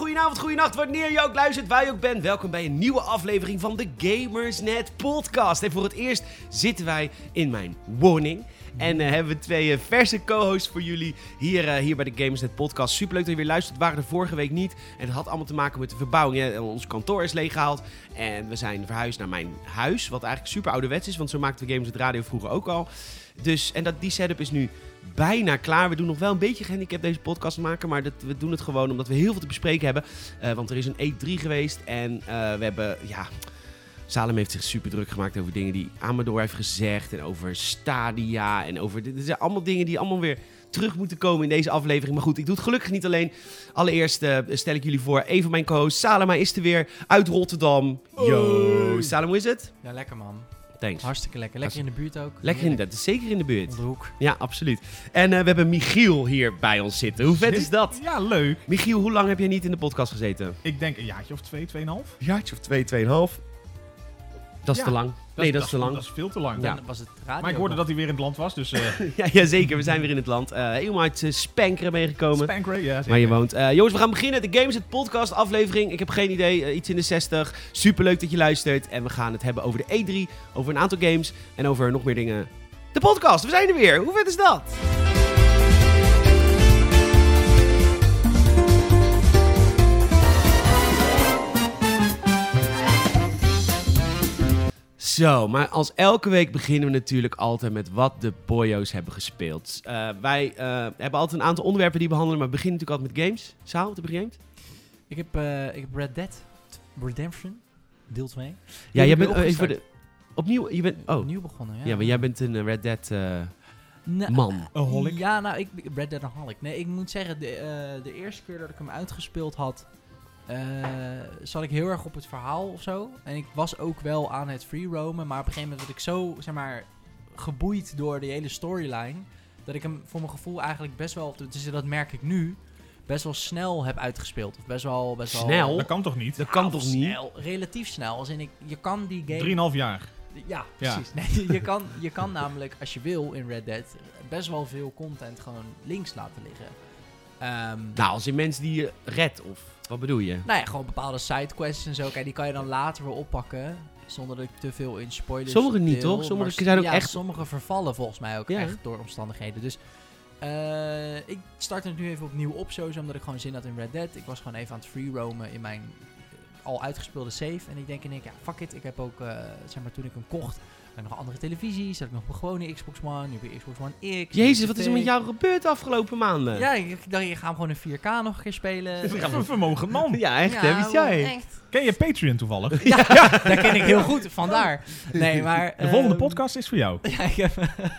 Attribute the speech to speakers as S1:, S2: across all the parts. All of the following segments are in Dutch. S1: Goedenacht, wanneer je ook luistert, waar je ook bent. Welkom bij een nieuwe aflevering van de Gamersnet podcast. En voor het eerst zitten wij in mijn woning. En eh, hebben we twee eh, verse co-hosts voor jullie hier, eh, hier bij de Gamersnet podcast. Superleuk dat je weer luistert. We waren er vorige week niet. En dat had allemaal te maken met de verbouwing. hè. Eh, Ons kantoor is leeggehaald. En we zijn verhuisd naar mijn huis. Wat eigenlijk super ouderwets is, want zo maakten we Gamersnet Radio vroeger ook al. Dus, en dat, die setup is nu bijna klaar. We doen nog wel een beetje gehandicap deze podcast maken. Maar dat, we doen het gewoon omdat we heel veel te bespreken hebben. Eh, want er is een E3 geweest. En eh, we hebben, ja... Salem heeft zich super druk gemaakt over dingen die Amador heeft gezegd. En over Stadia. En over... Dit dit zijn allemaal dingen die allemaal weer terug moeten komen in deze aflevering. Maar goed, ik doe het gelukkig niet alleen. Allereerst eh, stel ik jullie voor een van mijn co-hosts. Salem, hij is er weer uit Rotterdam. Yo,
S2: Hoi.
S1: Salem, hoe is het?
S2: Ja, lekker man.
S1: Thanks.
S2: Hartstikke lekker. Lekker in de buurt ook.
S1: Lekker in, dat is zeker in de buurt.
S2: Om de hoek.
S1: Ja, absoluut. En eh, we hebben Michiel hier bij ons zitten. Hoe vet is dat?
S3: Ja, leuk.
S1: Michiel, hoe lang heb jij niet in de podcast gezeten?
S3: Ik denk een jaartje of twee, tweeënhalf.
S4: jaartje of twee, tweeënhalf.
S1: Dat is
S3: Ja,
S1: te lang. nee, dat is te lang.
S3: Dat is veel te lang.
S1: Ja.
S2: Dan was het radio.
S3: Maar ik hoorde dat hij weer in het land was, dus eh
S1: Ja, jazeker, we zijn weer in het land. Eh, helemaal uit eh, Spankeren meegekomen.
S3: Spankray, ja. zeker.
S1: Waar je woont. Eh, jongens, we gaan beginnen. De Games het podcast aflevering. Ik heb geen idee. eh, iets in de 60. Superleuk dat je luistert. En we gaan het hebben over de E3, over een aantal games en over nog meer dingen. De podcast, we zijn er weer. Hoe vet is dat? Zo, maar als elke week beginnen we natuurlijk altijd met wat de boyo's hebben gespeeld. Eh, wij eh, hebben altijd een aantal onderwerpen die we behandelen, maar we beginnen natuurlijk altijd met games. Saal, wat heb je gegamed?
S2: Ik heb, eh, ik heb Red Dead Redemption, deel 2.
S1: Ja,
S2: heb
S1: jij
S2: ik
S1: bent
S2: weer
S1: eh, even voor
S2: opgestart.
S1: de, opnieuw. Je bent, oh,
S2: Opnieuw begonnen, ja.
S1: ja, maar jij bent een eh, Red Dead eh,
S2: Nou,
S1: man.
S3: Een holic.
S2: Ja, nou, ik, Red Dead Holic. Nee, ik moet zeggen, de, eh, de eerste keer dat ik hem uitgespeeld had, eh, zat ik heel erg op het verhaal of zo. En ik was ook wel aan het free roamen, maar op een gegeven moment werd ik zo, zeg maar, geboeid door die hele storyline, dat ik hem voor mijn gevoel eigenlijk best wel, dus dat merk ik nu, best wel snel heb uitgespeeld. Of best wel, best wel...
S1: Snel?
S3: Dat kan toch niet?
S1: Dat kan
S2: Ah,
S1: toch niet?
S2: snel, Relatief snel. Als in ik, je kan die game...
S3: Drieënhalf jaar.
S2: Ja,
S3: Ja.
S2: precies. Nee, je, kan, je kan namelijk, als je wil in Red Dead, best wel veel content gewoon links laten liggen. Ehm,
S1: Nou, als in mensen die je redt, of wat bedoel je?
S2: nou ja, gewoon bepaalde sidequests en zo. Kijk, die kan je dan later weer oppakken. Zonder dat ik te veel in spoilers
S1: Sommige niet,
S2: deel,
S1: toch? Sommige
S2: maar s-
S1: zijn ook
S2: ja,
S1: echt-
S2: sommige vervallen volgens mij ook
S1: Ja.
S2: echt door omstandigheden. Dus eh, ik start het nu even opnieuw op, sowieso omdat ik gewoon zin had in Red Dead. Ik was gewoon even aan het free-roamen in mijn eh, al uitgespeelde save. En ik denk in één keer, ja, fuck it. Ik heb ook, eh, zeg maar, toen ik hem kocht, had ik nog andere televisies. Had ik nog mijn gewone Xbox One, nu weer Xbox One X.
S1: Jezus, wat is er met
S2: TV.
S1: jou gebeurd de afgelopen maanden?
S2: Ja, ik ik dacht, ik ga hem gewoon in 4K nog een keer spelen.
S3: Een vermogend man.
S1: Ja, echt, hè? Wist
S2: Ja,
S1: jij?
S2: echt.
S3: Ken je Patreon toevallig?
S2: Ja, dat ken ik heel goed, vandaar. Nee, maar...
S3: De volgende
S2: ehm,
S3: podcast is voor jou.
S2: Ja, ik heb...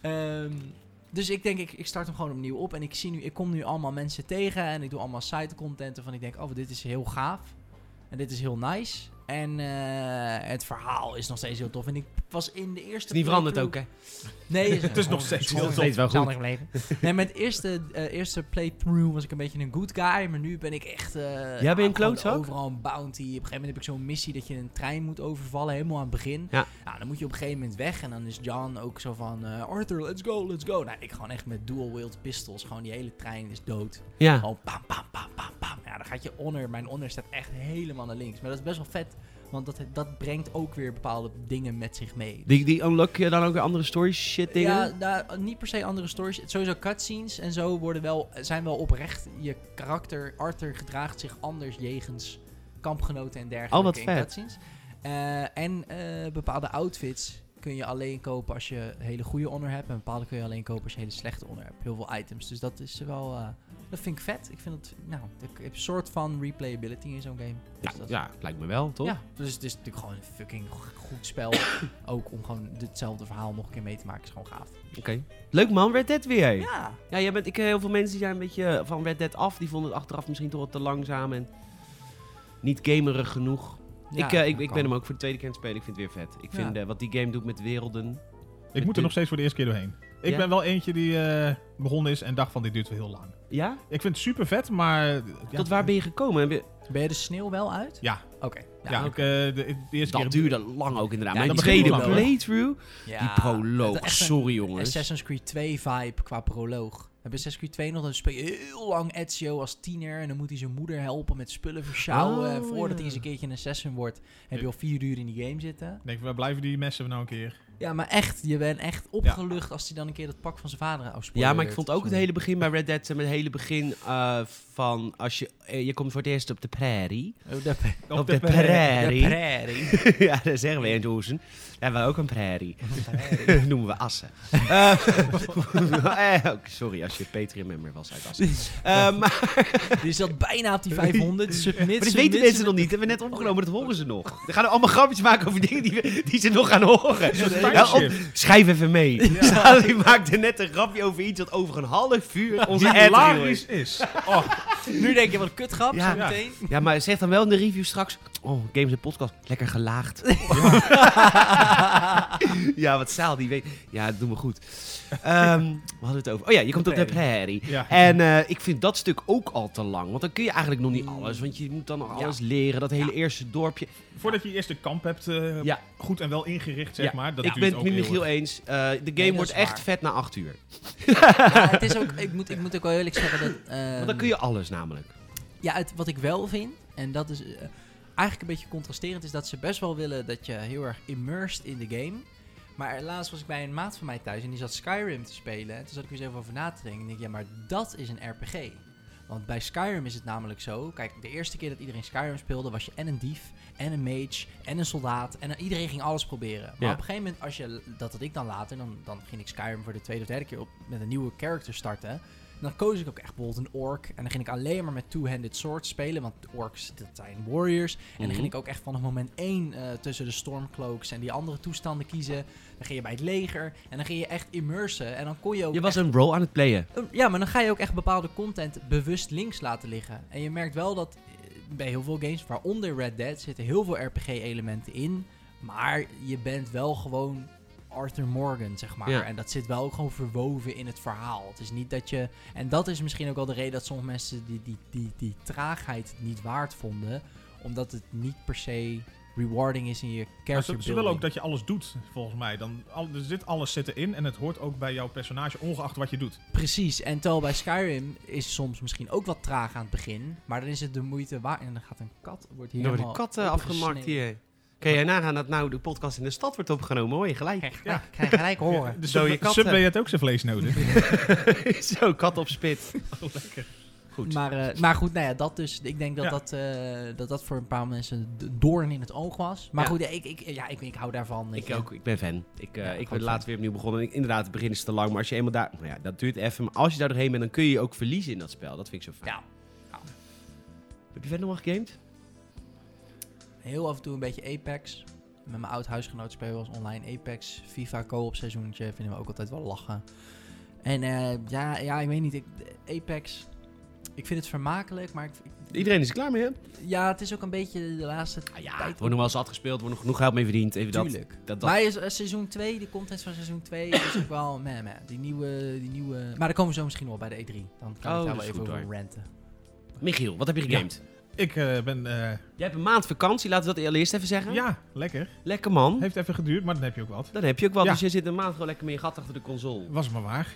S2: Ehm, dus ik denk, ik, ik start hem gewoon opnieuw op. En ik, zie nu, ik kom nu allemaal mensen tegen. En ik doe allemaal site-content. Van ik denk, oh, dit is heel gaaf. En dit is heel nice. En eh, het verhaal is nog steeds heel tof. En ik was in de eerste...
S1: Het is niet veranderd ook, hè?
S2: Nee,
S3: Het is nog steeds
S1: heel
S2: tof.
S1: tof. Steeds wel goed.
S2: Nee, met eerste, eh, eerste playthrough was ik een beetje een good guy. Maar nu ben ik echt... eh,
S1: je een
S2: gewoon
S1: klootzak?
S2: Overal een bounty. Op een gegeven moment heb ik zo'n missie dat je een trein moet overvallen. Helemaal aan het begin.
S1: Ja.
S2: Nou, dan moet je op een gegeven moment weg. En dan is John ook zo van... eh, Arthur, let's go, let's go. Nou, ik gewoon echt met dual-wield pistols. Gewoon die hele trein is dood.
S1: Ja.
S2: Gewoon pam, pam, pam, pam, pam. Ja, dan gaat je honor. Mijn honor staat echt helemaal naar links. Maar dat is best wel vet. Want dat, dat brengt ook weer bepaalde dingen met zich mee.
S1: Die, die unlock je dan ook weer andere story shit dingen?
S2: Ja, daar- niet per se andere stories. Sowieso cutscenes en zo worden wel, zijn wel oprecht. Je karakter, Arthur, gedraagt zich anders jegens kampgenoten en dergelijke
S1: Oh, wat
S2: in
S1: vet.
S2: cutscenes. Eh, en eh, bepaalde outfits kun je alleen kopen als je hele goede honor hebt. En bepaalde kun je alleen kopen als je hele slechte honor hebt. Heel veel items. Dus dat is wel... eh, dat vind ik vet. Ik vind het... Nou, ik heb een soort van replayability in zo'n game. Dus
S1: Ja,
S2: dat-
S1: ja, lijkt me wel, toch?
S2: ja, dus het is natuurlijk gewoon een fucking go- goed spel. ook om gewoon hetzelfde verhaal nog een keer mee te maken is gewoon gaaf.
S1: Oké. Leuk man, Red Dead weer.
S2: Ja.
S1: Ja, jij bent, ik ken heel veel mensen die zijn een beetje eh, van Red Dead af. Die vonden het achteraf misschien toch wat te langzaam en niet gamerig genoeg. ik, eh, ik, ik ben hem ook voor de tweede keer aan het spelen. Ik vind het weer vet. Ik
S2: Ja.
S1: vind eh, wat die game doet met werelden.
S3: Ik moet er nog steeds voor de eerste keer doorheen. Ik
S1: Ja?
S3: ben wel eentje die eh, begonnen is en dacht van dit duurt wel heel lang.
S1: Ja?
S3: Ik vind het super vet, maar... eh, ja,
S1: Tot waar ben je gekomen? Heb je-
S2: Ben je de sneeuw wel uit?
S3: Ja.
S2: Oké.
S3: Ja,
S2: Ja.
S3: ik, eh, de, de eerste
S1: Ah, Dat
S3: keer...
S1: duurde lang ook inderdaad.
S2: Ja,
S1: Mijn
S3: dat
S1: tweede
S3: begint wel lang,
S1: playthrough, die
S2: Ja.
S1: proloog.
S2: Het is echt een
S1: Sorry jongens.
S2: Assassin's Creed 2 vibe qua proloog. En bij Assassin's Creed 2 nog, dan speel je heel lang Ezio als tiener. En dan moet hij zijn moeder helpen met spullen versjouwen.
S3: Oh,
S2: en voordat
S3: ja.
S2: hij eens een keertje een assassin wordt, heb je
S3: Ja.
S2: al vier uur in die game zitten.
S3: Ik Denk, waar blijven die messen nou een keer?
S2: Ja, maar echt, je bent echt opgelucht als hij dan een keer dat pak van zijn vader afspoort.
S1: Ja, maar ik vond ook het hele begin bij Red Dead, zeg maar, het hele begin eh, van als je, eh, je komt voor het eerst op de prairie.
S2: Oh, dat de
S1: Op de prairie.
S2: prairie.
S1: ja, dat zeggen we in Doezen. Daar hebben we ook een prairie. Noemen we Assen. Eh, eh, ook sorry als je Patreon member was uit Assen. Eh, maar,
S2: Die zat bijna op die 500. Submit,
S1: maar dit
S2: submit,
S1: weten mensen
S2: submit.
S1: nog niet. Hebben we net opgenomen, dat horen ze nog. We gaan allemaal grapjes maken over dingen die, we- die ze nog gaan horen. Ja, op- schrijf even mee. Sally maakte net een grapje over iets wat over een half uur onze
S3: Die
S1: ad reel is.
S3: hilarisch is. Oh,
S2: Nu denk je, wat een kutgrap,
S1: Ja.
S2: zo meteen.
S1: Ja, maar zeg dan wel in de review straks. Oh, Games en Podcast, lekker gelaagd. ja, wat zaal die weet. Ja, dat doen we goed. Ehm we hadden het over. Oh ja, je komt op de prairie.
S3: ja.
S1: En eh, ik vind dat stuk ook al te lang. Want dan kun je eigenlijk nog niet alles. Want je moet dan nog
S2: Ja.
S1: alles leren. Dat hele eerste dorpje.
S3: Voordat je eerst de kamp hebt eh,
S1: Ja.
S3: goed en wel ingericht, zeg
S1: Ja.
S3: maar. Dat
S1: ik
S3: duurt
S1: ben het
S3: ook
S1: met
S3: heel
S1: Michiel
S3: erg.
S1: eens. Eh, de game
S2: Nee, dat
S1: wordt
S2: is
S1: echt
S2: waar.
S1: vet na acht uur.
S2: Ja, het is ook, ik, moet, ik moet ook wel eerlijk zeggen dat... ehm,
S1: Want dan kun je alles namelijk.
S2: Ja, het, wat ik wel vind, en dat is eh, eigenlijk een beetje contrasterend, is dat ze best wel willen dat je heel erg immersed in de game. Maar helaas was ik bij een maat van mij thuis en die zat Skyrim te spelen. En toen zat ik weer eens even over na te denken. En ik ja, maar dat is een RPG. Want bij Skyrim is het namelijk zo. Kijk, de eerste keer dat iedereen Skyrim speelde, was je en een dief, en een mage, en een soldaat. En iedereen ging alles proberen. Maar
S1: Ja.
S2: op een gegeven moment, als je, dat had ik dan later, dan, dan ging ik Skyrim voor de tweede of derde keer op, met een nieuwe character starten. En dan koos ik ook echt bijvoorbeeld een orc. En dan ging ik alleen maar met two-handed swords spelen. Want orcs, dat zijn warriors. En dan
S1: Mhm.
S2: ging ik ook echt vanaf moment één eh, tussen de stormcloaks en die andere toestanden kiezen. Dan ging je bij het leger. En dan ging je echt immersen. En dan kon je ook
S1: Je was
S2: echt-
S1: een role aan het playen.
S2: Ja, maar dan ga je ook echt bepaalde content bewust links laten liggen. En je merkt wel dat eh, bij heel veel games, waaronder Red Dead, zitten heel veel RPG-elementen in. Maar je bent wel gewoon Arthur Morgan, zeg maar.
S1: Ja.
S2: En dat zit wel ook gewoon verwoven in het verhaal. Het is niet dat je... En dat is misschien ook wel de reden dat sommige mensen die, die, die, die traagheid niet waard vonden. Omdat het niet per se rewarding is in je
S3: Maar
S2: character
S3: ze, ze willen ook dat je alles doet, volgens mij. Dan, al, er zit alles zit erin en het hoort ook bij jouw personage, ongeacht wat je doet.
S2: Precies, en terwijl bij Skyrim is soms misschien ook wat traag aan het begin, maar dan is het de moeite waar. En dan gaat een kat, wordt hier
S1: Dan worden
S2: helemaal
S1: katten afgemarkt
S2: opgesneden.
S1: hier. Kun jij nagaan dat nou de podcast in de stad wordt opgenomen? Hoor je gelijk.
S2: Krijg, ja. krijg gelijk horen.
S3: De
S1: Zo, je
S3: Subway,
S1: kat,
S3: Subway had ook zijn vlees nodig.
S1: Zo, kat op spit.
S3: Oh, lekker.
S1: Goed.
S2: Maar, eh, maar goed, nou ja, dat dus. Ik denk dat,
S3: Ja.
S2: dat, eh, dat dat voor een paar mensen de doorn in het oog was. Maar
S1: Ja.
S2: goed, ja, ik, ik, ja, ik, ik eh, hou daarvan. weet
S1: Ik
S2: je.
S1: ook, ik ben fan. Ik, eh,
S2: Ja,
S1: ik
S2: gewoon
S1: ben
S2: fan.
S1: laatst weer opnieuw begonnen. En ik- inderdaad, het begin is te lang, maar als je eenmaal daar... Nou ja, dat duurt even, maar als je daar doorheen bent, dan kun je je ook verliezen in dat spel. Dat vind ik zo fijn.
S2: Ja.
S1: Heb je verder nog gegamed?
S2: Heel af en toe een beetje Apex. Met mijn oud huisgenoot spelen we als online Apex. FIFA co-op seizoentje vinden we ook altijd wel lachen. En eh, ja, ja, ik weet niet. Ik, Apex, ik vind het vermakelijk, maar ik, ik-
S1: Iedereen is er klaar mee, hè?
S2: Ja, het is ook een beetje de laatste
S1: Ah,
S2: tijd.
S1: ja, wordt nog wel zat gespeeld, wordt nog genoeg geld mee verdiend. Even dat,
S2: Tuurlijk.
S1: dat, dat.
S2: Maar is, eh, seizoen 2, de content van seizoen 2, is ook wel meh meh. Die nieuwe, die nieuwe... Maar daar komen we zo misschien wel bij de E3. Dan kan
S1: Oh,
S2: ik daar
S1: dat
S2: wel
S1: is
S2: even
S1: goed,
S2: over
S1: hoor.
S2: ranten.
S1: Michiel, wat heb je gegamed?
S3: Ik eh, ben... eh,
S1: Jij hebt een maand vakantie, laten we dat eerst even zeggen.
S3: ja, lekker.
S1: Lekker man.
S3: Heeft even geduurd, maar dan heb je ook wat.
S1: Dan heb je ook wel,
S3: Ja.
S1: dus je zit een maand gewoon lekker meer gat achter de console.
S3: Was maar waar.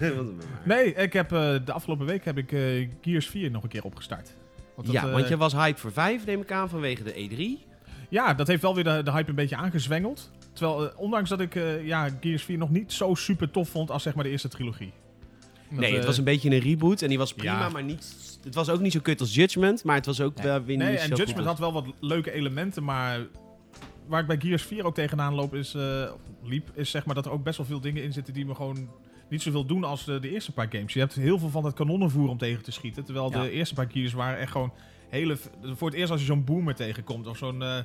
S1: nee.
S3: Nee, ik heb, eh, de afgelopen week heb ik eh, Gears 4 nog een keer opgestart. Want dat,
S1: Ja,
S3: eh,
S1: want je was hype voor 5, neem ik aan, vanwege de E E3.
S3: ja, dat heeft wel weer de, de hype een beetje aangezwengeld. Terwijl, eh, ondanks dat ik eh, ja, Gears 4 nog niet zo super tof vond als zeg maar de eerste trilogie. Dat,
S1: nee,
S3: eh,
S1: het was een beetje een reboot en die was prima,
S3: Ja.
S1: maar niet, het was ook niet zo kut als Judgment, maar het was ook
S2: Nee.
S1: wel weer
S3: Nee,
S1: niet
S3: en
S1: zo
S3: Judgment
S1: goed
S3: had wel wat leuke elementen, maar waar ik bij Gears 4 ook tegenaan loop is, eh, of liep, is zeg maar dat er ook best wel veel dingen in zitten die me gewoon niet zoveel doen als de, de eerste paar games. Je hebt heel veel van dat kanonnenvoer om tegen te schieten, terwijl
S2: Ja.
S3: de eerste paar Gears waren echt gewoon hele... v- Voor het eerst als je zo'n boomer tegenkomt of zo'n... eh,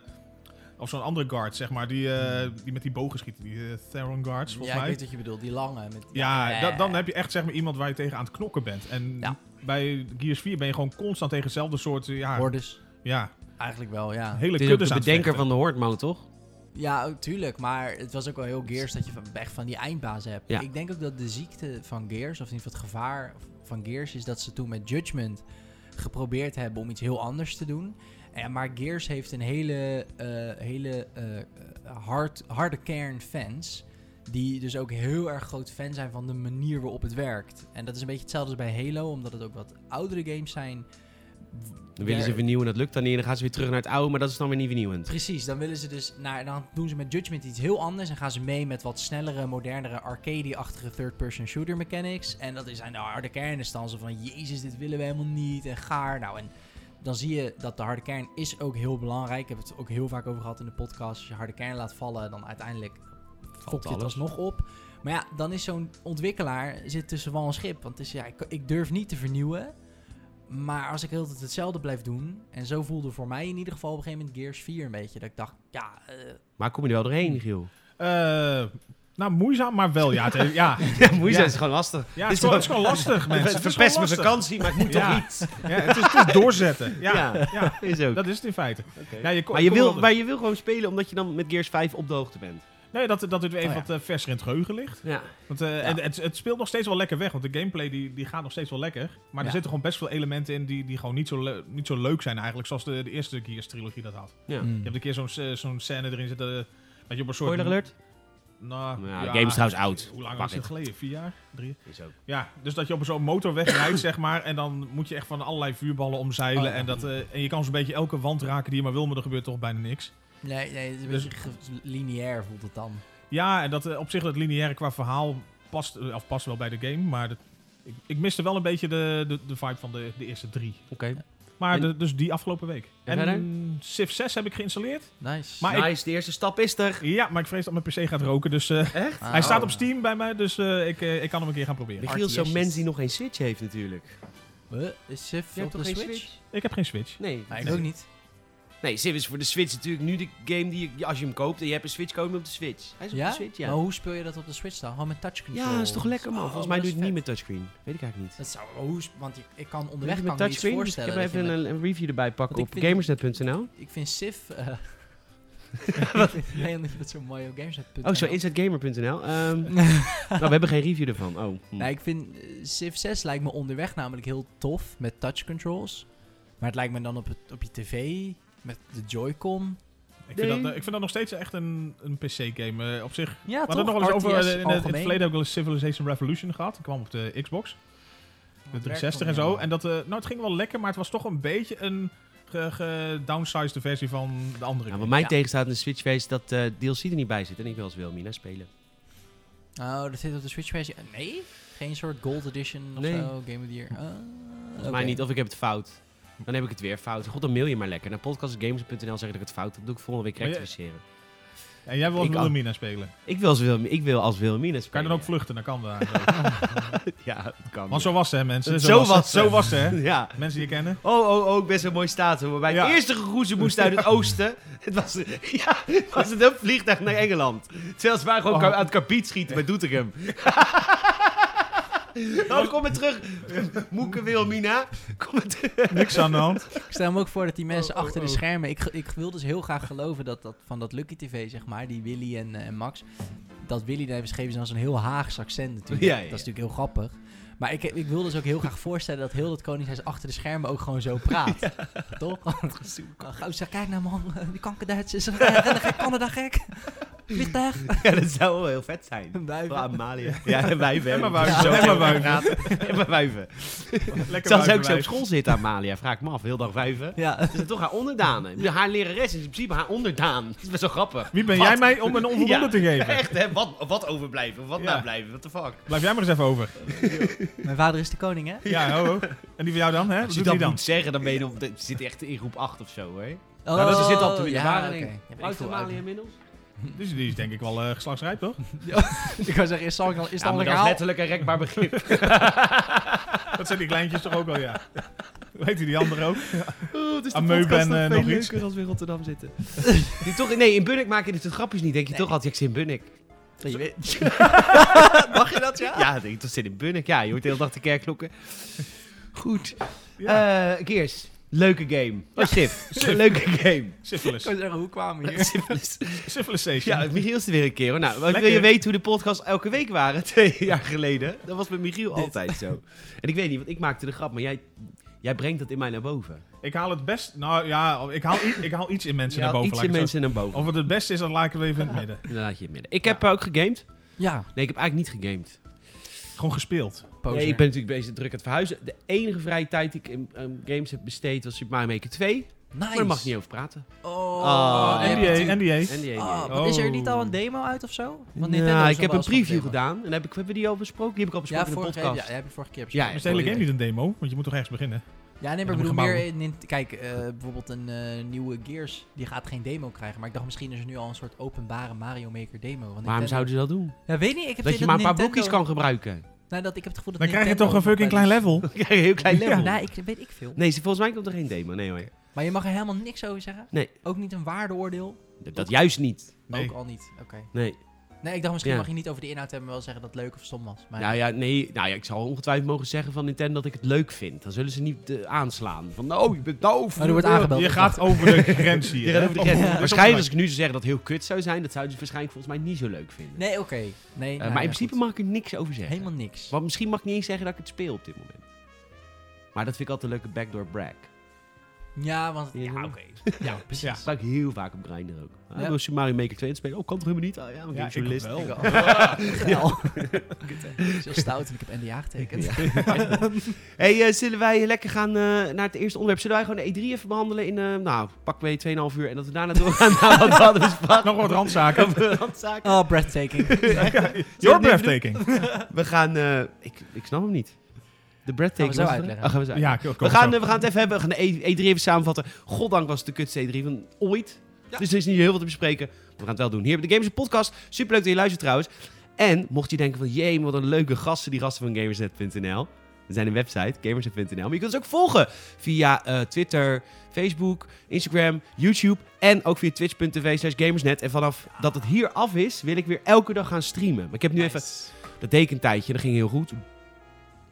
S3: of zo'n andere guard, zeg maar, die, eh, die met die bogen schieten. Die eh, Theron guards, volgens
S2: Ja, ik
S3: mij.
S2: weet wat je bedoelt. Die lange. Met,
S3: Ja,
S2: eh.
S3: da- dan heb je echt zeg maar iemand waar je tegen aan het knokken bent. En
S2: Ja.
S3: bij Gears 4 ben je gewoon constant tegen hetzelfde soort... eh, Ja,
S2: Hordes.
S3: ja,
S2: Eigenlijk wel, ja.
S3: hele
S1: Het is ook
S3: kuddes
S1: de
S3: aan het
S1: bedenker
S3: vechten.
S1: van de Horde-mode, toch?
S2: Ja, ook tuurlijk. Maar het was ook wel heel Gears dat je van, echt van die eindbazen hebt.
S1: Ja.
S2: Ik denk ook dat de ziekte van Gears, of in ieder geval het gevaar van Gears, is dat ze toen met Judgment geprobeerd hebben om iets heel anders te doen. En, maar Gears heeft een hele, eh, hele eh, eh, hard, harde kern fans. Die dus ook heel erg groot fan zijn van de manier waarop het werkt. En dat is een beetje hetzelfde als bij Halo, omdat het ook wat oudere games zijn.
S1: Dan willen ze
S2: Daar-
S1: vernieuwen, dat lukt dan niet. En dan gaan ze weer terug naar het oude, maar dat is dan weer niet vernieuwend.
S2: Precies, dan willen ze dus naar, dan doen ze met Judgment iets heel anders en gaan ze mee met wat snellere, modernere, arcade-achtige third-person shooter mechanics. En dat is aan de harde kern is dan zo van, jezus, dit willen we helemaal niet en gaar. Nou, en dan zie je dat de harde kern is ook heel belangrijk. Ik heb het ook heel vaak over gehad in de podcast. Als je harde kern laat vallen, dan uiteindelijk fokt je het
S1: alles.
S2: alsnog op. Maar ja, dan is zo'n ontwikkelaar zit tussen wal en schip. Want het is, ja, ik, ik durf niet te vernieuwen. Maar als ik heel de tijd hetzelfde blijf doen... en zo voelde voor mij in ieder geval op een gegeven moment Gears 4 een beetje... dat ik dacht, ja, eh,
S1: Maar kom je er wel doorheen, Giel?
S3: Eh, nou, moeizaam, maar wel. Ja, het, heeft- ja,
S1: Ja, moeizaam
S3: Ja.
S1: is gewoon lastig.
S3: ja,
S1: Dit
S3: het, is
S1: is
S3: gewoon,
S1: wel-
S3: het is gewoon lastig, mensen.
S1: Het
S3: Het is
S1: verpest
S3: gewoon
S1: mijn vakantie,
S3: lastig.
S1: maar ik moet
S3: Ja.
S1: toch iets.
S3: Ja, het, is, het is doorzetten. Ja, ja.
S1: Ja. Is ook.
S3: dat is het in feite. Ja, je ko-
S1: maar, je
S3: komt
S1: wil,
S3: wel-
S1: maar je wil gewoon spelen omdat je dan met Gears 5 op de hoogte bent.
S3: Nee, dat, dat het weer even
S2: Oh, ja.
S3: wat eh, verser in het geheugen ligt.
S1: Ja.
S3: Want, eh, en het, het speelt nog steeds wel lekker weg, want de gameplay die, die gaat nog steeds wel lekker. Maar
S2: Ja.
S3: er zitten gewoon best veel elementen in die, die gewoon niet zo, le- niet zo leuk zijn eigenlijk, zoals de, de eerste Gears trilogie dat had.
S1: ja.
S2: mm.
S3: Je hebt een keer zo'n s- zo'n scène erin zitten, eh, dat je op een soort...
S1: Spoiler alert?
S3: Nou,
S1: Ja, de game is trouwens oud.
S3: Hoe lang
S1: Pak
S3: is het
S1: het.
S3: geleden? Vier jaar? Drie?
S1: Is ook.
S3: Ja, dus dat je op zo'n motorweg rijdt, zeg maar. En dan moet je echt van allerlei vuurballen omzeilen.
S2: Oh, ja.
S3: en, dat, eh, en je kan zo'n beetje elke wand raken die je maar wil, maar er gebeurt toch bijna niks.
S2: Nee, nee, het is een
S3: Dus-
S2: beetje ge- lineair voelt het dan.
S3: Ja, en dat eh, op zich dat lineaire qua verhaal past, eh, of past wel bij de game. Maar dat- ik, ik miste wel een beetje de, de, de vibe van de, de eerste drie.
S1: Oké.
S3: Maar
S1: En-
S3: de- dus die afgelopen week.
S1: En
S3: Civ 6 heb ik geïnstalleerd.
S2: Nice.
S3: Maar ik-
S1: Nice, de eerste stap is er.
S3: Ja, maar ik vrees dat mijn PC gaat roken. Dus eh,
S1: Echt?
S2: Ah,
S3: hij staat
S2: oh.
S3: op Steam bij mij, dus eh, ik, eh, ik kan hem een keer gaan proberen.
S1: Michiel is zo'n
S2: RTS.
S1: mens die nog geen Switch heeft natuurlijk.
S2: Huh? Is Civ op de Switch?
S3: Ik heb geen Switch.
S1: Nee.
S2: Nee, ik
S3: Nee.
S2: ook niet.
S1: Nee, Civ is voor de Switch natuurlijk nu de game die je, als je hem koopt en je hebt een Switch, koop je hem op de Switch. Hij is op
S2: Ja?
S1: de Switch, ja.
S2: Maar hoe speel je dat op de Switch dan? Gewoon met touchcontrol?
S1: Ja, is toch lekker man.
S2: Oh,
S1: Volgens mij
S2: dat
S1: doe
S2: is
S1: je het niet
S2: vet.
S1: met touchscreen. Weet ik eigenlijk niet.
S2: Dat zou, oh, hoe, is- want ik, ik kan
S1: Weet
S2: onderweg
S1: je
S2: kan
S1: met
S2: ik me iets
S1: touchscreen? Dus ik
S2: voorstellen.
S1: heb
S2: dat je
S1: even
S2: met-
S1: een, een review erbij pakken
S2: Want
S1: op
S2: ik vind-
S1: gamersnet.nl.
S2: Ik vind Civ... eh nee, omdat je dat zo mooi op games hebt.
S1: Oh, zo, inzetgamer.nl. Ehm, nou, we hebben geen review ervan. Oh. hm.
S2: Nee, ik vind eh, Civ 6 lijkt me onderweg namelijk heel tof met touch controls. Maar het lijkt me dan op, het, op je tv met de Joy-Con.
S3: Ik,
S1: Nee.
S3: vind dat, eh, ik vind dat nog steeds echt een, een PC-game eh, op zich. We
S2: Ja,
S3: hadden het nog wel eens over, eh, in, het- in het verleden heb ik wel eens Civilization Revolution gehad. Die kwam op de Xbox. De 360 en zo. En dat, eh, nou, het ging wel lekker, maar het was toch een beetje een ge- gedownsized versie van de andere.
S1: Nou, wat mij
S2: Ja.
S1: tegenstaat in de Switch is dat eh DLC er niet bij zit. En ik wil als Wilmina spelen.
S2: Oh, dat zit op de Switch versie. Eh, Nee? Geen soort Gold Edition of
S1: Nee.
S2: zo, Game of the Year. Ah,
S1: Volgens
S2: oké.
S1: mij niet. Of ik heb het fout. Dan heb ik het weer fout. God, dan mail je maar lekker. Naar podcastgamers.nl zeg ik dat ik het fout heb. Dat doe ik volgende week
S3: Maar je-
S1: rectificeren.
S3: en jij wil
S1: Ik
S3: ook
S1: kan-
S3: Wilhelmina spelen.
S1: Ik, wil als Wilhelm- ik wil als Wilhelmina spelen.
S3: Kan je dan ook vluchten? Dan kan dat. eigenlijk.
S1: Ja, dat kan.
S3: Want zo was het, hè, mensen.
S1: Zo was
S3: het. Zo
S1: het.
S3: was het, hè.
S1: Ja.
S3: Mensen die je kennen.
S1: Oh, oh, oh, ik ben zo'n mooi staat. hoor. Bij
S3: Ja.
S1: het eerste geroezemoes moest uit het oosten. Het was, ja, het was het een vliegtuig naar Engeland. Terwijl ze waren gewoon
S3: Oh.
S1: ka- aan het kapiet schieten bij Doetinchem. oh, kom maar terug. Moeke Wilmina. Kom maar terug.
S3: Niks aan de hand.
S2: Ik stel me ook voor dat die mensen
S1: Oh, oh,
S2: achter de
S1: oh.
S2: schermen. Ik, ge- ik wil dus heel graag geloven dat, dat van dat Lucky TV, zeg maar, die Willy en, eh, en Max. Dat Willy daar beschreven is als een heel Haags accent natuurlijk.
S1: Ja, ja,
S2: Dat is
S1: ja.
S2: natuurlijk heel grappig. Maar ik, ik wil dus ook heel graag voorstellen dat heel dat Koningshuis achter de schermen ook gewoon zo praat. Toch? Gauw zeg, kijk nou man, die kankerduits is een gek, Canada gek. Vliegtuig.
S1: Ja, dat zou wel heel vet zijn. Voor
S2: Duiven.
S1: Amalia. Ja, en wijven.
S3: En maar
S1: Ja,
S3: wuiven.
S1: zo
S3: En maar
S1: heel erg
S3: wuiven.
S1: praten. En maar wijven.
S3: Lekker
S1: Zelfs ook
S3: buiten
S1: zo op
S3: wijven.
S1: school zit Amalia. Vraag ik me af. Heel dag wijven.
S2: Ja.
S1: Dat is toch haar onderdaan. Ik bedoel, Haar lerares is in principe haar onderdaan. Dat is best wel grappig.
S3: Wie ben
S1: Wat?
S3: jij mij om een onvoldoende
S1: Ja.
S3: te geven?
S1: Echt, hè? Wat, wat overblijven? Wat
S3: Ja.
S1: nablijven? What the fuck?
S3: Blijf jij maar eens even over.
S2: Mijn vader is de koning hè?
S3: Ja, ho, ho. En die van jou dan, hè?
S1: Als
S3: Wat
S1: je
S3: doet
S1: dat
S3: die dan?
S1: moet zeggen, dan ben je nog, dat zit echt in groep 8 of zo, hè?
S2: Oh,
S1: nou, dat zit al te
S2: ja, oké. Ja, weet ik
S1: Oud
S2: veel,
S1: Amalia
S2: oud.
S1: inmiddels?
S3: Dus die is denk ik wel eh, geslachtsrijp, toch?
S2: Ik wou zeggen, is dat al- is dat
S1: Ja, maar
S2: al een
S1: dat is
S2: verhaal?
S1: letterlijk een rekbaar begrip.
S3: Dat zijn die kleintjes toch ook al, ja. Weet je die andere ook?
S1: Oh, dus
S3: de Ameu, podcast ben, nog eh, veel nog iets. leuker
S1: als we in Rotterdam zitten. Die toch, nee, in Bunnik maak je dit soort grapjes niet. Denk je
S2: Nee.
S1: toch altijd, ik zit in Bunnik.
S2: Je weet-
S1: Mag je dat, ja? Ja, ik denk, dat zit in Bunnik. Ja, je hoort de hele dag de kerkklokken. Goed.
S3: Ja.
S1: Eh, Gears, leuke game. Oh, Sif, leuke game.
S2: Ik
S3: Syphilis.
S2: wou zeggen, hoe kwamen we hier?
S3: Civilization.
S1: Ja, Michiel is er weer een keer hoor. Nou, wil
S3: Lekker.
S1: je weten hoe de podcasts elke week waren twee jaar geleden? Dat was met Michiel altijd zo. En ik weet niet, want ik maakte de grap, maar jij, jij brengt dat in mij naar boven.
S3: Ik haal het best. Nou ja, ik haal, i- ik haal iets in mensen
S1: Je
S3: naar
S1: haalt
S3: boven.
S1: iets
S3: laat
S1: in
S3: ik het zo
S1: mensen naar boven.
S3: zeggen. Of het het beste is, dat laat ik het even in het midden.
S1: Dan laat je het midden. Ik heb eh, ook gegamed.
S2: Ja,
S1: Nee, ik heb eigenlijk niet gegamed.
S3: Gewoon gespeeld.
S2: poser.
S1: Nee, ik ben natuurlijk bezig druk aan het verhuizen. De enige vrije tijd die ik in aan games heb besteed was Super Mario Maker 2.
S2: nice.
S1: Maar daar mag ik niet over praten.
S2: Oh,
S1: Ah,
S2: je hebt
S1: NBA,
S2: natuurlijk-
S3: NDA, NDA.
S1: En die
S2: Ah,
S1: ene.
S2: maar Is er niet al een
S3: Oh.
S2: demo uit of zo? Want
S1: Nou,
S2: Nintendo is
S1: ik
S2: wel
S1: heb een
S2: eens van
S1: preview
S2: demo.
S1: gedaan. En heb ik, hebben we die al besproken? Die heb ik al
S2: Ja,
S1: besproken in de
S2: vorige,
S1: podcast.
S2: ja, heb je vorige keer
S1: Ja,
S2: besproken.
S3: Is de hele game niet een demo? Want je moet toch ergens beginnen?
S2: Ja, nee, maar ik
S3: Heb
S2: bedoel
S3: ik
S2: meer...
S3: gebouwd.
S2: in- in- kijk, eh, bijvoorbeeld een eh, nieuwe Gears, die gaat geen demo krijgen. Maar ik dacht, misschien is er nu al een soort openbare Mario Maker demo.
S1: Waarom
S2: Want Nintendo-
S1: zouden ze dat doen?
S2: Ja, weet niet, ik heb
S1: Dat
S2: het
S1: je
S2: idee
S1: maar een paar
S2: Nintendo-
S1: boekjes kan gebruiken.
S2: Nou, dat, ik heb het gevoel dat
S3: Dan krijg je
S2: Nintendo
S3: toch een
S2: nog
S3: fucking
S2: wel
S3: klein
S2: eens-
S3: level.
S1: Dan krijg je een heel klein
S3: Ja.
S1: level.
S2: Nou, ik, weet ik veel.
S1: Nee, ze- volgens mij komt er geen demo. Nee hoor.
S2: Maar je mag er helemaal niks over zeggen?
S1: Nee.
S2: Ook niet een waardeoordeel?
S1: Dat, dat juist niet.
S3: Nee.
S2: Ook al niet, oké.
S1: Nee.
S2: Nee, ik dacht, misschien
S1: Ja.
S2: mag je niet over de inhoud hebben, maar wel zeggen dat het leuk of stom was. Maar
S1: Nou ja, nee. Nou ja, ik zal ongetwijfeld mogen zeggen van Nintendo dat ik het leuk vind. Dan zullen ze niet eh, aanslaan. Van, oh, je bent doof.
S2: Maar er wordt aangebeld.
S3: Je gaat over de grens hier.
S1: Je
S3: hè?
S1: gaat over de grens. Waarschijnlijk als ik nu zou zeggen dat het heel kut zou zijn, dat zouden ze waarschijnlijk volgens mij niet zo leuk vinden.
S2: Nee, oké. Nee,
S1: Eh,
S2: nou
S1: maar in
S2: ja,
S1: principe
S2: goed.
S1: mag ik er niks over zeggen.
S2: Helemaal niks.
S1: Want misschien mag ik niet eens zeggen dat ik het speel op dit moment. Maar dat vind ik altijd een leuke backdoor brag.
S2: Ja, want...
S1: Ja, oké.
S2: Ja, precies.
S3: Ja.
S1: Dat gebruik ik heel vaak op Grindr ook. Ah,
S2: Ja.
S1: wil Super Mario Maker 2 aan het spelen? Oh, kan toch helemaal niet? Ah, ja,
S3: Ja,
S1: een
S3: ik
S1: journalist.
S3: wel.
S2: Ja. Zo stout en ik heb NDA getekend.
S1: Hey, eh, zullen wij lekker gaan eh, naar het eerste onderwerp? Zullen wij gewoon de E3 even behandelen in, eh nou, pak mee 2,5 uur en dat we daarna doorgaan naar wat we hadden besproken?
S3: Nog wat randzaken.
S1: Randzaken.
S2: Oh, breathtaking.
S3: Your breathtaking.
S1: We gaan, eh, ik, ik snap hem niet. De breathtaking.
S2: Gaan we zo
S1: was het, hè?
S2: uitleggen.
S1: Oh, gaan we zo uitleggen.
S3: Ja, kom,
S1: We
S3: kom
S1: gaan,
S3: zo.
S1: eh, we gaan het even hebben. We gaan de E- E3 even samenvatten. Goddank was het de kutste E3 van ooit.
S2: Ja.
S1: Dus er is niet heel veel te bespreken. Maar we gaan het wel doen. Hier bij de Gamers Podcast. Superleuk dat je luistert trouwens. En mocht je denken van... Jee, wat een leuke gasten. Die gasten van Gamersnet.nl. We zijn een website. Gamersnet.nl. Maar je kunt ons ook volgen. Via eh, Twitter, Facebook, Instagram, YouTube. En ook via twitch.tv slash gamersnet. En vanaf dat het hier af is... wil ik weer elke dag gaan streamen. Maar ik heb nu even... Dat deed ik een tijdje, dat ging heel goed.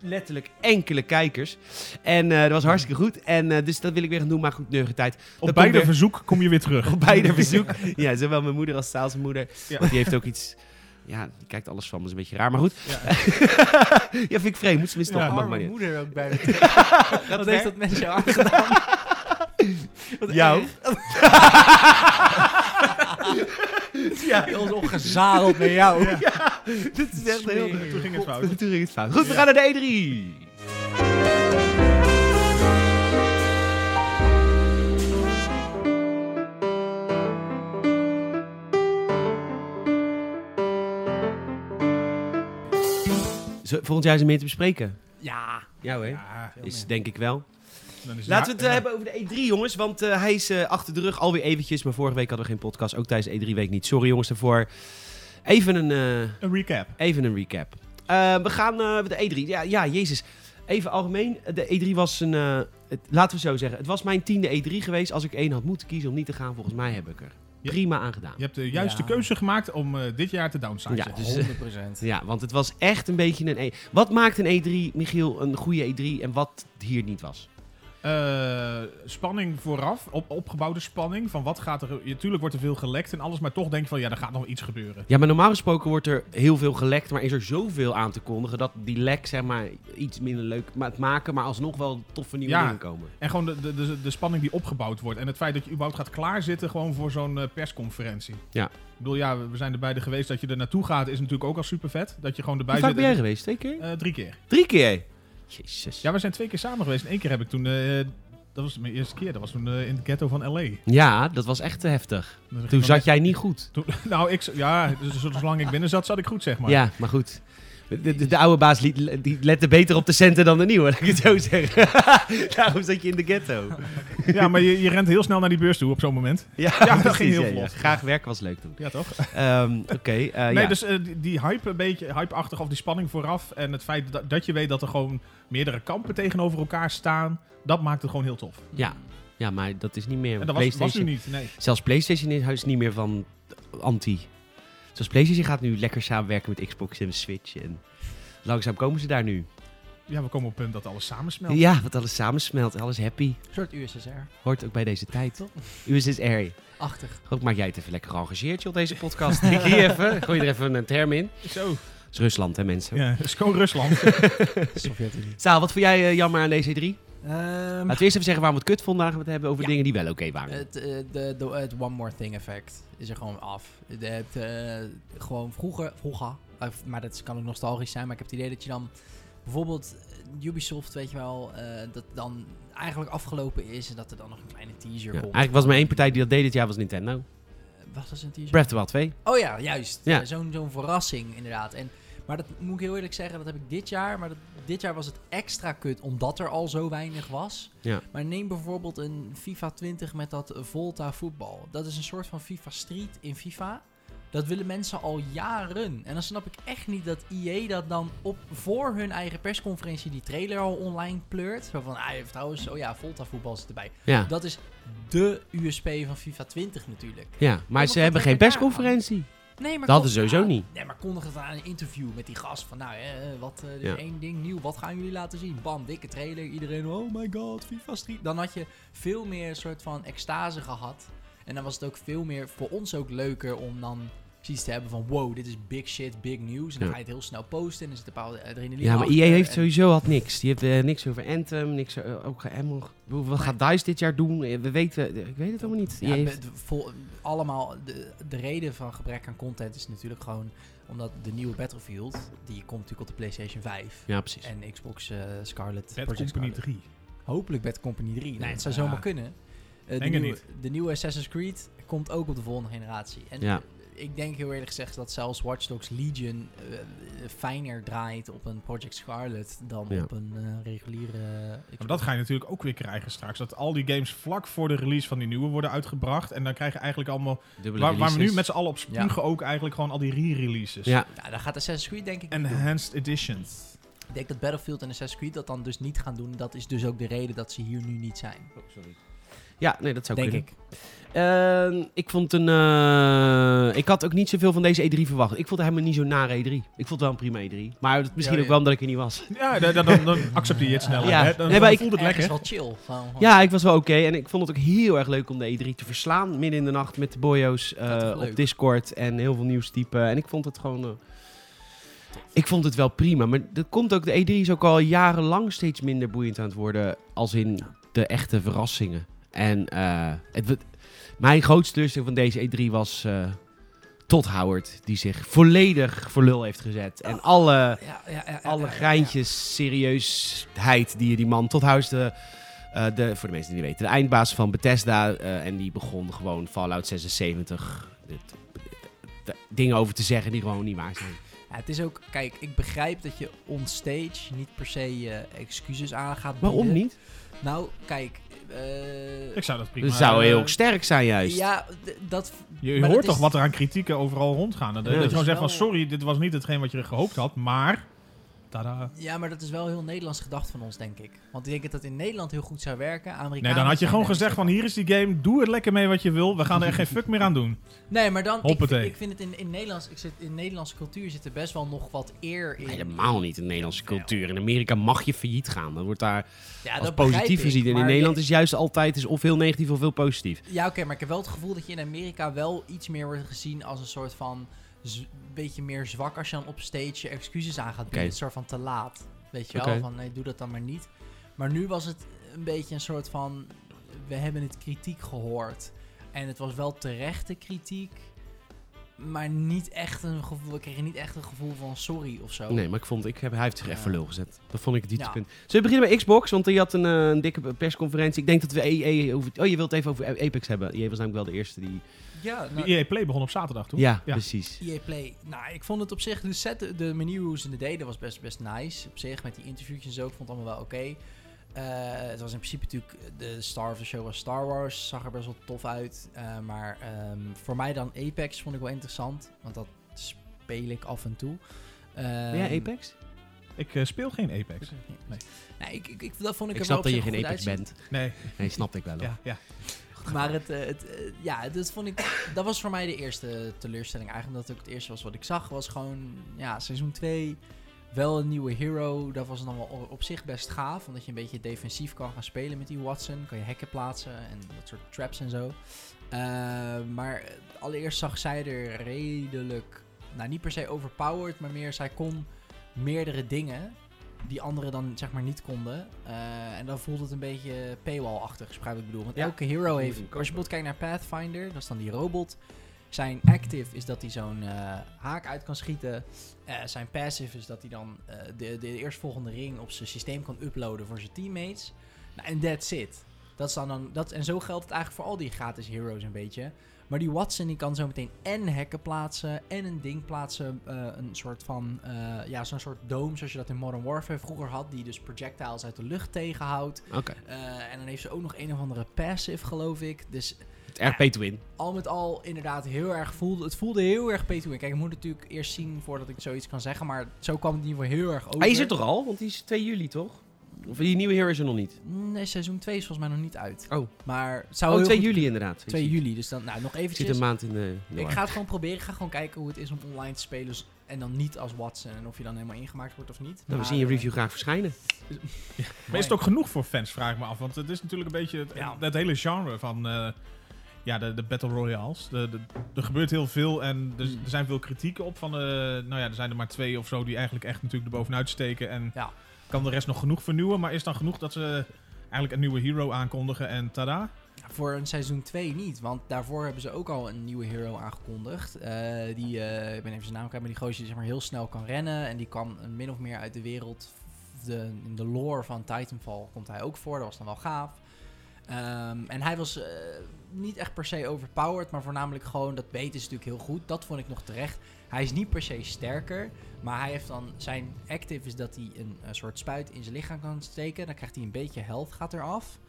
S1: Letterlijk enkele kijkers. En eh, dat was hartstikke goed. En eh, dus dat wil ik weer gaan doen, maar goed, neugentijd.
S3: Op beide
S1: weer-
S3: verzoek kom je weer terug.
S1: Op beide verzoek. ja, zowel mijn moeder als Staals moeder.
S3: Ja.
S1: Want die heeft ook iets... Ja, die kijkt alles van, dat is een beetje raar, maar goed. Ja, vind ik vreemd, moet ze missen
S3: Ja.
S1: nog, mag maar niet.
S2: moeder ook bij me. Wat
S1: ver?
S2: heeft dat mensje aangedaan? Wat
S1: Jou?
S2: erg. ja. Heel ongezadeld met jou.
S1: Dit is echt heel...
S2: Smerig.
S3: Toen ging het fout.
S1: Toen ging het fout. Goed, we gaan naar de E E3. Zo, Volgend jaar is er meer te bespreken.
S2: Ja.
S1: Ja hoor.
S3: Ja,
S2: veel
S1: Is
S2: meer.
S1: denk ik wel.
S3: dan is
S1: Laten we het eh,
S3: ja,
S1: hebben over de E3, jongens. Want eh, hij is eh, achter de rug alweer eventjes. Maar vorige week hadden we geen podcast. Ook tijdens de E3-week niet. Sorry, jongens, daarvoor. Even een, eh,
S3: Een recap.
S1: Even een recap. Eh, we gaan eh, met de E3. Ja, ja, jezus. Even algemeen. De E3 was een... eh, het, laten we zo zeggen. Het was mijn tiende E3 geweest. Als ik één had moeten kiezen om niet te gaan, volgens mij heb ik er
S3: Ja.
S1: prima aan gedaan.
S3: Je hebt de juiste
S2: Ja.
S3: keuze gemaakt om eh, dit jaar te downsizen.
S1: Ja, dus, eh,
S2: 100%.
S1: Ja, want het was echt een beetje een... E- wat maakt een E3, Michiel, een goede E3 en wat hier niet was?
S3: Eh, spanning vooraf, op, opgebouwde spanning. Van wat gaat er. Natuurlijk wordt er veel gelekt en alles, maar toch denk je van ja, er gaat nog iets gebeuren.
S1: Ja, maar normaal gesproken wordt er heel veel gelekt, maar is er zoveel aan te kondigen dat die lek, zeg maar, iets minder leuk ma- het maken, maar alsnog wel toffe nieuwe
S3: Ja.
S1: dingen komen.
S3: En gewoon de, de, de, de spanning die opgebouwd wordt. En het feit dat je überhaupt gaat klaarzitten gewoon voor zo'n eh, persconferentie.
S1: Ja.
S3: Ik bedoel, ja, we we zijn er beide geweest. Dat je er naartoe gaat is natuurlijk ook al super vet. Dat je gewoon erbij
S1: Hoe vaak
S3: zit.
S1: ben jij
S3: en-
S1: geweest? Twee keer?
S3: eh, drie keer.
S1: Drie keer? Jezus.
S3: Ja, we zijn twee keer samen geweest. En één keer heb ik toen. eh, dat was mijn eerste keer. Dat was toen eh, in het ghetto van L.A.
S1: Ja, dat was echt te heftig.
S3: Dus ik
S1: Toen
S3: dan
S1: zat
S3: net-
S1: jij niet goed.
S3: Toen, nou, ik, z- ja, dus zo- zolang ik binnen zat, zat ik goed, zeg maar.
S1: Ja, maar goed. De, de, de oude baas liet, die lette beter op de centen dan de nieuwe, laat ik het zo zeggen. Daarom zat je in de ghetto.
S3: Ja, maar je, je rent heel snel naar die beurs toe op zo'n moment.
S1: Ja,
S3: dat
S1: precies,
S3: ging heel
S1: ja, ja.
S3: vlot.
S1: Graag werken was leuk toen.
S3: Ja, toch?
S1: Ehm, Oké, eh,
S3: nee,
S1: ja.
S3: dus eh, die, die hype een beetje, hypeachtig of die spanning vooraf en het feit dat, dat je weet dat er gewoon meerdere kampen tegenover elkaar staan, dat maakt het gewoon heel tof.
S1: ja. Ja, maar dat is niet meer.
S3: En dat was, was nu
S1: PlayStation.
S3: niet, nee.
S1: Zelfs PlayStation is- is niet meer van anti. Zelfs PlayStation gaat nu lekker samenwerken met Xbox en Switch. En langzaam komen ze daar nu.
S3: Ja, we komen op het punt dat alles samensmelt.
S1: Ja, wat alles samensmelt, alles happy.
S2: Een soort USSR.
S1: Hoort ook bij deze tijd. dus
S2: Toch?
S1: USSR.
S2: Achtig.
S1: Goed, maak jij het even lekker geëngageerd joh, op deze podcast. Denk hier even. Gooi er even een term in.
S3: Zo.
S1: Het is Rusland, hè mensen.
S3: Ja, dat is gewoon Rusland.
S2: Sovjet-Unie.
S1: Saal, wat vond jij eh, jammer aan deze E3? Laten
S3: Hm.
S2: Ehm,
S1: we eerst even zeggen waarom we het kut vonden. Dan gaan we het hebben over
S2: Ja.
S1: dingen die wel oké waren.
S2: Het, eh, de, de, het One More Thing effect is er gewoon af. Je hebt eh, gewoon vroeger, vroeger Of- maar dat kan ook nostalgisch zijn, maar ik heb het idee dat je dan bijvoorbeeld eh, Ubisoft, weet je wel, eh, dat dan eigenlijk afgelopen is en dat er dan nog een kleine teaser
S1: Ja,
S2: komt.
S1: Eigenlijk was maar één partij die dat deed dit jaar was Nintendo.
S2: Was dat een teaser?
S1: Breath of the Wild 2.
S2: Oh ja, juist.
S1: Ja.
S2: Ja. Zo'n zo'n verrassing inderdaad. En, maar dat moet ik heel eerlijk zeggen, dat heb ik dit jaar. Maar dat, dit jaar was het extra kut, omdat er al zo weinig was.
S1: Ja.
S2: Maar neem bijvoorbeeld een FIFA 20 met dat Volta voetbal. Dat is een soort van FIFA Street in FIFA. Dat willen mensen al jaren. En dan snap ik echt niet dat IE dat dan op, voor hun eigen persconferentie die trailer al online pleurt. Zo van, ah, trouwens, oh ja, Volta voetbal zit erbij.
S1: Ja.
S2: Dat is de USP van FIFA 20 natuurlijk.
S1: Ja, maar
S2: maar
S1: ze
S2: dat
S1: hebben geen
S2: werkt daar
S1: persconferentie.
S2: Nee, maar
S1: Dat
S2: kon-
S1: is sowieso
S2: ja,
S1: niet.
S2: Nee, maar kondig het aan een interview met die gast. Van nou, eh, eh, wat, eh, er is
S1: Ja.
S2: één ding nieuw. Wat gaan jullie laten zien? Bam, dikke trailer. Iedereen, oh my god, FIFA Street. Dan had je veel meer een soort van extase gehad. En dan was het ook veel meer, voor ons ook leuker om dan zoiets te hebben van... Wow, dit is big shit, big news. En
S1: Ja.
S2: dan ga je het heel snel posten en er zit een bepaalde adrenaline
S1: Ja, maar
S2: achter.
S1: EA heeft
S2: En-
S1: sowieso had niks. Die heeft eh, niks over Anthem, niks eh, ook geen Emerald. Ik bedoel, Wat gaat DICE dit jaar doen? Eh, We weten, ik weet het allemaal niet. EA
S2: Ja,
S1: E heeft-
S2: be- de- vol- allemaal, de, de reden van gebrek aan content is natuurlijk gewoon omdat de nieuwe Battlefield, die komt natuurlijk op de PlayStation 5.
S1: ja, precies.
S2: En Xbox eh, Scarlet.
S3: Bad
S2: Project
S3: Company
S2: Scarlet.
S3: 3.
S2: Hopelijk Bad Company 3. Nee, het zou
S3: Ja.
S2: zomaar kunnen. Eh, de,
S3: Denk het
S2: nieuwe,
S3: niet.
S2: de nieuwe Assassin's Creed komt ook op de volgende generatie. En
S1: Ja.
S2: ik denk heel eerlijk gezegd dat zelfs Watch Dogs Legion eh, eh, fijner draait op een Project Scarlet dan
S1: Ja.
S2: op een eh, reguliere... eh,
S3: Maar dat ga je natuurlijk ook weer krijgen straks. Dat al die games vlak voor de release van die nieuwe worden uitgebracht. En dan krijg je eigenlijk allemaal...
S1: Dubbele
S3: Waar, waar we nu
S1: releases.
S3: met z'n allen op spugen ook eigenlijk gewoon al die re-releases.
S1: Ja,
S2: Ja, nou, dan gaat Assassin's Creed denk ik... niet doen.
S3: Enhanced editions.
S2: Ik denk dat Battlefield en Assassin's Creed dat dan dus niet gaan doen. Dat is dus ook de reden dat ze hier nu niet zijn.
S1: Oh, ja, nee, dat zou
S2: denk
S1: kunnen.
S2: ik.
S1: Ehm, ik vond een. eh, ik had ook niet zoveel van deze E3 verwacht. Ik vond het helemaal niet zo'n nare E3. Ik vond het wel een prima E3. Maar dat- misschien
S2: Ja,
S1: ook
S2: ja.
S1: wel omdat ik er niet was.
S3: Ja, da- da- dan, dan accepteer je het sneller.
S1: Ja.
S3: Hè? Dan,
S1: Nee, maar
S3: dan
S1: ik-
S3: voelt het
S2: Ergens
S3: lekker.
S2: wel chill. Gewoon-
S1: Ja, ik was wel oké. En ik vond het ook heel erg leuk om de E3 te verslaan. Midden in de nacht met de boyo's eh,
S2: Dat is leuk.
S1: op Discord en heel veel nieuwstypen. En ik vond het gewoon... eh, ik vond het wel prima. Maar dat komt ook... De E3 is ook al jarenlang steeds minder boeiend aan het worden. Als in de echte verrassingen. En eh, het, wa- mijn grootste teleurstelling van deze E3 was... eh Todd Howard, die zich volledig voor lul heeft gezet. En alle
S2: Ja, ja, ja, ja,
S1: alle
S2: ja, ja.
S1: greintjes, serieusheid die je die man tot huis de, eh, de voor de mensen die het niet weten, de eindbaas van Bethesda eh, en die begon gewoon Fallout 76 dit- dit- dingen over te zeggen die gewoon niet waar zijn.
S2: Ja, het is ook, kijk, ik begrijp dat je onstage niet per se eh, excuses aan gaat bieden.
S1: Waarom niet?
S2: Nou, kijk, eh,
S3: Ik zou dat prima...
S1: Dat zou heel
S3: eh,
S1: sterk zijn juist.
S2: ja, d- dat.
S3: Je
S2: maar
S3: hoort
S2: dat
S3: toch
S2: is-
S3: wat er aan kritieken overal rondgaan. Dat,
S1: Ja,
S3: dat
S1: dat
S3: je
S1: is
S3: gewoon zegt van,
S2: wel-
S3: sorry, dit was niet hetgeen wat je gehoopt had, maar... Tada.
S2: Ja, maar dat is wel heel Nederlands gedacht van ons, denk ik. Want ik denk dat dat in Nederland heel goed zou werken. Amerikanen
S3: Nee, dan had je
S2: zijn
S3: gewoon
S2: daar
S3: gezegd
S2: niet zo
S3: van, hier is die game, doe het lekker mee wat je wil. We gaan er echt geen fuck meer aan doen.
S2: Nee, maar dan. Ik, vind-
S3: Hoppatee.
S2: ik vind het in, in Nederlands. Ik zit, in Nederlandse cultuur zit er best wel nog wat eer in.
S1: Helemaal niet in de Nederlandse cultuur. In Amerika mag je failliet gaan. Dat wordt daar
S2: Ja,
S1: als
S2: dat begrijp
S1: positief
S2: ik,
S1: gezien. En in
S2: maar
S1: Nederland
S2: je-
S1: is juist altijd is of heel negatief of heel positief.
S2: Ja, oké, maar ik heb wel het gevoel dat je in Amerika wel iets meer wordt gezien als een soort van. z- beetje meer zwak als je dan op stage je excuses aan gaat bieden.
S1: Oké.
S2: Een soort van te laat. Weet je
S1: Oké.
S2: wel, van nee, doe dat dan maar niet. Maar nu was het een beetje een soort van. We hebben het kritiek gehoord. En het was wel terechte kritiek. Maar niet echt een gevoel. We kregen niet echt een gevoel van sorry of zo.
S1: Nee, maar ik vond, ik heb, hij heeft zich echt
S2: Oh. Ja.
S1: voor lul gezet. Dat vond ik het
S2: Ja.
S1: dieptepunt. Zullen we beginnen bij Xbox? Want die had een, eh, een dikke persconferentie. Ik denk dat we EA... Over, oh, je wilt het even over Apex hebben. EA was namelijk wel de eerste die...
S2: Ja,
S3: De EA E Play begon op zaterdag, toch?
S1: Ja, precies.
S2: EA Play. Nou, ik vond het op zich, de, set, de manier hoe ze het deden was best, best nice. Op zich, met die interviewtjes en zo, ik vond het allemaal wel oké. Eh, het was in principe natuurlijk, de star of the show was Star Wars, zag er best wel tof uit. Eh, maar ehm, voor mij dan Apex vond ik wel interessant, want dat speel ik af en toe.
S1: Ben jij
S2: Ehm,
S1: Apex?
S3: Ik eh, speel geen Apex. Nee.
S2: Nee, ik, ik, ik, dat vond ik,
S1: Ik
S2: er
S1: snap
S2: wel op
S1: dat je
S2: zich
S1: geen
S2: goed
S1: Apex
S2: uitzien.
S1: bent.
S3: Nee,
S1: Nee, snapte ik wel. hoor.
S3: ja, ja.
S2: Maar het, eh, het, eh, ja, dat vond ik, dat was voor mij de eerste teleurstelling eigenlijk. Omdat het ook het eerste was wat ik zag, was gewoon, ja, seizoen 2. Wel een nieuwe hero, dat was dan wel o- op zich best gaaf. Omdat je een beetje defensief kan gaan spelen met die Watson. Kan je hekken plaatsen en dat soort traps en zo. Eh, maar allereerst zag zij er redelijk, nou niet per se overpowered, maar meer zij kon meerdere dingen die anderen dan zeg maar niet konden. Eh, en dan voelt het een beetje paywall-achtig, is begrijp wat ik bedoel. Want
S1: Ja.
S2: elke hero
S1: moet
S2: heeft,
S1: hem kopen.
S2: als je bijvoorbeeld kijkt naar Pathfinder, dat is dan die robot. Zijn active is dat hij zo'n eh, haak uit kan schieten. Eh, zijn passive is dat hij dan eh, de, de eerstvolgende ring op zijn systeem kan uploaden voor zijn teammates. Nou, En that's it. Dat is dan dan, dat, en zo geldt het eigenlijk voor al die gratis heroes een beetje. Maar die Watson die kan zo meteen en hekken plaatsen en een ding plaatsen. eh, een soort van, eh, ja, zo'n soort dome zoals je dat in Modern Warfare vroeger had. Die dus projectiles uit de lucht tegenhoudt.
S1: Oké.
S2: Eh, en dan heeft ze ook nog een of andere passive, geloof ik. Dus
S1: Het is erg pay to win.
S2: al met al inderdaad heel erg voelde... Het voelde heel erg pay to win. Kijk, ik moet het natuurlijk eerst zien voordat ik zoiets kan zeggen. Maar zo kwam het in ieder geval heel erg over.
S1: Hij is er Ah, toch al? Want die is 2 juli, toch? Of die nieuwe hero is er nog niet.
S2: Nee, seizoen 2 is volgens mij nog niet uit.
S1: Oh,
S2: Maar het zou
S1: oh
S2: heel
S1: 2
S2: goed-
S1: juli inderdaad.
S2: 2 juli, dus dan nou, nog
S1: Ik zit
S2: eventjes.
S1: een maand in de...
S2: Ik ga het gewoon proberen. Ik ga gewoon kijken hoe het is om online te spelen. z- En dan niet als Watson. En of je dan helemaal ingemaakt wordt of niet.
S1: Nou, we
S2: Maar,
S1: zien je
S2: eh,
S1: review graag verschijnen.
S3: Maar is het ook genoeg voor fans, vraag ik me af. Want het is natuurlijk een beetje het,
S2: Ja.
S3: het hele genre van eh, ja, de, de Battle Royales. De, de, er gebeurt heel veel en er,
S1: Hmm.
S2: Mm.
S3: er zijn veel kritieken op. Van, eh, nou ja, er zijn er maar twee of zo die eigenlijk echt natuurlijk er bovenuit steken. En
S2: Ja.
S3: kan de rest nog genoeg vernieuwen. Maar is dan genoeg dat ze eigenlijk een nieuwe hero aankondigen en tada?
S2: Ja, Voor een seizoen 2 niet, want daarvoor hebben ze ook al een nieuwe hero aangekondigd. Eh, die, eh, ik ben even zijn naam kwijt, maar die gozer die zeg maar heel snel kan rennen. En die kwam eh, min of meer uit de wereld, v- de, in de lore van Titanfall komt hij ook voor. Dat was dan wel gaaf. Ehm, en hij was eh, niet echt per se overpowered, maar voornamelijk gewoon, dat weten ze natuurlijk heel goed. Dat vond ik nog terecht. Hij is niet per se sterker, maar hij heeft dan, zijn active is dat hij een, eh, soort spuit in zijn lichaam kan steken. Dan krijgt hij een beetje health, gaat eraf.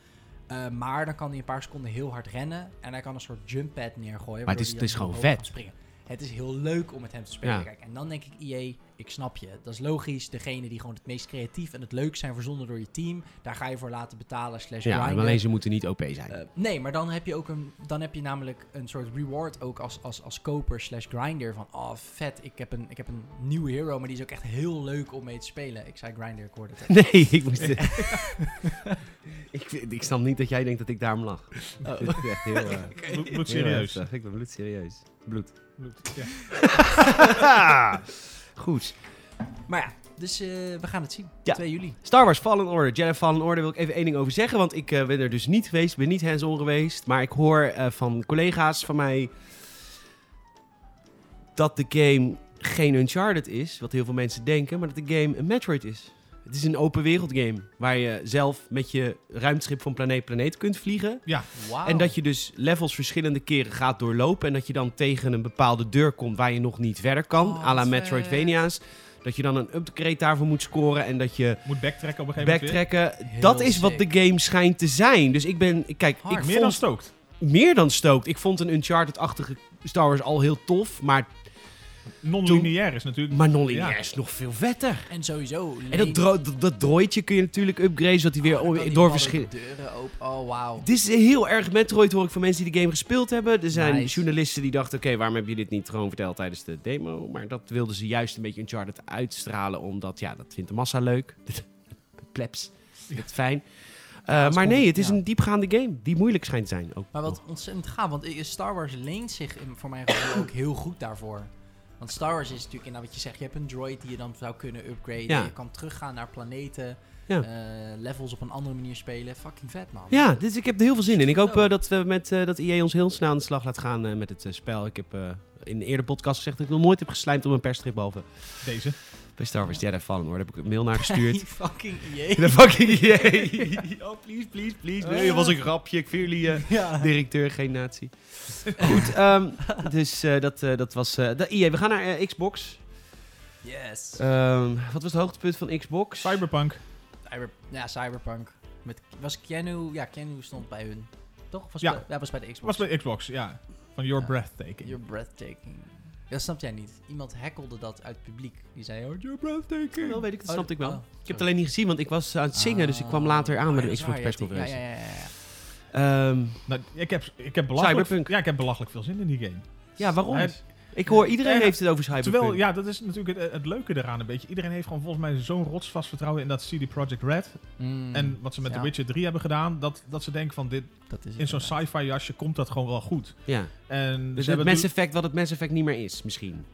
S2: Eh, maar dan kan hij een paar seconden heel hard rennen. En hij kan een soort jump pad neergooien.
S1: Maar het
S2: waardoor
S1: is-
S2: hij
S1: het is
S2: dan
S1: gewoon
S2: omhoog kan
S1: vet.
S2: Springen. Het is heel leuk om met hem te spelen.
S1: Ja.
S2: Kijk, en dan denk ik, IE, ik snap je. Dat is logisch. Degene die gewoon het meest creatief en het leuk zijn verzonnen door je team. Daar ga je voor laten betalen slash
S1: Ja, maar
S2: grinden.
S1: alleen ze moeten niet OP zijn.
S2: Eh, nee, maar dan heb je ook een, dan heb je namelijk een soort reward ook als, als, als koper slash grinder van, oh vet, ik heb, een, ik heb een nieuwe hero, maar die is ook echt heel leuk om mee te spelen. Ik zei grinder, ik hoorde het.
S1: Nee, ik moest... ik, vind- ik snap niet dat jij denkt dat ik daarom lach.
S2: Oh.
S1: Dit is echt heel... eh, heel
S3: Bloed, serieus.
S1: heftig. Ik ben bloedserieus. Bloed.
S3: Ja.
S1: Goed.
S2: Maar ja, dus eh, we gaan het zien.
S1: Ja.
S2: 2 juli.
S1: Star Wars Fallen Order. Jedi Fallen Order wil ik even één ding over zeggen. Want ik eh, ben er dus niet geweest. Ben niet hands-on geweest. Maar ik hoor eh, van collega's van mij... dat de game geen Uncharted is. Wat heel veel mensen denken. Maar dat de game een Metroid is. Het is een open wereld game. Waar je zelf met je ruimteschip van planeet planeet kunt vliegen.
S2: Wauw.
S1: En dat je dus levels verschillende keren gaat doorlopen. En dat je dan tegen een bepaalde deur komt waar je nog niet verder kan.
S2: Oh,
S1: à la
S2: vet.
S1: Metroidvania's. Dat je dan een upgrade daarvoor moet scoren. En dat je
S3: Moet backtracken op een gegeven moment.
S1: backtracken.
S2: Heel
S1: Dat is wat de
S2: sick.
S1: game schijnt te zijn. Dus ik ben. Kijk,
S2: Hard.
S1: ik
S3: Meer dan
S1: vond
S3: stookt.
S1: meer dan stookt. Ik vond een Uncharted-achtige Star Wars al heel tof. Maar,
S3: Non-lineair is natuurlijk.
S1: maar non-lineair
S3: Ja.
S1: is nog veel vetter.
S2: En sowieso.
S1: En dat, dro dat, dat drooitje kun je natuurlijk upgraden. Zodat hij weer
S2: Oh, dan kan die
S1: door
S2: malle
S1: verschillen.
S2: deuren open. Oh, wauw.
S1: Dit is heel erg Metroid, hoor ik van mensen die de game gespeeld hebben. Er zijn
S2: Nice.
S1: journalisten die dachten, oké, waarom heb je dit niet gewoon verteld tijdens de demo? Maar dat wilden ze juist een beetje Uncharted uitstralen, omdat, ja, dat vindt de massa leuk. Plebs, dat is fijn. Eh,
S2: dat is
S1: maar nee,
S2: cool,
S1: het is
S2: ja.
S1: een diepgaande game, die moeilijk schijnt te zijn. Ook
S2: Maar
S1: nog.
S2: wat ontzettend gaaf, want eh, Star Wars leent zich in- voor mijn gevoel ook heel goed daarvoor. Want Star Wars is natuurlijk inderdaad wat je zegt, je hebt een droid die je dan zou kunnen upgraden.
S1: Ja.
S2: Je kan teruggaan naar planeten,
S1: Ja.
S2: eh, levels op een andere manier spelen. Fucking vet man.
S1: Ja, dus ik heb er heel veel zin in. Ik hoop eh, dat, we met, eh dat EA ons heel snel aan de slag laat gaan eh, met het eh, spel. Ik heb eh, in een eerder podcast gezegd dat ik nog nooit heb geslijmd op een persstrip, behalve
S3: Deze.
S1: bij Star Wars Jedi Fallen Order. Daar heb ik een mail naar gestuurd.
S2: Die fucking EA.
S1: De fucking idee. Oh, please, please, please. Nee,
S2: Ah.
S1: dat was een grapje. Ik vind jullie eh,
S2: Ja.
S1: directeur geen nazi. Goed, ehm, dus eh, dat, eh, dat was... eh dat, IE, we gaan naar eh, Xbox.
S2: Yes.
S1: Ehm, wat was het hoogtepunt van Xbox?
S3: Cyberpunk.
S2: Cyber- ja, Cyberpunk. Met, was Keanu, ja Keanu stond bij hun. Toch? Was
S3: Ja.
S2: bij, ja, was bij de Xbox.
S3: Was bij Xbox, ja. Van Your
S2: Ja.
S3: Breathtaking.
S2: You're breathtaking. Dat snap jij niet. Iemand hackelde dat uit het publiek. Die zei, oh, you're breathtaking.
S1: Wel weet ik, dat
S2: Oh,
S1: snapte ik wel.
S2: oh,
S1: ik heb
S2: sorry.
S1: het alleen niet gezien, want ik was aan het zingen. Dus ik kwam later aan
S3: Ah,
S1: bij de Xbox persconferentie.
S2: Ja, ja, ja, ja.
S1: Ehm,
S3: Nou, ik heb, ik heb belachelijk,
S1: Cyberpunk.
S3: Ja, ik heb belachelijk veel zin in die game.
S1: ja, waarom?
S3: Hij-
S1: ik hoor iedereen
S3: Eh,
S1: heeft het over Cyberpunk.
S3: Terwijl, ja, dat is natuurlijk het, het leuke eraan een beetje. Iedereen heeft gewoon volgens mij zo'n rotsvast vertrouwen in dat CD Projekt Red.
S2: Mm,
S3: En wat ze met
S2: ja,
S3: The Witcher 3 hebben gedaan, dat, dat ze denken van dit,
S2: dat is
S3: in zo'n
S2: inderdaad.
S3: sci-fi jasje komt dat gewoon wel goed.
S1: ja.
S3: En
S1: Dus
S3: ze
S1: het
S3: hebben
S1: Mass Effect, wat het Mass Effect niet meer is, misschien.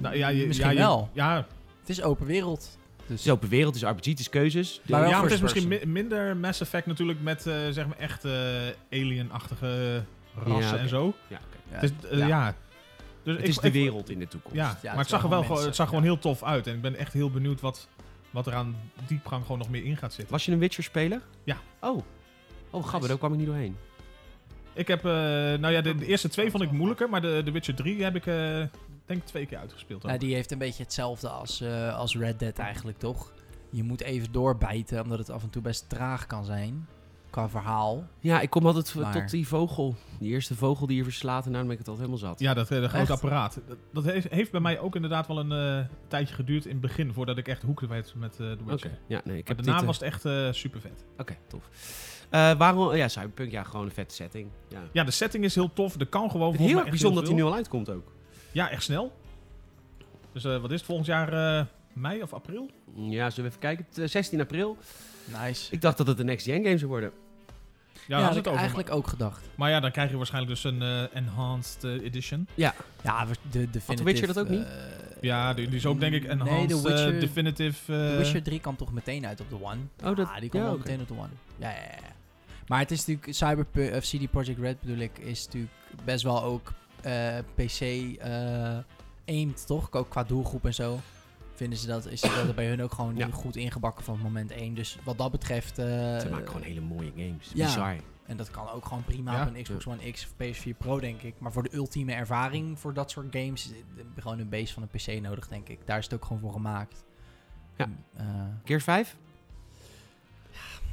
S3: Nou, ja, je-
S2: Misschien
S3: ja, je-
S2: wel.
S3: Ja,
S2: Het is open wereld. dus-
S1: Het is open wereld, het is RPG, het is keuzes. Dus,
S2: Maar wel
S3: ja, maar het is
S2: first
S3: misschien
S2: person.
S3: mi- minder Mass Effect natuurlijk met eh, zeg maar echt eh alien-achtige rassen
S1: Ja, oké.
S3: en zo.
S1: Ja, oké.
S2: Ja.
S3: Het is, eh,
S2: Ja.
S3: ja. Dus
S1: het is de wereld in de toekomst.
S3: Ja,
S2: Dus het
S3: maar
S2: zijn
S3: het zag er
S2: gewoon
S3: wel gewoon,
S2: mensen,
S3: het zag
S2: ja.
S3: gewoon heel tof uit. En ik ben echt heel benieuwd wat, wat er aan diepgang gewoon nog meer in gaat zitten.
S1: Was je een Witcher-speler?
S3: Ja.
S1: Oh. Oh, grappig, daar kwam ik niet doorheen.
S3: Ik heb, eh, nou ja, de, de eerste twee vond ik moeilijker, maar de, de Witcher 3 heb ik eh, denk twee keer uitgespeeld. ook.
S2: Nou, die heeft een beetje hetzelfde als, eh, als Red Dead eigenlijk, toch? Je moet even doorbijten, omdat het af en toe best traag kan zijn. Qua verhaal.
S1: Ja, ik kom altijd v-
S2: Maar-
S1: tot die vogel. Die eerste vogel die je verslaat en dan ben ik het altijd helemaal zat.
S3: Ja, dat, eh, dat
S2: Echt?
S3: grote apparaat. Dat, dat heeft, heeft bij mij ook inderdaad wel een eh, tijdje geduurd in het begin, voordat ik echt hoeken werd met eh The
S1: Oké,
S3: Witcher.
S1: ja, nee, ik heb
S3: Maar daarna
S1: dit... eh,
S3: was het echt eh super vet.
S1: Oké, tof. Eh, waarom... Ja, Cyberpunk, ja, gewoon een vette setting. Ja.
S3: Ja, de setting is heel tof. Er kan gewoon
S1: Het
S3: volgens
S1: heel
S3: mij
S1: erg
S3: echt
S1: bijzonder dat
S3: heel
S1: hij nu al uitkomt ook.
S3: veel. Ja, echt snel. Dus eh, wat is het, volgend jaar eh, mei of april?
S1: Mm, Ja, zullen we even kijken. Het, eh, 16 april.
S2: Nice.
S1: Ik dacht dat het de next gen game zou worden.
S3: Ja,
S2: Ja,
S3: daar
S2: dat
S3: is
S2: had ik
S3: het over.
S2: eigenlijk ook gedacht.
S3: Maar ja, dan krijg je waarschijnlijk dus een eh, enhanced eh, edition.
S2: Ja, we- de Definitive...
S1: Witcher dat ook
S2: eh,
S1: niet?
S3: Ja, die, die is ook denk ik enhanced
S2: Nee, de Witcher,
S3: eh, definitive. eh,
S2: de Witcher 3 kan toch meteen uit op de One?
S1: Oh, dat-
S2: ja, Ah, die komt
S1: ja,
S2: wel
S1: oké.
S2: meteen op de One. Ja, ja, ja. Maar het is natuurlijk... Cyberpunk... Of CD Projekt Red bedoel ik, is natuurlijk best wel ook eh, PC eh aimed, toch? Ook qua doelgroep en zo. Vinden ze dat... Is dat bij hun ook gewoon
S1: Ja.
S2: goed ingebakken van moment 1. Dus wat dat betreft... eh,
S1: Ze maken gewoon hele mooie games.
S2: ja.
S1: Bizar.
S2: En dat kan ook gewoon prima
S3: Ja.
S2: op een Xbox One X of PS4 Pro, denk ik. Maar voor de ultieme ervaring voor dat soort games is het eh, gewoon een base van een PC nodig, denk ik. Daar is het ook gewoon voor gemaakt.
S1: Ja.
S2: En, eh,
S1: Gears 5?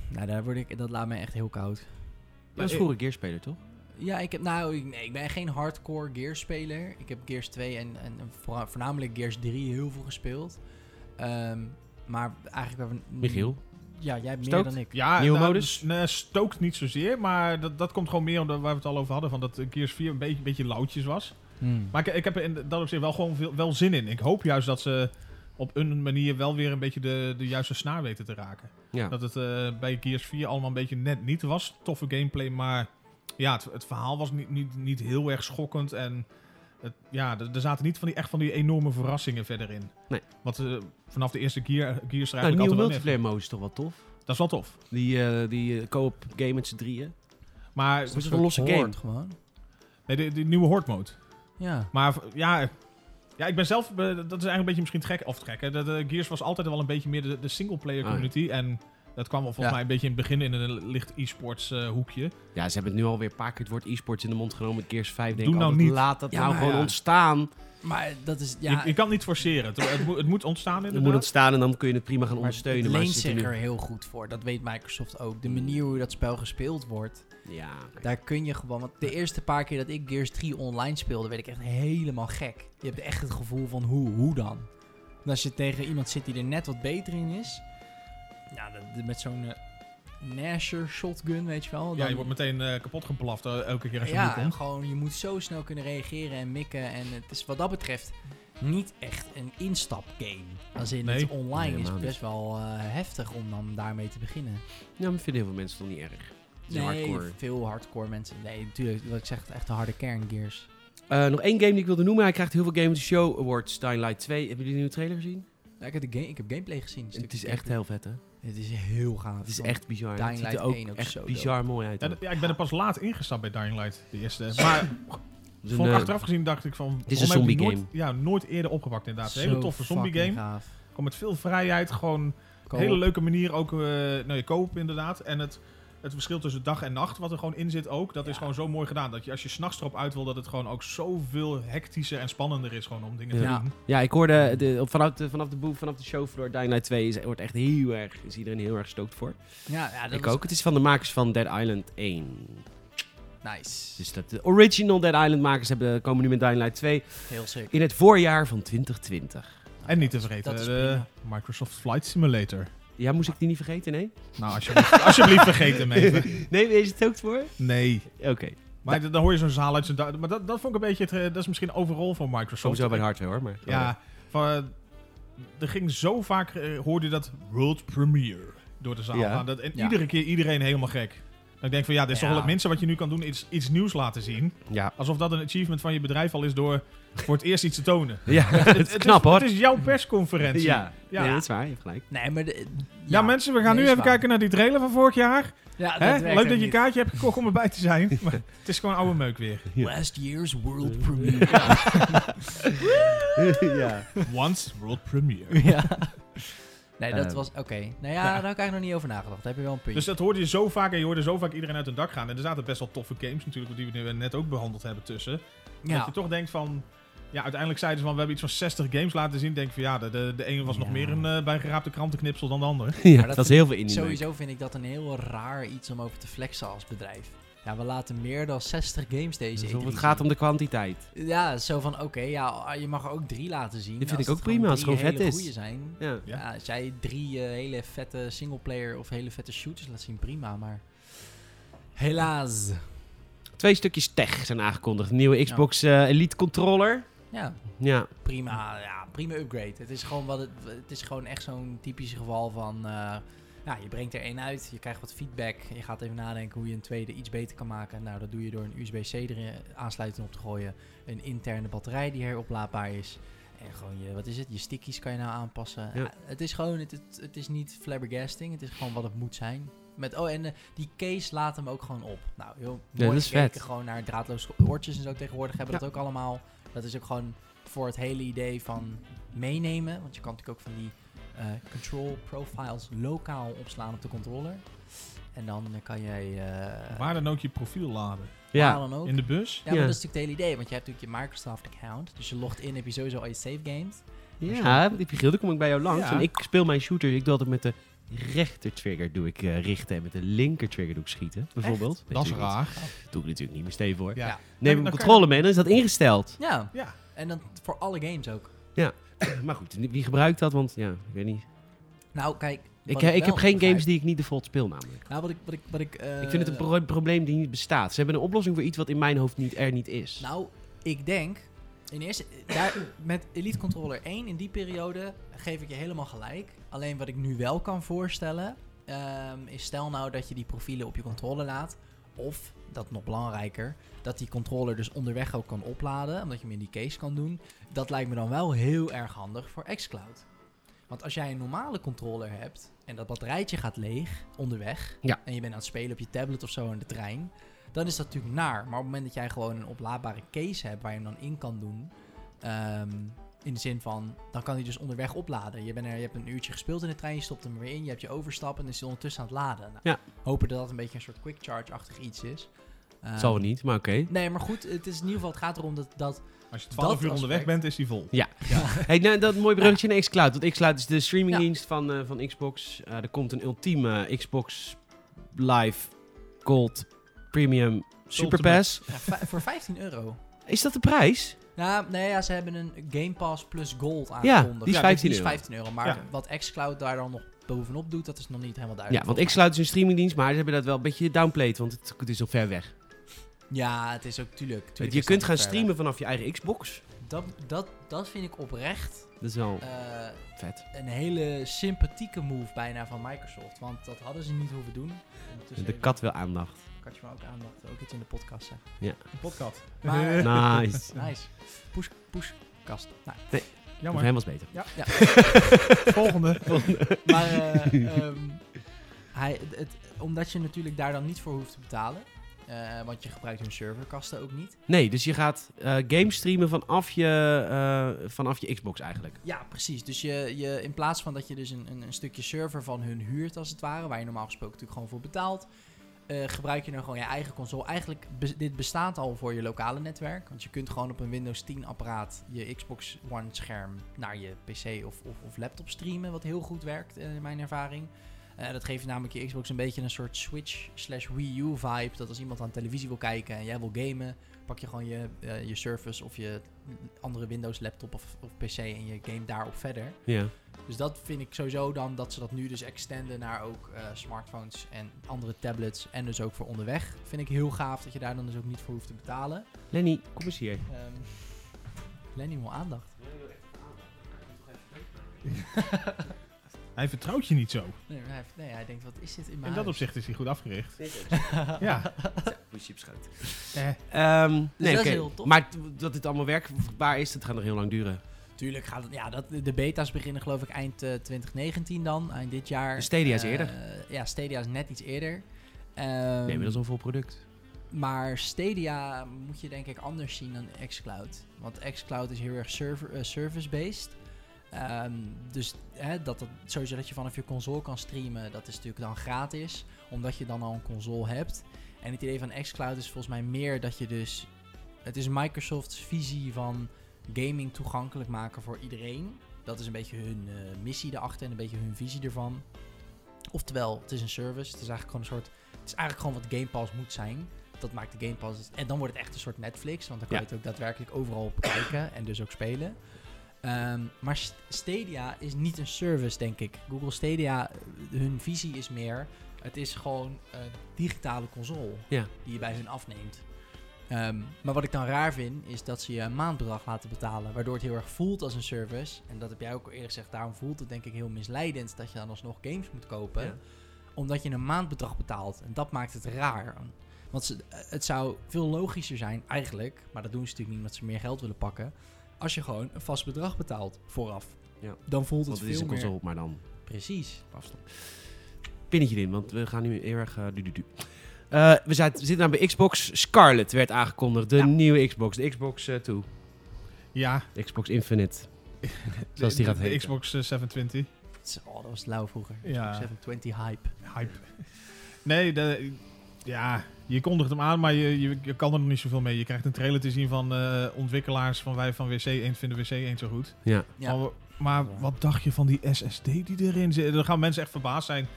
S2: nou, daar word ik, dat laat mij echt heel koud.
S1: Dat is vroeger Gears-speler, toch?
S2: Mm. Ja, ik, heb, nou, ik, nee, ik ben geen hardcore Gears-speler. Ik heb Gears 2 en, en voorna- voornamelijk Gears 3 heel veel gespeeld. Ehm, maar eigenlijk... waar we-
S1: Michiel?
S2: Ja, jij hebt meer
S1: Stookt?
S2: dan ik.
S3: Ja,
S1: Nieuwe
S3: nou,
S1: modus?
S3: dus, Nee, stookt niet zozeer, maar dat, dat komt gewoon meer omdat waar we het al over hadden, van dat eh, Gears 4 een beetje, beetje loutjes was.
S2: Hmm.
S3: Maar ik, ik heb er in dat opzicht wel gewoon veel, wel zin in. Ik hoop juist dat ze op een manier wel weer een beetje de, de juiste snaar weten te raken.
S1: Ja. Nou,
S3: Dat het eh, bij Gears 4 allemaal een beetje net niet was. Toffe gameplay, maar ja, het, het verhaal was niet, niet, niet heel erg schokkend. En het, ja, er er zaten niet van die, echt van die enorme verrassingen verder in.
S1: Nee.
S3: Wat eh, vanaf de eerste Gear, Gears er
S1: Nou, de
S3: eigenlijk
S1: nieuwe
S3: altijd wel in
S1: multiplayer
S3: heeft.
S1: mode is toch wel tof?
S3: Dat is wel tof.
S1: Die, eh, die eh, co-op game met z'n drieën.
S3: Maar dus
S1: Dat is een losse
S2: Hoort
S1: game.
S2: gewoon.
S3: nee, de, de nieuwe horde mode.
S2: Ja.
S3: Maar v- ja, ja, ik ben zelf, eh, dat is eigenlijk een beetje misschien het gek, of het gek, hè. Dat, eh, Gears was altijd wel een beetje meer de, de singleplayer
S1: Ah, ja.
S3: community. En dat kwam wel volgens
S2: Ja.
S3: mij een beetje in het begin in een licht e-sports eh, hoekje.
S1: Ja, ze hebben het nu alweer een paar keer het woord e-sports in de mond genomen. Gears 5, denk
S3: Doe
S1: ik
S3: nou
S1: altijd,
S3: niet.
S1: Laat dat
S2: Ja,
S1: nou
S2: maar
S1: gewoon
S2: ja.
S1: ontstaan.
S2: Maar dat is... Ja,
S3: Je, je kan het niet forceren. Het, het, moet, het moet ontstaan
S1: Het moet
S3: inderdaad.
S1: ontstaan en dan kun je het prima gaan
S2: Maar
S1: ondersteunen.
S2: Het
S1: Maar
S2: leent
S1: ze zitten
S2: zich
S1: nu-
S2: er heel goed voor. Dat weet Microsoft ook. De manier hoe dat spel gespeeld wordt,
S1: Ja, oké.
S2: daar kun je gewoon... Want de eerste paar keer dat ik Gears 3 online speelde, werd ik echt helemaal gek. Je hebt echt het gevoel van hoe, hoe dan? En als je tegen iemand zit die er net wat beter in is... Ja, de- de- met zo'n eh, Nasher shotgun, weet je wel.
S3: Ja,
S2: dan-
S3: je wordt meteen eh, kapot geplaft eh, elke keer als je
S2: ja,
S3: ja,
S2: en
S3: komt.
S2: gewoon, je moet zo snel kunnen reageren en mikken. En het is wat dat betreft niet echt een instapgame. Als in
S3: Nee.
S2: het
S1: Nee,
S2: online is
S1: helemaal
S2: best wel eh, heftig om dan daarmee te beginnen.
S1: Ja, maar vinden heel veel mensen toch niet erg. Het is
S2: nee,
S1: hardcore.
S2: veel hardcore mensen. Nee, natuurlijk, wat ik zeg, echt de harde kern Gears.
S1: Eh, nog één game die ik wilde noemen. Hij krijgt heel veel Game of the Show Awards. Dying Light 2. Hebben jullie de nieuwe trailer gezien?
S2: Ja, ik, heb de game, ik heb gameplay gezien. een
S1: Het
S2: stukje
S1: is echt
S2: gameplay.
S1: heel vet, hè?
S2: Het is heel gaaf.
S1: Het is
S2: want
S1: echt bizar.
S2: Dying
S1: het ziet er
S2: Light
S1: ook
S2: 1 ook
S1: echt
S2: zo dope.
S1: bizar mooi uit.
S3: Ja,
S1: hoor.
S3: dat- ja, ik ben er pas laat ingestapt bij Dying Light, de eerste. Maar
S1: Het is een,
S3: vond ik
S1: eh,
S3: achteraf gezien dacht ik van...
S1: is
S3: waarom
S1: een
S3: heb ik die
S1: zombie
S3: nooit- Ja, nooit eerder opgepakt inderdaad. Een hele
S2: zo
S3: toffe zombie
S2: fucking
S3: game.
S2: gaaf.
S3: Komt met veel vrijheid, gewoon
S2: Koop.
S3: Hele leuke manier ook, eh nou je koop inderdaad. En het, het verschil tussen dag en nacht, wat er gewoon in zit ook, dat
S2: Ja.
S3: is gewoon zo mooi gedaan. Dat je als je s'nachts erop uit wil, dat het gewoon ook zoveel hectischer en spannender is gewoon om dingen te
S2: Ja.
S3: doen.
S1: Ja, ik hoorde de, op- vanaf, de, vanaf de boef, vanaf de showvloer, Dying Light 2 is, wordt echt heel erg, is iedereen heel erg stookt voor.
S2: Ja, ja, dat
S1: ik
S2: was
S1: ook. Het is van de makers van Dead Island 1.
S2: Nice.
S1: Dus dat de original Dead Island makers hebben, eh, komen nu met Dying Light 2
S2: heel sick.
S1: in het voorjaar van 2020.
S3: En niet te vergeten,
S2: dat is
S3: de
S2: prima.
S3: Microsoft Flight Simulator.
S1: Ja, moest ik die niet vergeten, nee?
S3: Nou, alsjeblieft, alsjeblieft vergeet hem even.
S1: Nee, is het ook voor?
S3: Nee.
S1: Oké.
S3: Maar d- dan hoor je zo'n zaal uit zijn... da- Maar dat, dat vond ik een beetje... Het, eh, dat is misschien overal van Microsoft.
S1: Sowieso bij de hardware hoor, maar...
S3: Ja, van, eh, er ging zo vaak... eh, hoorde je dat world premiere door de zaal
S1: Ja.
S3: gaan. Dat, en
S2: Ja.
S3: iedere keer iedereen helemaal gek. Dan ik denk van ja, dit is
S2: Ja.
S3: toch wel het minste wat je nu kan doen, is iets nieuws laten zien.
S1: Ja.
S3: Alsof dat een achievement van je bedrijf al is door voor het eerst iets te tonen.
S1: Oh, Ja, het is knap
S3: is,
S1: hoor.
S3: Het is jouw persconferentie.
S1: Ja.
S3: Ja.
S1: Nee, dat is waar, je hebt gelijk.
S2: Nee, maar... de-
S3: Ja, mensen, we gaan
S2: nee,
S3: nu
S2: is
S3: even
S2: waar.
S3: kijken naar die trailer van vorig jaar.
S2: Ja,
S3: Hè?
S2: dat werkt
S3: Leuk dat
S2: ook
S3: je
S2: niet.
S3: kaartje hebt gekocht om erbij te zijn. Maar het is gewoon oude meuk weer.
S2: Last year's world premiere.
S1: ja.
S3: Once World Premiere.
S2: ja. Nee, dat
S1: Ehm.
S2: was... Oké. Nou ja, daar heb ik eigenlijk nog niet over nagedacht. Daar heb je wel een puntje.
S3: Dus dat hoorde je zo vaak en je hoorde zo vaak iedereen uit hun dak gaan. En er zaten best wel toffe games natuurlijk, die we net ook behandeld hebben tussen. Dat
S2: ja.
S3: je toch denkt van... Ja, uiteindelijk zeiden ze van, we hebben iets van 60 games laten zien. Denk van, ja, de, de, de ene was nog
S2: Ja.
S3: meer een eh, bijgeraapte krantenknipsel dan de ander.
S1: ja,
S2: dat
S1: dat is heel veel indie meuk.
S2: Sowieso vind ik dat een heel raar iets om over te flexen als bedrijf. Ja, we laten meer dan 60 games deze
S1: Alsof
S2: E3
S1: het gaat
S2: zien.
S1: om de kwantiteit.
S2: Ja, zo van, oké, ja, ah, je mag er ook drie laten zien.
S1: Dit vind
S2: als
S1: ik ook
S2: het
S1: prima,
S2: gewoon
S1: als het gewoon
S2: drie
S1: vet
S2: hele
S1: is.
S2: goeie zijn.
S1: Ja.
S3: Ja.
S2: Ja. als jij drie eh, hele vette singleplayer of hele vette shooters laat zien, prima, maar... Helaas.
S1: Twee stukjes tech zijn aangekondigd. Een nieuwe Xbox eh, Elite controller.
S2: Ja,
S1: Ja.
S2: prima, ja, prima upgrade. Het is gewoon, wat het, het is gewoon echt zo'n typisch geval van... eh, ja, je brengt er één uit, je krijgt wat feedback. Je gaat even nadenken hoe je een tweede iets beter kan maken. Nou, dat doe je door een USB-C erin aansluiting op te gooien. Een interne batterij die heroplaadbaar is. En gewoon je, wat is het, je stickies kan je nou aanpassen.
S1: Ja.
S2: Ja, het is gewoon, het, het, het is niet flabbergasting. Het is gewoon wat het moet zijn. Met, oh, en eh, die case laat hem ook gewoon op. Nou, heel mooi
S1: dat is
S2: gekeken,
S1: vet.
S2: Gewoon naar draadloze oortjes en zo tegenwoordig hebben
S1: Ja.
S2: dat ook allemaal. Dat is ook gewoon voor het hele idee van meenemen. Want je kan natuurlijk ook van die eh, control profiles lokaal opslaan op de controller. En dan eh, kan jij... eh,
S3: Waar dan ook je profiel laden.
S1: Ja.
S2: waar dan ook.
S3: In de bus.
S2: Ja, maar
S1: Ja.
S2: dat is natuurlijk het hele idee. Want je hebt natuurlijk je Microsoft-account. Dus je logt in, heb je sowieso al je save games.
S1: Ja, die Giel, dan kom ik bij jou langs.
S3: Ja.
S1: En ik speel mijn shooter. Ik doe altijd met de rechter trigger doe ik, eh, richten. En met de linker trigger doe ik schieten, bijvoorbeeld. Weet
S3: Dat is
S1: je wel.
S3: raar.
S1: Dat doe ik natuurlijk niet meer stevig hoor.
S3: Ja.
S2: Ja.
S1: Neem
S3: Dan-
S1: ik mijn
S3: dan kan
S1: controle mee en dan is dat ingesteld.
S2: Ja,
S3: Ja.
S2: en dan voor alle games ook.
S1: maar goed, wie gebruikt dat? Want ja, ik weet niet.
S2: Nou, kijk.
S1: Ik, ik
S2: wat wel
S1: heb geen
S2: begrijp-
S1: games die ik niet default speel namelijk.
S2: Nou, wat ik. Wat ik, wat ik, eh,
S1: ik vind het een pro- probleem die niet bestaat. Ze hebben een oplossing voor iets wat in mijn hoofd niet, er niet is.
S2: Nou, ik denk. In eerste, daar, met Elite Controller 1 in die periode geef ik je helemaal gelijk. Alleen wat ik nu wel kan voorstellen, ehm, is stel nou dat je die profielen op je controller laat. Of, dat nog belangrijker, dat die controller dus onderweg ook kan opladen, omdat je hem in die case kan doen. Dat lijkt me dan wel heel erg handig voor xCloud. Want als jij een normale controller hebt en dat batterijtje gaat leeg onderweg,
S1: Ja.
S2: en je bent aan het spelen op je tablet of zo in de trein, dan is dat natuurlijk naar. Maar op het moment dat jij gewoon een oplaadbare case hebt waar je hem dan in kan doen, ehm, in de zin van, dan kan hij dus onderweg opladen. Je, bent er, je hebt een uurtje gespeeld in de trein, je stopt hem weer in, je hebt je overstap en dan is hij ondertussen aan het laden. Nou,
S1: Ja.
S2: Hopen dat dat een beetje een soort quick charge-achtig iets is. Ehm,
S1: Zal wel niet, maar oké.
S2: Nee, maar goed, het is in ieder geval, het gaat erom dat, dat
S3: Als je 12
S2: Dat
S3: uur onderweg
S2: aspect.
S3: bent, is die vol.
S1: Hey, nou, dat mooi bruggetje naar xCloud. Want xCloud is de streamingdienst van, eh, van Xbox. Eh, er komt een ultieme eh, Xbox Live Gold Premium Super Pass.
S2: ja, vij- voor 15 euro.
S1: Is dat de prijs?
S2: Nou, nee, ja, ze hebben een Game Pass plus Gold
S1: die is
S2: aangekondigd. dus
S1: 15
S2: is
S1: euro.
S2: 15 euro. Maar
S3: Ja.
S2: wat xCloud daar dan nog bovenop doet, dat is nog niet helemaal
S1: Ja,
S2: duidelijk.
S1: want
S2: volgens mij.
S1: xCloud is een streamingdienst, maar ze hebben dat wel een beetje downplayed, want het, het is al ver weg.
S2: Ja, het is ook tuurlijk. tuurlijk
S1: je
S2: is dat
S1: kunt gaan
S2: verder.
S1: streamen vanaf je eigen Xbox.
S2: Dat, dat, dat vind ik oprecht
S1: Dat is wel
S2: eh,
S1: vet.
S2: een hele sympathieke move bijna van Microsoft. Want dat hadden ze niet hoeven doen. Ondertussen
S1: De
S2: even-
S1: kat wil aandacht.
S2: Katje maar ook aandacht. Ook iets in de podcast zeggen.
S3: Een podcast. Eh,
S2: Maar,
S1: Nice.
S2: nice. Push, push, kast. Nou,
S1: Voor
S3: Jammer.
S1: hem was beter.
S3: Volgende.
S2: Maar eh, ehm, hij, het, omdat je natuurlijk daar dan niet voor hoeft te betalen. eh, want je gebruikt hun serverkasten ook niet.
S1: Nee, dus je gaat eh games streamen vanaf je, eh, vanaf je Xbox eigenlijk.
S2: Ja, precies. Dus je, je, in plaats van dat je dus een, een, een stukje server van hun huurt als het ware. Waar je normaal gesproken natuurlijk gewoon voor betaalt. eh, gebruik je dan gewoon je eigen console. Eigenlijk, be- dit bestaat al voor je lokale netwerk. Want je kunt gewoon op een Windows 10 apparaat je Xbox One scherm naar je PC of, of, of laptop streamen. Wat heel goed werkt eh, in mijn ervaring. Eh, dat geeft namelijk je Xbox een beetje een soort Switch slash Wii U vibe. Dat als iemand aan televisie wil kijken en jij wil gamen, pak je gewoon je, eh, je Surface of je andere Windows laptop of, of PC en je game daarop verder.
S1: Ja.
S2: Dus dat vind ik sowieso dan dat ze dat nu dus extenden naar ook eh, smartphones en andere tablets en dus ook voor onderweg. Vind ik heel gaaf dat je daar dan dus ook niet voor hoeft te betalen.
S1: Lenny, kom eens hier.
S2: Ehm Lenny wil aandacht.
S3: Hij vertrouwt je niet zo.
S2: Nee, hij, heeft- nee, hij denkt, wat is dit in
S3: In
S2: mijn
S3: dat
S2: huis?
S3: opzicht is hij goed afgericht.
S1: Moet
S3: Ja.
S1: je op schoot.
S3: Eh,
S1: Ehm, nee,
S2: dus dat is
S1: oké.
S2: heel tof.
S1: Maar t- dat dit allemaal werkbaar is, dat gaat nog heel lang duren.
S2: Tuurlijk gaat het. Ja, dat, de beta's beginnen geloof ik eind eh, 2019 dan, eind dit jaar.
S1: De Stadia is
S2: Eh,
S1: eerder.
S2: Ja, Stadia is net iets eerder. Ehm,
S1: Nee, maar dat is al vol product.
S2: Maar Stadia moet je denk ik anders zien dan xCloud. Want xCloud is heel erg server, eh, service-based. Ehm, dus hè, dat het, sowieso dat je vanaf je console kan streamen, dat is natuurlijk dan gratis. Omdat je dan al een console hebt. En het idee van xCloud is volgens mij meer dat je dus... Het is Microsoft's visie van gaming toegankelijk maken voor iedereen. Dat is een beetje hun eh, missie erachter en een beetje hun visie ervan. Oftewel, het is een service. Het is eigenlijk gewoon een soort... Het is eigenlijk gewoon wat Game Pass moet zijn dat maakt de Game Pass. En dan wordt het echt een soort Netflix, want dan kan
S1: Ja.
S2: je het ook daadwerkelijk overal op kijken en dus ook spelen. Ehm, maar St- Stadia is niet een service, denk ik. Google Stadia, eh, hun visie is meer: het is gewoon een digitale console
S1: Ja.
S2: die je bij hun afneemt. Ehm, maar wat ik dan raar vind, is dat ze je een maandbedrag laten betalen. Waardoor het heel erg voelt als een service. En dat heb jij ook al eerder gezegd. Daarom voelt het denk ik heel misleidend dat je dan alsnog games moet kopen.
S1: Ja.
S2: Omdat je een maandbedrag betaalt. En dat maakt het raar. Want ze- eh, het zou veel logischer zijn eigenlijk. Maar dat doen ze natuurlijk niet omdat ze meer geld willen pakken. Als je gewoon een vast bedrag betaalt vooraf.
S1: Ja.
S2: Dan voelt het
S1: Want
S2: veel
S1: het is een
S2: meer...
S1: console, maar dan
S2: Precies.
S1: op afstand. Pinnetje erin, want we gaan nu heel erg... eh, du- du- du. Eh, we, zaten- we zitten nou bij Xbox. Scarlet werd aangekondigd. De
S2: Ja.
S1: nieuwe Xbox. De Xbox eh, 2.
S3: ja.
S1: De Xbox Infinite.
S3: De,
S1: Zoals die gaat
S3: de- de
S1: heten.
S3: Xbox eh, 720.
S2: Zo, oh, dat was lauw vroeger.
S3: Ja.
S2: 720 hype.
S3: Hype. Nee, de, ja, je kondigt hem aan, maar je, je, je kan er nog niet zoveel mee. Je krijgt een trailer te zien van eh, ontwikkelaars van wij van WC1 vinden WC1 zo goed.
S1: Ja.
S2: Ja.
S3: Maar, maar wat dacht je van die SSD die erin zit? Dan gaan mensen echt verbaasd zijn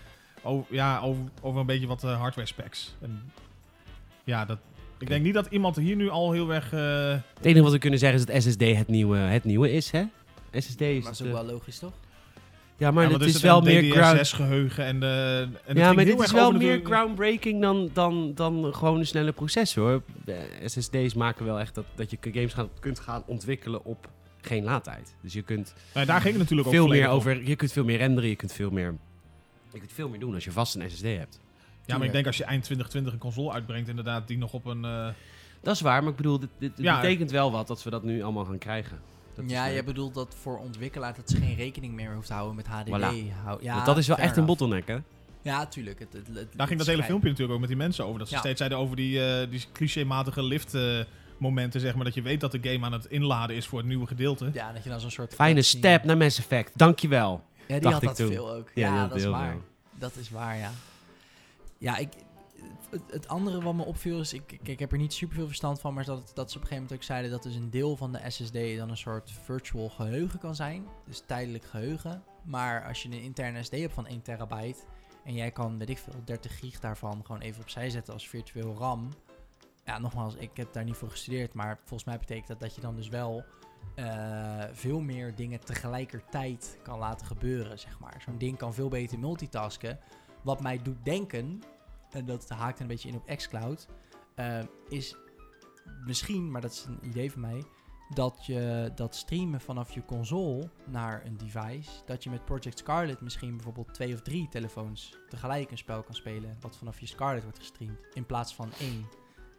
S3: over, ja, over, over een beetje wat eh, hardware specs. En, ja, dat, ik denk niet dat iemand hier nu al heel erg... eh,
S1: Het enige wat we kunnen zeggen is dat SSD het nieuwe, het nieuwe is, hè? SSD is...
S2: Maar dat is
S1: het,
S2: ook
S1: eh,
S2: wel logisch, toch?
S1: Ja, maar het
S3: ja, want er
S1: is,
S3: zit
S1: wel
S3: een
S1: meer ground...
S3: DDR6-geheugen en... eh, en het
S1: Ja,
S3: ging
S1: maar
S3: heel
S1: dit is
S3: erg
S1: wel
S3: over de-
S1: meer groundbreaking dan, dan, dan gewoon een snelle processor. hoor. Eh, SSD's maken wel echt dat, dat je games gaan, kunt gaan ontwikkelen op geen laadtijd. Dus je kunt
S3: Nou, daar ging het natuurlijk ook
S1: veel meer
S3: volledig om.
S1: over. Je kunt veel meer renderen, je kunt veel meer. Je kunt veel meer doen als je vast een SSD hebt.
S3: Ja, maar ik denk als je eind 2020 een console uitbrengt, inderdaad, die nog op een... eh,
S1: Dat is waar, maar ik bedoel, dit, dit, dit
S3: Ja.
S1: betekent wel wat dat we dat nu allemaal gaan krijgen. Dat is,
S2: ja,
S1: eh,
S2: je bedoelt dat voor ontwikkelaar dat ze geen rekening meer hoeft te houden met HDD.
S1: Voilà.
S2: Hou- ja,
S1: want dat is wel
S2: fair
S1: echt een
S2: enough.
S1: bottleneck, hè?
S2: Ja, tuurlijk. Het, het, het-
S3: Daar
S2: het
S3: ging dat hele
S2: schijnt-
S3: filmpje natuurlijk ook met die mensen over. Dat ze
S2: Ja.
S3: steeds zeiden over die, eh, die clichématige lift-momenten, zeg maar. Dat je weet dat de game aan het inladen is voor het nieuwe gedeelte.
S2: Ja, dat je dan zo'n soort...
S1: Fijne
S2: cutscene-
S1: step naar Mass Effect, dankjewel.
S2: Ja, die
S1: dacht
S2: had
S1: ik
S2: dat
S1: toen.
S2: veel ook.
S1: Ja,
S2: Ja,
S1: die had
S2: dat is
S1: heel
S2: waar.
S1: veel.
S2: Dat is waar, ja. Ja, ik... Het, het andere wat me opviel is, ik, ik- ik heb er niet super veel verstand van, maar is dat, dat ze op een gegeven moment ook zeiden dat dus een deel van de SSD dan een soort virtual geheugen kan zijn. Dus tijdelijk geheugen. Maar als je een interne SD hebt van 1 terabyte en jij kan, weet ik veel, 30 gig daarvan gewoon even opzij zetten als virtueel RAM. Ja, nogmaals, ik heb daar niet voor gestudeerd, maar volgens mij betekent dat dat je dan dus wel eh, veel meer dingen tegelijkertijd kan laten gebeuren, zeg maar. Zo'n ding kan veel beter multitasken. Wat mij doet denken, en dat haakt een beetje in op xCloud, eh, is misschien, maar dat is een idee van mij, dat je dat streamen vanaf je console naar een device, dat je met Project Scarlet misschien bijvoorbeeld twee of drie telefoons tegelijk een spel kan spelen, wat vanaf je Scarlet wordt gestreamd, in plaats van één,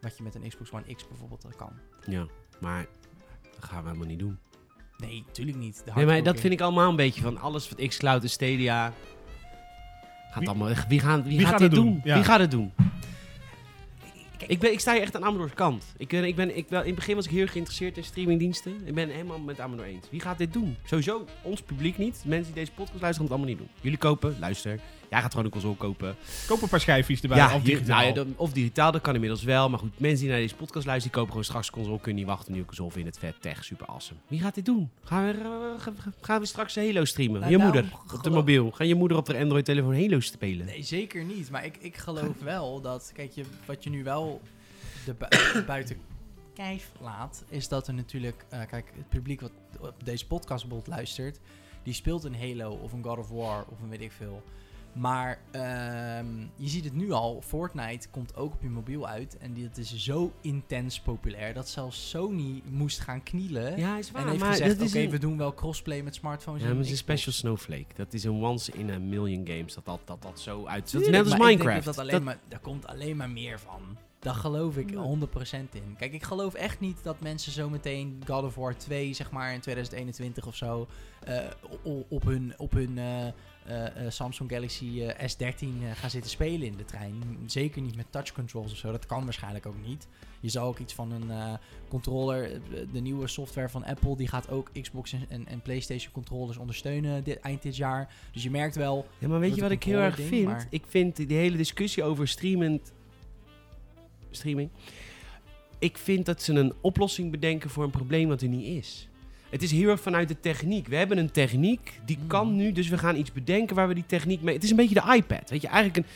S2: wat je met een Xbox One X bijvoorbeeld al kan.
S1: Ja, maar dat gaan we helemaal niet doen.
S2: Nee, natuurlijk niet.
S1: Nee, maar dat vind ik allemaal een beetje van alles wat xCloud en Stadia... Gaat
S3: Wie-
S1: allemaal, wie, gaan, wie,
S3: wie
S1: gaat
S3: gaat
S1: dit
S3: het
S1: doen?
S3: doen? Ja.
S1: Wie gaat het doen? Ik, ben, ik sta hier echt aan Amador's kant. Ik, ben- ik ben, ik wel, in het begin was ik heel erg geïnteresseerd in streamingdiensten. Ik ben helemaal met Amador eens. Wie gaat dit doen? Sowieso ons publiek niet. De mensen die deze podcast luisteren, gaan het allemaal niet doen. Jullie kopen, luister. Jij gaat gewoon een console kopen.
S3: Koop een paar schijfjes erbij.
S1: ja, hier-
S3: of digitaal.
S1: nou ja, dan- of digitaal, dat kan inmiddels wel. Maar goed, mensen die naar deze podcast luisteren, die kopen gewoon straks een console. Kunnen niet wachten, een nieuwe console vinden het vet. Tech, super awesome. Wie gaat dit doen? Gaan we, eh, ga- ga- gaan we straks Halo streamen?
S2: Nou,
S1: je
S2: daarom
S1: moeder, op de
S2: geloof-
S1: mobiel. Ga je moeder op de Android-telefoon Halo spelen?
S2: Nee, zeker niet. Maar ik, ik geloof wel dat, kijk, je, wat je nu wel de bui- buiten kijf laat, is dat er natuurlijk, eh, kijk, het publiek wat op deze podcast bijvoorbeeld luistert, die speelt een Halo of een God of War of een weet ik veel. Maar ehm, je ziet het nu al, Fortnite komt ook op je mobiel uit. En die- dat is zo intens populair dat zelfs Sony moest gaan knielen.
S1: Ja, is
S2: en heeft
S1: maar
S2: gezegd,
S1: dat
S2: oké,
S1: is een-
S2: we doen wel crossplay met smartphones.
S1: Ja,
S2: en
S1: maar het is een
S2: Xbox."
S1: special snowflake. Dat is een once in a million games. Dat dat, dat, dat zo uit. Dat is
S2: Tuurlijk,
S1: net als
S2: maar ik denk
S1: Minecraft.
S2: dat dat alleen
S1: Dat-
S2: maar, daar komt alleen maar meer van. Daar geloof ik
S1: Ja.
S2: 100% in. Kijk, ik geloof echt niet dat mensen zometeen God of War 2, zeg maar in 2021 of zo, eh, o- op hun, op hun eh, eh, eh, Samsung Galaxy eh, S13 eh, gaan zitten spelen in de trein. Zeker niet met touch controls of zo. Dat kan waarschijnlijk ook niet. Je zal ook iets van een eh, controller, eh, de nieuwe software van Apple, die gaat ook Xbox en, en, en PlayStation controllers ondersteunen dit, eind dit jaar. Dus je merkt wel,
S1: Ja, maar weet je wat ik
S2: wordt een
S1: heel erg
S2: controller
S1: vind?
S2: ding, maar-
S1: Ik vind die hele discussie over streamend... Streaming? Ik vind dat ze een oplossing bedenken voor een probleem wat er niet is. Het is heel erg vanuit de techniek. We hebben een techniek, die
S2: Mm.
S1: kan nu, dus we gaan iets bedenken waar we die techniek mee... Het is een beetje de iPad, weet je. Eigenlijk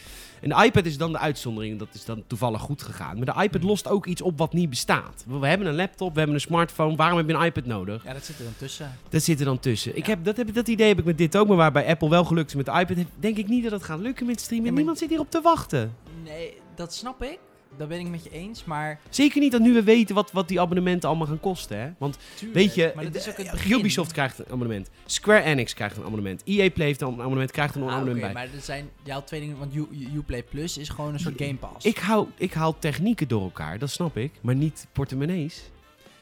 S1: een, een iPad is dan de uitzondering, dat is dan toevallig goed gegaan. Maar de iPad
S2: Mm.
S1: lost ook iets op wat niet bestaat. We we hebben een laptop, we hebben een smartphone, waarom heb je een iPad nodig?
S2: ja, dat zit er dan tussen.
S1: Dat zit er dan tussen. Ik
S2: Ja.
S1: heb, dat, heb, dat idee heb ik met dit ook, maar waar bij Apple wel gelukt is met de iPad, heb- denk ik niet dat het gaat lukken met streamen.
S2: Ja, maar-
S1: Niemand zit hierop te wachten.
S2: Nee, dat snap ik. Dat ben ik met je eens, maar...
S1: Zeker niet dat nu we weten wat, wat die abonnementen allemaal gaan kosten. Hè? Want
S2: tuurlijk,
S1: weet je,
S2: maar dat is ook het
S1: eh,
S2: begin.
S1: Ubisoft krijgt een abonnement, Square Enix krijgt een abonnement, EA Play heeft een abonnement, krijgt er nog
S2: Ah,
S1: een
S2: oké,
S1: abonnement bij.
S2: maar er zijn ja, twee dingen, want U- U- Uplay Plus is gewoon een soort Game Pass.
S1: Ik, hou, ik haal technieken door elkaar, dat snap ik, maar niet portemonnees.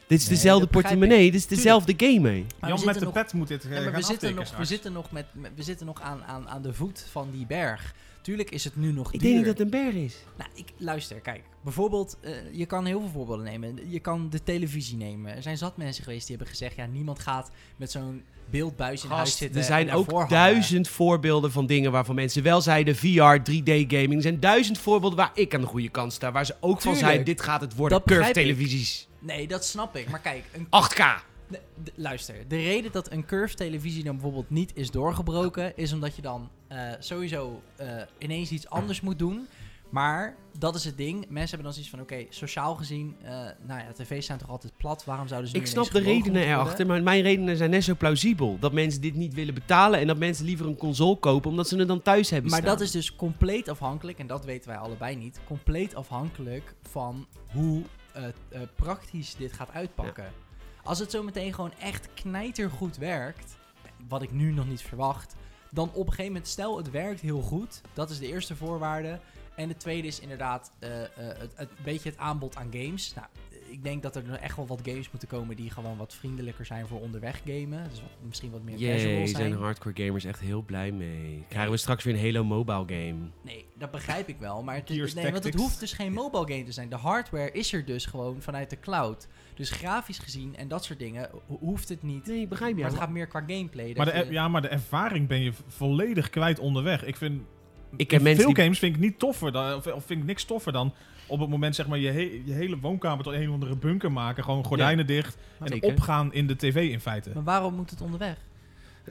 S1: Dit is
S2: Nee,
S1: dezelfde
S2: dat begrijp ik.
S1: portemonnee, dit is dezelfde game mee.
S2: maar we
S3: Jan met
S2: zitten
S3: de
S2: nog,
S3: pet moet dit eh,
S2: ja, maar
S3: gaan
S2: we zitten
S3: aftikken
S2: nog, we
S3: straks.
S2: zitten nog, met, met- we zitten nog aan, aan, aan de voet van die berg. Tuurlijk is het nu nog
S1: Ik
S2: duur.
S1: denk niet dat het een berg is.
S2: Nou, ik, luister, kijk. Bijvoorbeeld, eh, je kan heel veel voorbeelden nemen. Je kan de televisie nemen. Er zijn zat mensen geweest die hebben gezegd... ja, niemand gaat met zo'n beeldbuis in
S1: Gast,
S2: huis zitten.
S1: er
S2: en
S1: zijn ook
S2: daarvoor hangen.
S1: duizend voorbeelden van dingen waarvan mensen wel zeiden VR, 3D gaming. Er zijn duizend voorbeelden waar ik aan de goede kant sta. Waar ze ook van
S2: Tuurlijk.
S1: zeiden, dit gaat het worden.
S2: Dat begrijp
S1: Curve televisies.
S2: Nee, dat snap ik. Maar kijk, een
S1: 8K.
S2: De- de- luister, de reden dat een curve televisie dan bijvoorbeeld niet is doorgebroken, is omdat je dan eh, sowieso eh, ineens iets anders moet doen. Maar dat is het ding. Mensen hebben dan zoiets van: oké, sociaal gezien, eh, nou ja, tv's zijn toch altijd plat. Waarom zouden ze nu
S1: Ik snap de
S2: ineens gebogen
S1: redenen
S2: moeten
S1: erachter,
S2: worden?
S1: maar mijn redenen zijn net zo plausibel. Dat mensen dit niet willen betalen en dat mensen liever een console kopen omdat ze het dan thuis hebben
S2: Maar
S1: staan.
S2: dat is dus compleet afhankelijk, en dat weten wij allebei niet, compleet afhankelijk van hoe eh, eh, praktisch dit gaat uitpakken. Als het zo meteen gewoon echt knijtergoed werkt, wat ik nu nog niet verwacht, dan op een gegeven moment, stel het werkt heel goed, dat is de eerste voorwaarde. En de tweede is inderdaad eh, eh, het, het beetje het aanbod aan games. Nou, ik denk dat er nog echt wel wat games moeten komen die gewoon wat vriendelijker zijn voor onderweg gamen. Dus wat, misschien wat meer
S1: Jee,
S2: casual
S1: zijn. hardcore gamers echt heel blij mee. Krijgen we straks weer een Halo Mobile game.
S2: Nee, dat begrijp ik wel. Maar het,
S3: Gears
S2: is, nee, want het
S3: Tactics.
S2: hoeft dus geen mobile game te zijn. De hardware is er dus gewoon vanuit de cloud. Dus grafisch gezien en dat soort dingen ho- hoeft het niet.
S1: Nee, begrijp je.
S2: Maar het gaat meer qua gameplay. dat
S3: Maar de,
S2: je-
S3: e- ja, maar de ervaring ben je v- volledig kwijt onderweg. Ik vind
S1: Ik
S3: in
S1: ken mensen
S3: veel
S1: die-
S3: games vind ik niet toffer dan, of, of vind ik niks toffer dan op het moment zeg maar je, he- je hele woonkamer tot een of andere bunker maken, gewoon gordijnen dicht en
S1: Zeker.
S3: opgaan in de tv in feite.
S2: Maar waarom moet het onderweg?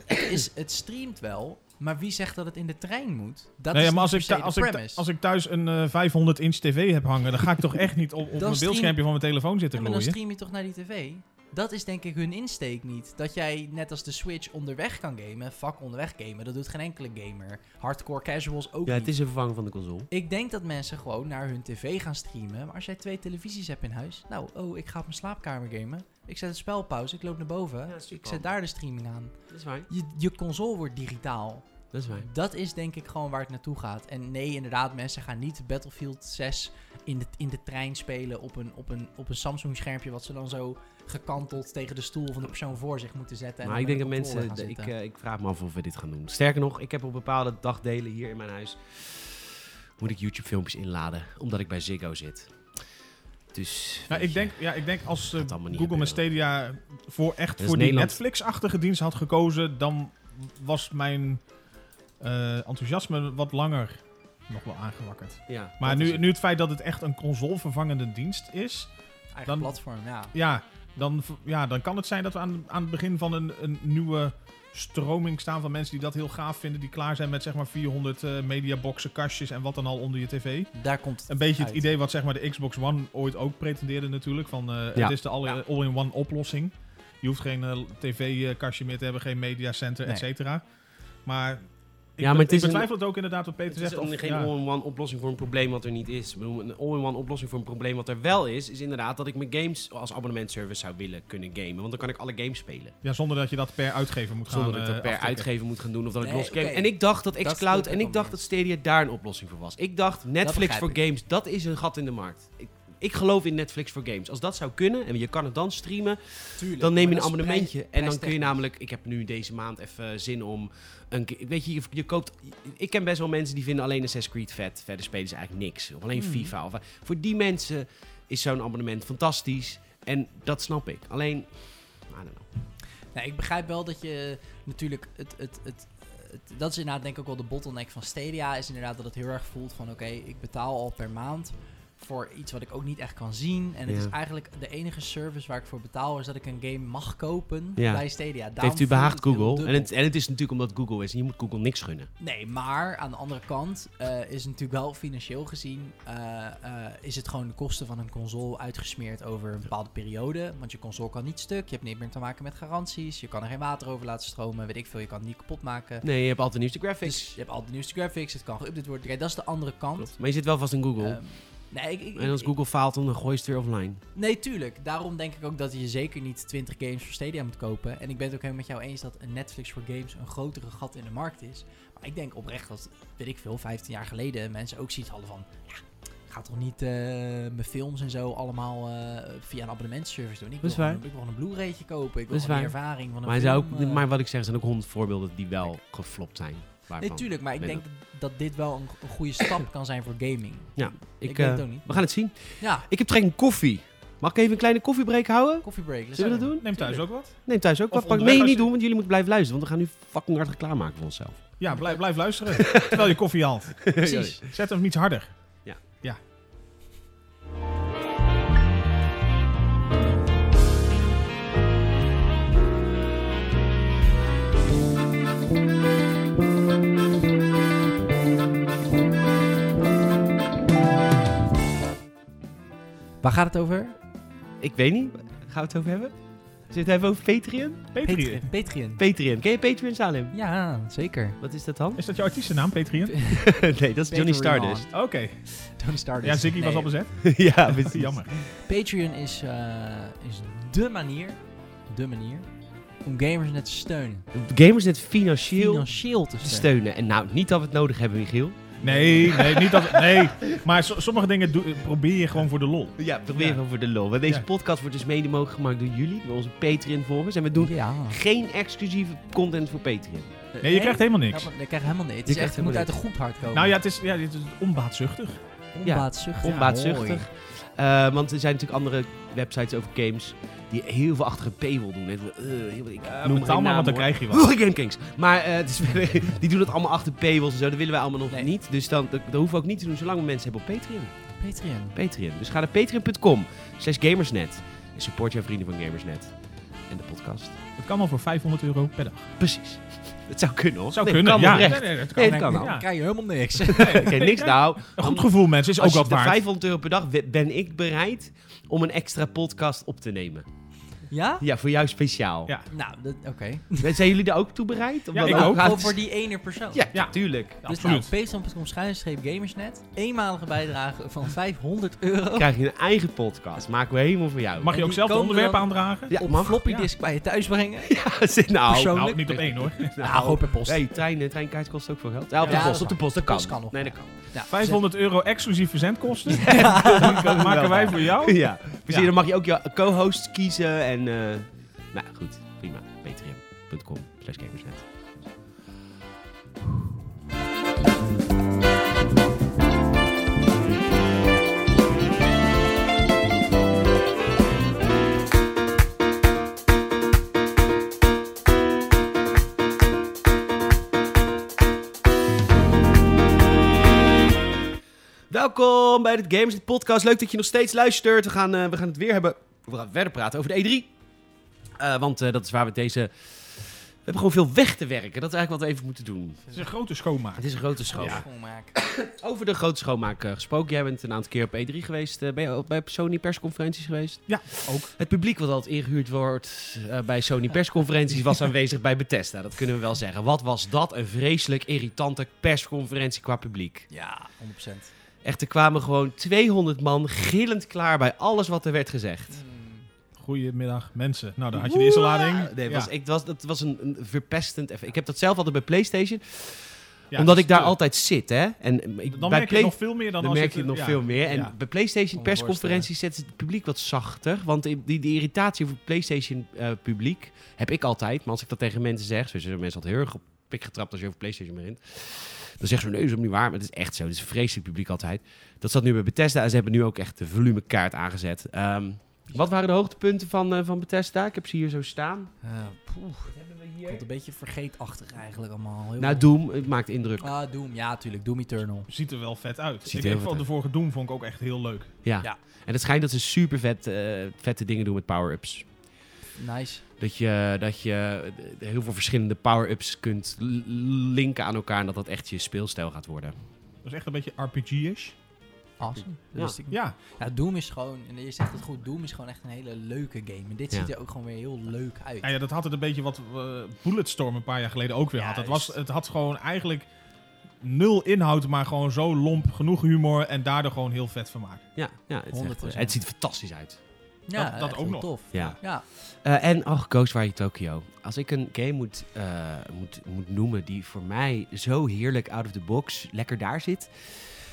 S2: het, is, het streamt wel, maar wie zegt dat het in de trein moet? Dat
S3: Nee,
S2: is
S3: ja, maar als ik,
S2: niet
S3: thu-
S2: per se
S3: als,
S2: de
S3: ik, thu-
S2: premise.
S3: als ik thuis een eh, 500 inch tv heb hangen, dan ga ik toch echt niet op, op mijn
S2: Dan stream-
S3: beeldschermpje van mijn telefoon zitten
S2: Ja, maar dan
S3: gloeien.
S2: stream je toch naar die tv? Dat is denk ik hun insteek niet. Dat jij net als de Switch onderweg kan gamen, fuck onderweg gamen, dat doet geen enkele gamer. Hardcore casuals ook
S1: Ja,
S2: niet.
S1: het is een vervang van de console.
S2: Ik denk dat mensen gewoon naar hun tv gaan streamen. Maar als jij twee televisies hebt in huis. Nou, oh, ik ga op mijn slaapkamer gamen. Ik zet het spel op pauze, ik loop naar boven.
S1: Ja, super.
S2: ik zet daar de streaming aan.
S1: Dat is waar.
S2: Je, je console wordt digitaal.
S1: Dat is waar.
S2: Dat is denk ik gewoon waar het naartoe gaat. En nee, inderdaad, mensen gaan niet Battlefield 6 in de, in de trein spelen op een, op een, op een Samsung-schermpje. Wat ze dan zo gekanteld tegen de stoel van de persoon voor zich moeten zetten. en
S1: Maar
S2: dan
S1: ik denk dat
S2: met een controller
S1: mensen.
S2: gaan
S1: Ik,
S2: zitten.
S1: eh, ik vraag me af of we dit gaan doen. Sterker nog, ik heb op bepaalde dagdelen hier in mijn huis. moet ik YouTube-filmpjes inladen. omdat ik bij Ziggo zit. Dus.
S3: Nou,
S1: weet
S3: ik,
S1: je,
S3: denk, ja, ik denk als eh,
S1: Gaat allemaal niet
S3: Google en Stadia voor echt
S1: is
S3: voor die
S1: Nederland.
S3: Netflix-achtige dienst had gekozen, dan was mijn eh, enthousiasme wat langer nog wel aangewakkerd.
S1: Ja,
S3: Maar
S1: dat is
S3: nu,
S1: het.
S3: nu het feit dat het echt een consolevervangende dienst is,
S1: eh,
S2: Eigen
S3: dan-
S2: platform, ja.
S3: ja, dan, v- ja, dan kan het zijn dat we aan, aan het begin van een, een nieuwe stroming staan van mensen die dat heel gaaf vinden, die klaar zijn met zeg maar 400 eh, mediaboxen, kastjes en wat dan al onder je tv.
S2: Daar komt het
S3: Een beetje het
S2: uit.
S3: idee wat zeg maar de Xbox One ooit ook pretendeerde natuurlijk. Van, eh,
S1: Ja.
S3: Het is de alle- all-in-one oplossing. eh, Je hoeft geen tv-kastje meer te hebben, geen mediacenter,
S2: Nee.
S3: et cetera. Maar ja,
S1: maar
S3: maar
S1: het is
S3: ik betwijfel het ook inderdaad wat Peter
S1: Het is
S3: zegt.
S1: een,
S3: Of,
S1: geen
S3: ja.
S1: all-in-one oplossing voor een probleem wat er niet is. Ik bedoel, Een all-in-one oplossing voor een probleem wat er wel is, is inderdaad dat ik mijn games als abonnementservice zou willen kunnen gamen. Want dan kan ik alle games spelen.
S3: ja, zonder dat je dat per uitgever moet
S1: Zonder dat
S3: gaan
S1: ik dat
S3: eh,
S1: per
S3: aftikken.
S1: uitgever moet gaan doen of dat ik
S2: Nee,
S1: los game.
S2: oké.
S1: En ik dacht dat
S2: Dat
S1: xCloud
S2: snap
S1: en
S2: ik
S1: ik dacht
S2: wel.
S1: dat Stadia daar een oplossing voor was. Ik dacht Netflix
S2: begrijp
S1: voor
S2: ik.
S1: games, dat is een gat in de markt. Ik, ik geloof in Netflix voor games. Als dat zou kunnen en je kan het dan streamen,
S2: Tuurlijk,
S1: dan neem je
S2: maar
S1: een
S2: dat is
S1: abonnementje. En
S2: prijs-
S1: dan kun je
S2: prijstechnisch.
S1: namelijk, ik heb nu deze maand even eh, zin om een keer. Weet je, je, je koopt. Ik ken best wel mensen die vinden alleen Assassin's Creed vet. Verder spelen ze eigenlijk niks. Of
S3: Hmm.
S1: alleen
S2: Mhm.
S1: FIFA. Of, eh, voor die mensen is zo'n abonnement fantastisch. En dat snap ik. Alleen. I don't know.
S2: Nee, Nou, ik begrijp wel dat je natuurlijk het, het, het, het- dat is inderdaad denk ik ook wel de bottleneck van Stadia is inderdaad dat het heel erg voelt van oké, ik betaal al per maand voor iets wat ik ook niet echt kan zien en het
S1: Ja.
S2: is eigenlijk de enige service waar ik voor betaal is dat ik een game mag kopen
S1: Ja.
S2: bij Stadia.
S1: Het
S2: Daarom
S1: heeft u
S2: voelt
S1: behaagd
S2: het heel
S1: Google. En
S2: dubbel.
S1: het, en het is natuurlijk omdat Google is. En je moet Google niks gunnen.
S2: Nee, maar aan de andere kant eh, is het natuurlijk wel financieel gezien... eh, eh, is het gewoon de kosten van een console uitgesmeerd over een bepaalde periode. Want je console kan niet stuk, je hebt niet meer te maken met garanties... je kan er geen water over laten stromen, weet ik veel, je kan het niet kapot maken.
S1: Nee, je hebt altijd nieuwste graphics.
S2: Dus je hebt al de nieuwste graphics, het kan geüpdate worden. Kijk, dat is de andere kant.
S1: Klopt. Dus- Maar je zit wel vast in Google.
S2: Ehm, nee, ik, ik-
S1: en als
S2: ik-
S1: Google faalt, dan gooi je het weer offline.
S2: nee, tuurlijk. Daarom denk ik ook dat je zeker niet 20 games voor Stadia moet kopen. En ik ben het ook helemaal met jou eens dat een Netflix voor games een grotere gat in de markt is. Maar ik denk oprecht dat, weet ik veel, 15 jaar geleden mensen ook zoiets hadden van... Ja, ik ga toch niet eh, mijn films en zo allemaal eh, via een abonnementsservice doen. Ik
S1: Dat
S2: wil,
S1: is
S2: gewoon,
S1: waar.
S2: ik wil gewoon een Blu-raytje kopen. Ik wil
S1: Dat is
S2: gewoon de
S1: waar.
S2: ervaring van een
S1: Maar, hij
S2: film.
S1: zou ook,
S2: eh.
S1: maar wat ik zeg, er zijn ook honderd voorbeelden die wel geflopt zijn. Waarvan.
S2: Nee, tuurlijk. Maar ik
S1: Nee,
S2: denk dat dit wel een, een goede stap kan zijn voor gaming.
S1: Ik,
S2: ik weet
S1: eh,
S2: het ook niet.
S1: We gaan het zien.
S2: Ja,
S1: Ik heb trek in koffie. Mag ik even een kleine koffiebreak houden?
S2: koffiebreak. let's
S1: Zullen we
S2: go.
S1: dat doen?
S3: Neem thuis ook wat.
S1: Neem thuis ook.
S3: Of
S1: Wat pak
S3: onderweg
S1: nee,
S3: als
S1: niet
S3: je-
S1: doen, want jullie moeten blijven luisteren. Want we gaan nu fucking hard reclamemaken voor onszelf.
S3: Ja, blijf, blijf luisteren. terwijl je koffie haalt.
S2: Precies.
S3: Zet hem iets harder.
S2: Waar gaat het over?
S1: Ik weet niet. Gaan we het over hebben? Zit het even over Patreon?
S3: Petriën.
S2: Patreon.
S1: Patreon. Ken je Patreon Salem?
S2: Ja, zeker.
S1: Wat is dat dan?
S3: Is dat jouw artiestennaam, Petriën?
S2: Pe-
S1: nee, dat is Johnny
S2: Patreon.
S1: Stardust.
S3: Oké.
S2: Tony Stardust.
S3: Ja, Ziggy was
S2: Nee,
S3: al bezet.
S1: ja, precies.
S3: Jammer.
S2: Patreon is, eh, is de manier, de manier, om gamers net te steunen.
S1: Gamers net financieel
S2: Financieel te
S1: te
S2: steunen.
S1: steunen. En nou, niet dat we het nodig hebben, Michiel.
S3: Nee, nee, niet dat. Nee. Maar so- sommige dingen doe- probeer je gewoon voor de lol.
S1: Ja, probeer
S3: Ja.
S1: even voor de lol. Want deze
S3: Ja.
S1: podcast wordt dus mede mogelijk gemaakt door jullie, door onze Patreon-volgers. En we doen
S2: Ja.
S1: geen exclusieve content voor Patreon.
S3: Nee, je krijgt helemaal niks.
S2: Ja, maar ik krijg helemaal niks. Het
S1: Je
S2: is echt-
S1: krijgt
S2: het moet uit een
S1: helemaal
S2: goed hart komen.
S3: Nou ja, het is, ja, dit is onbaatzuchtig.
S2: Onbaatzuchtig.
S1: Onbaatzuchtig.
S2: Ja,
S1: Eh, want er zijn natuurlijk andere websites over games die heel veel achter een paywall doen. Hè. Eh, heel- ik
S3: Eh,
S1: noem geen
S3: betaal maar, want dan
S1: namen, hoor.
S3: krijg je wat.
S1: Game Kings. Maar eh, het is- die doen het allemaal achter paywalls en zo. Dat willen wij allemaal nog
S2: Nee.
S1: niet. Dus dan, dat, dat hoeven we ook niet te doen zolang we mensen hebben op Patreon.
S2: mooi. Patreon.
S1: Patreon. Dus ga naar patreon.com slash gamersnet. En support jouw vrienden van Gamersnet. En de podcast.
S3: Het kan al voor 500 euro per dag.
S1: Precies. Het zou kunnen hoor.
S3: Zou
S1: Nee,
S3: kunnen,
S1: kan Eh,
S3: ja.
S1: oprecht.
S3: Nee, nee, dat kan.
S1: Nee, het kan
S2: Oh, Dan
S1: al.
S3: Ja.
S2: krijg je helemaal niks.
S1: Oké, niks nou.
S3: Een goed gevoel, mensen, is ook
S1: Als je
S3: wat
S1: de
S3: waard.
S1: 500 euro per dag we- ben ik bereid om een extra podcast op te nemen.
S2: ja?
S1: Ja, voor jou speciaal.
S3: Ja.
S2: Nou, dat- oké.
S1: Zijn jullie daar ook toe bereid? Om
S3: Ja,
S1: dat
S3: ik ook.
S2: Gewoon voor die ene persoon.
S1: Ja,
S3: Ja.
S1: tuurlijk.
S3: Ja,
S2: Dus
S3: absoluut.
S2: nou, patreon.com schuinstreep gamersnet. Eenmalige bijdrage van 500 euro.
S1: Dan krijg je een eigen podcast. Maken we helemaal voor jou.
S3: Mag je
S2: en
S3: ook
S2: die
S3: zelf de
S2: komen
S3: onderwerpen
S2: dan-
S3: aandragen?
S1: ja,
S2: op
S1: mag.
S2: floppy
S3: Ja.
S2: disk bij je thuis brengen. Nou,
S1: Ja, zit nou.
S2: Persoon-
S3: Nou,
S2: persoonlijk.
S3: niet op één hoor.
S2: Ja, gewoon per post.
S1: Nee, trein, treinkaart kost ook veel geld. Ja, op de
S2: Ja, dat
S1: post,
S2: is
S1: op de
S2: waar.
S1: post, dat
S2: De
S1: kan.
S2: post kan nog,
S1: nee, dat
S2: ja.
S1: kan.
S2: Ja,
S3: 500 euro exclusief verzendkosten. Dat maken wij voor jou.
S1: Ja, precies.
S3: Ja.
S1: Dan Dus mag je ook je co-host kiezen en... eh, nou, goed. Prima. Patreon.com slash gamersnet. Welkom bij de Gamersnet podcast. Leuk dat je nog steeds luistert. We gaan, eh, we gaan E het weer hebben... We gaan verder praten over de E3. Eh, want eh, dat is waar we deze... eh, hebben gewoon veel weg te werken. Dat is eigenlijk wat we even moeten doen.
S3: Het is een grote schoonmaak.
S1: Het is een grote schoonmaak.
S2: Ja. Schoonmaak.
S1: Over de grote schoonmaak eh, gesproken. Jij bent een aantal keer op E3 geweest. eh, ben je ook bij Sony persconferenties geweest?
S3: Ja, ook.
S1: Het publiek wat altijd ingehuurd wordt eh, bij Sony persconferenties was aanwezig bij Bethesda. Dat kunnen we wel zeggen. Wat was dat een vreselijk irritante persconferentie qua publiek.
S2: Ja, 100%.
S1: Echt, er kwamen gewoon 200 man gillend klaar bij alles wat er werd gezegd.
S2: Mm.
S3: Goedemiddag, mensen. Nou, daar Nou, had je de eerste lading.
S1: Nee, het
S3: Ja.
S1: was, ik, was, dat was een, een verpestend effect. Ik heb dat zelf altijd bij PlayStation,
S3: Ja,
S1: omdat ik daar
S3: dus,
S1: altijd zit. Hè? En eh, ik,
S3: Dan
S1: bij
S3: merk je
S1: Play-
S3: het nog veel meer dan,
S1: Dan
S3: als
S1: merk je het
S3: het,
S1: nog
S3: ja.
S1: veel meer. En
S3: Ja.
S1: bij PlayStation
S2: Kan me
S1: persconferenties zet het publiek wat zachter. Want die, die die irritatie over het PlayStation eh, publiek heb ik altijd. Maar als ik dat tegen mensen zeg, zo zijn mensen altijd heel erg op pik getrapt als je over PlayStation begint. Dan zeggen ze, nee, dat is ook niet waar. Maar het is echt zo. Het is een vreselijk publiek altijd. Dat zat nu bij Bethesda. En ze hebben nu ook echt de volumekaart aangezet. Ehm, wat waren de hoogtepunten van, eh, van Bethesda? Ik heb ze hier zo staan.
S2: Eh, poeh,
S1: hebben we
S2: komt een beetje vergeetachtig eigenlijk allemaal. Heel
S1: Nou, Doom, het maakt indruk.
S2: Ah, Doom. Ja, tuurlijk. Doom Eternal.
S3: Ziet er wel vet uit.
S1: Ziet
S3: ik
S1: er heel
S3: ik
S1: vet
S3: vond de
S1: uit.
S3: vorige Doom vond ik ook echt heel leuk.
S1: Ja.
S2: Ja.
S1: En het schijnt dat ze super vet, eh, vette dingen doen met power-ups.
S2: Nice.
S1: Dat je, dat je heel veel verschillende power-ups kunt l- linken aan elkaar. En dat dat echt je speelstijl gaat worden.
S3: Dat is echt een beetje RPG-ish.
S2: Awesome. Dat
S1: Ja.
S2: wist ik niet.
S3: Ja,
S2: Ja, Doom is gewoon, en je zegt het goed, Doom is gewoon echt een hele leuke game. En dit
S1: Ja.
S2: ziet er ook gewoon weer heel leuk uit.
S3: Ja, ja, dat had het een beetje wat eh, Bulletstorm een paar jaar geleden ook weer had. Het, was,
S2: Juist.
S3: het had gewoon eigenlijk nul inhoud, maar gewoon zo lomp, genoeg humor en daardoor gewoon heel vet vermaak.
S1: Ja, ja het, is echt, eh,
S2: 100%.
S1: het ziet er fantastisch uit.
S2: Ja,
S3: dat- dat
S2: echt
S3: ook
S2: wel
S3: nog.
S2: tof.
S1: Ja.
S2: Ja,
S1: Eh, en, oh, Ghostwire Tokyo. Als ik een game moet, eh, moet, moet noemen die voor mij zo heerlijk out of the box lekker daar zit.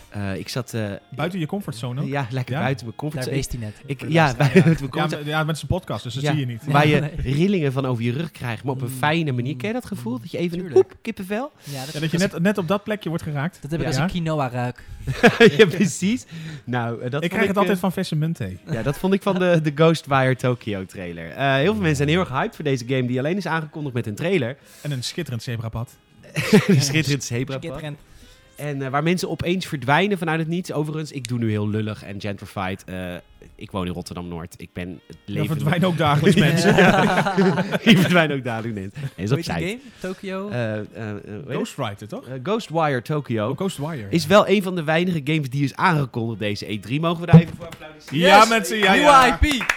S1: Eh, ik zat... eh,
S3: Buiten je comfortzone ook. Ja,
S1: Ja, lekker
S3: Ja.
S1: buiten mijn
S2: daar
S1: comfortzone.
S2: wist hij net.
S1: Ik,
S2: Voor de
S1: ja,
S2: luisteraar.
S1: buiten mijn comfortzone.
S3: maar- ja, met zijn podcast, dus dat
S1: Ja.
S3: zie je niet.
S1: Waar je
S2: Nee.
S1: rillingen van over je rug krijgt, maar op een
S2: Mm.
S1: fijne manier. Ken je dat gevoel? Dat je even een
S2: Tuurlijk.
S1: poep, kippenvel?
S2: Ja, dat,
S3: Ja, dat je net, net op dat plekje wordt geraakt.
S2: dat heb ik
S3: ja.
S2: als een quinoa ruik.
S1: ja, precies. Nou, eh, dat
S3: ik
S1: vond
S3: krijg het
S1: eh,
S3: altijd van Vessemente.
S1: Ja, dat vond ik van de, de Ghostwire Tokyo trailer. Eh, heel veel mensen zijn heel erg hyped voor deze game, die alleen is aangekondigd met een trailer.
S3: En een schitterend zebrapad.
S1: Die schitterend zebrapad.
S2: Schitterend.
S1: En eh, waar mensen opeens verdwijnen vanuit het niets. Overigens, ik doe nu heel lullig en gentrified. Eh, ik woon in Rotterdam-Noord. Ik ben het
S3: Dan
S1: leven...
S3: verdwijnen ook dagelijks mensen.
S1: Ik verdwijn ook dadelijk niet. Nee, is
S2: Hoe
S1: op
S2: heet die
S1: tijd. Eh,
S2: game? Tokyo?
S3: Ghostwriter, toch?
S1: Ghostwire Tokyo
S3: Oh, Ghostwire.
S1: is wel een van de weinige games die is aangekondigd deze E3. Mogen we daar even voor applaudisseren?
S3: Ja, mensen, ja,
S2: Nieuwe
S3: ja.
S2: IP!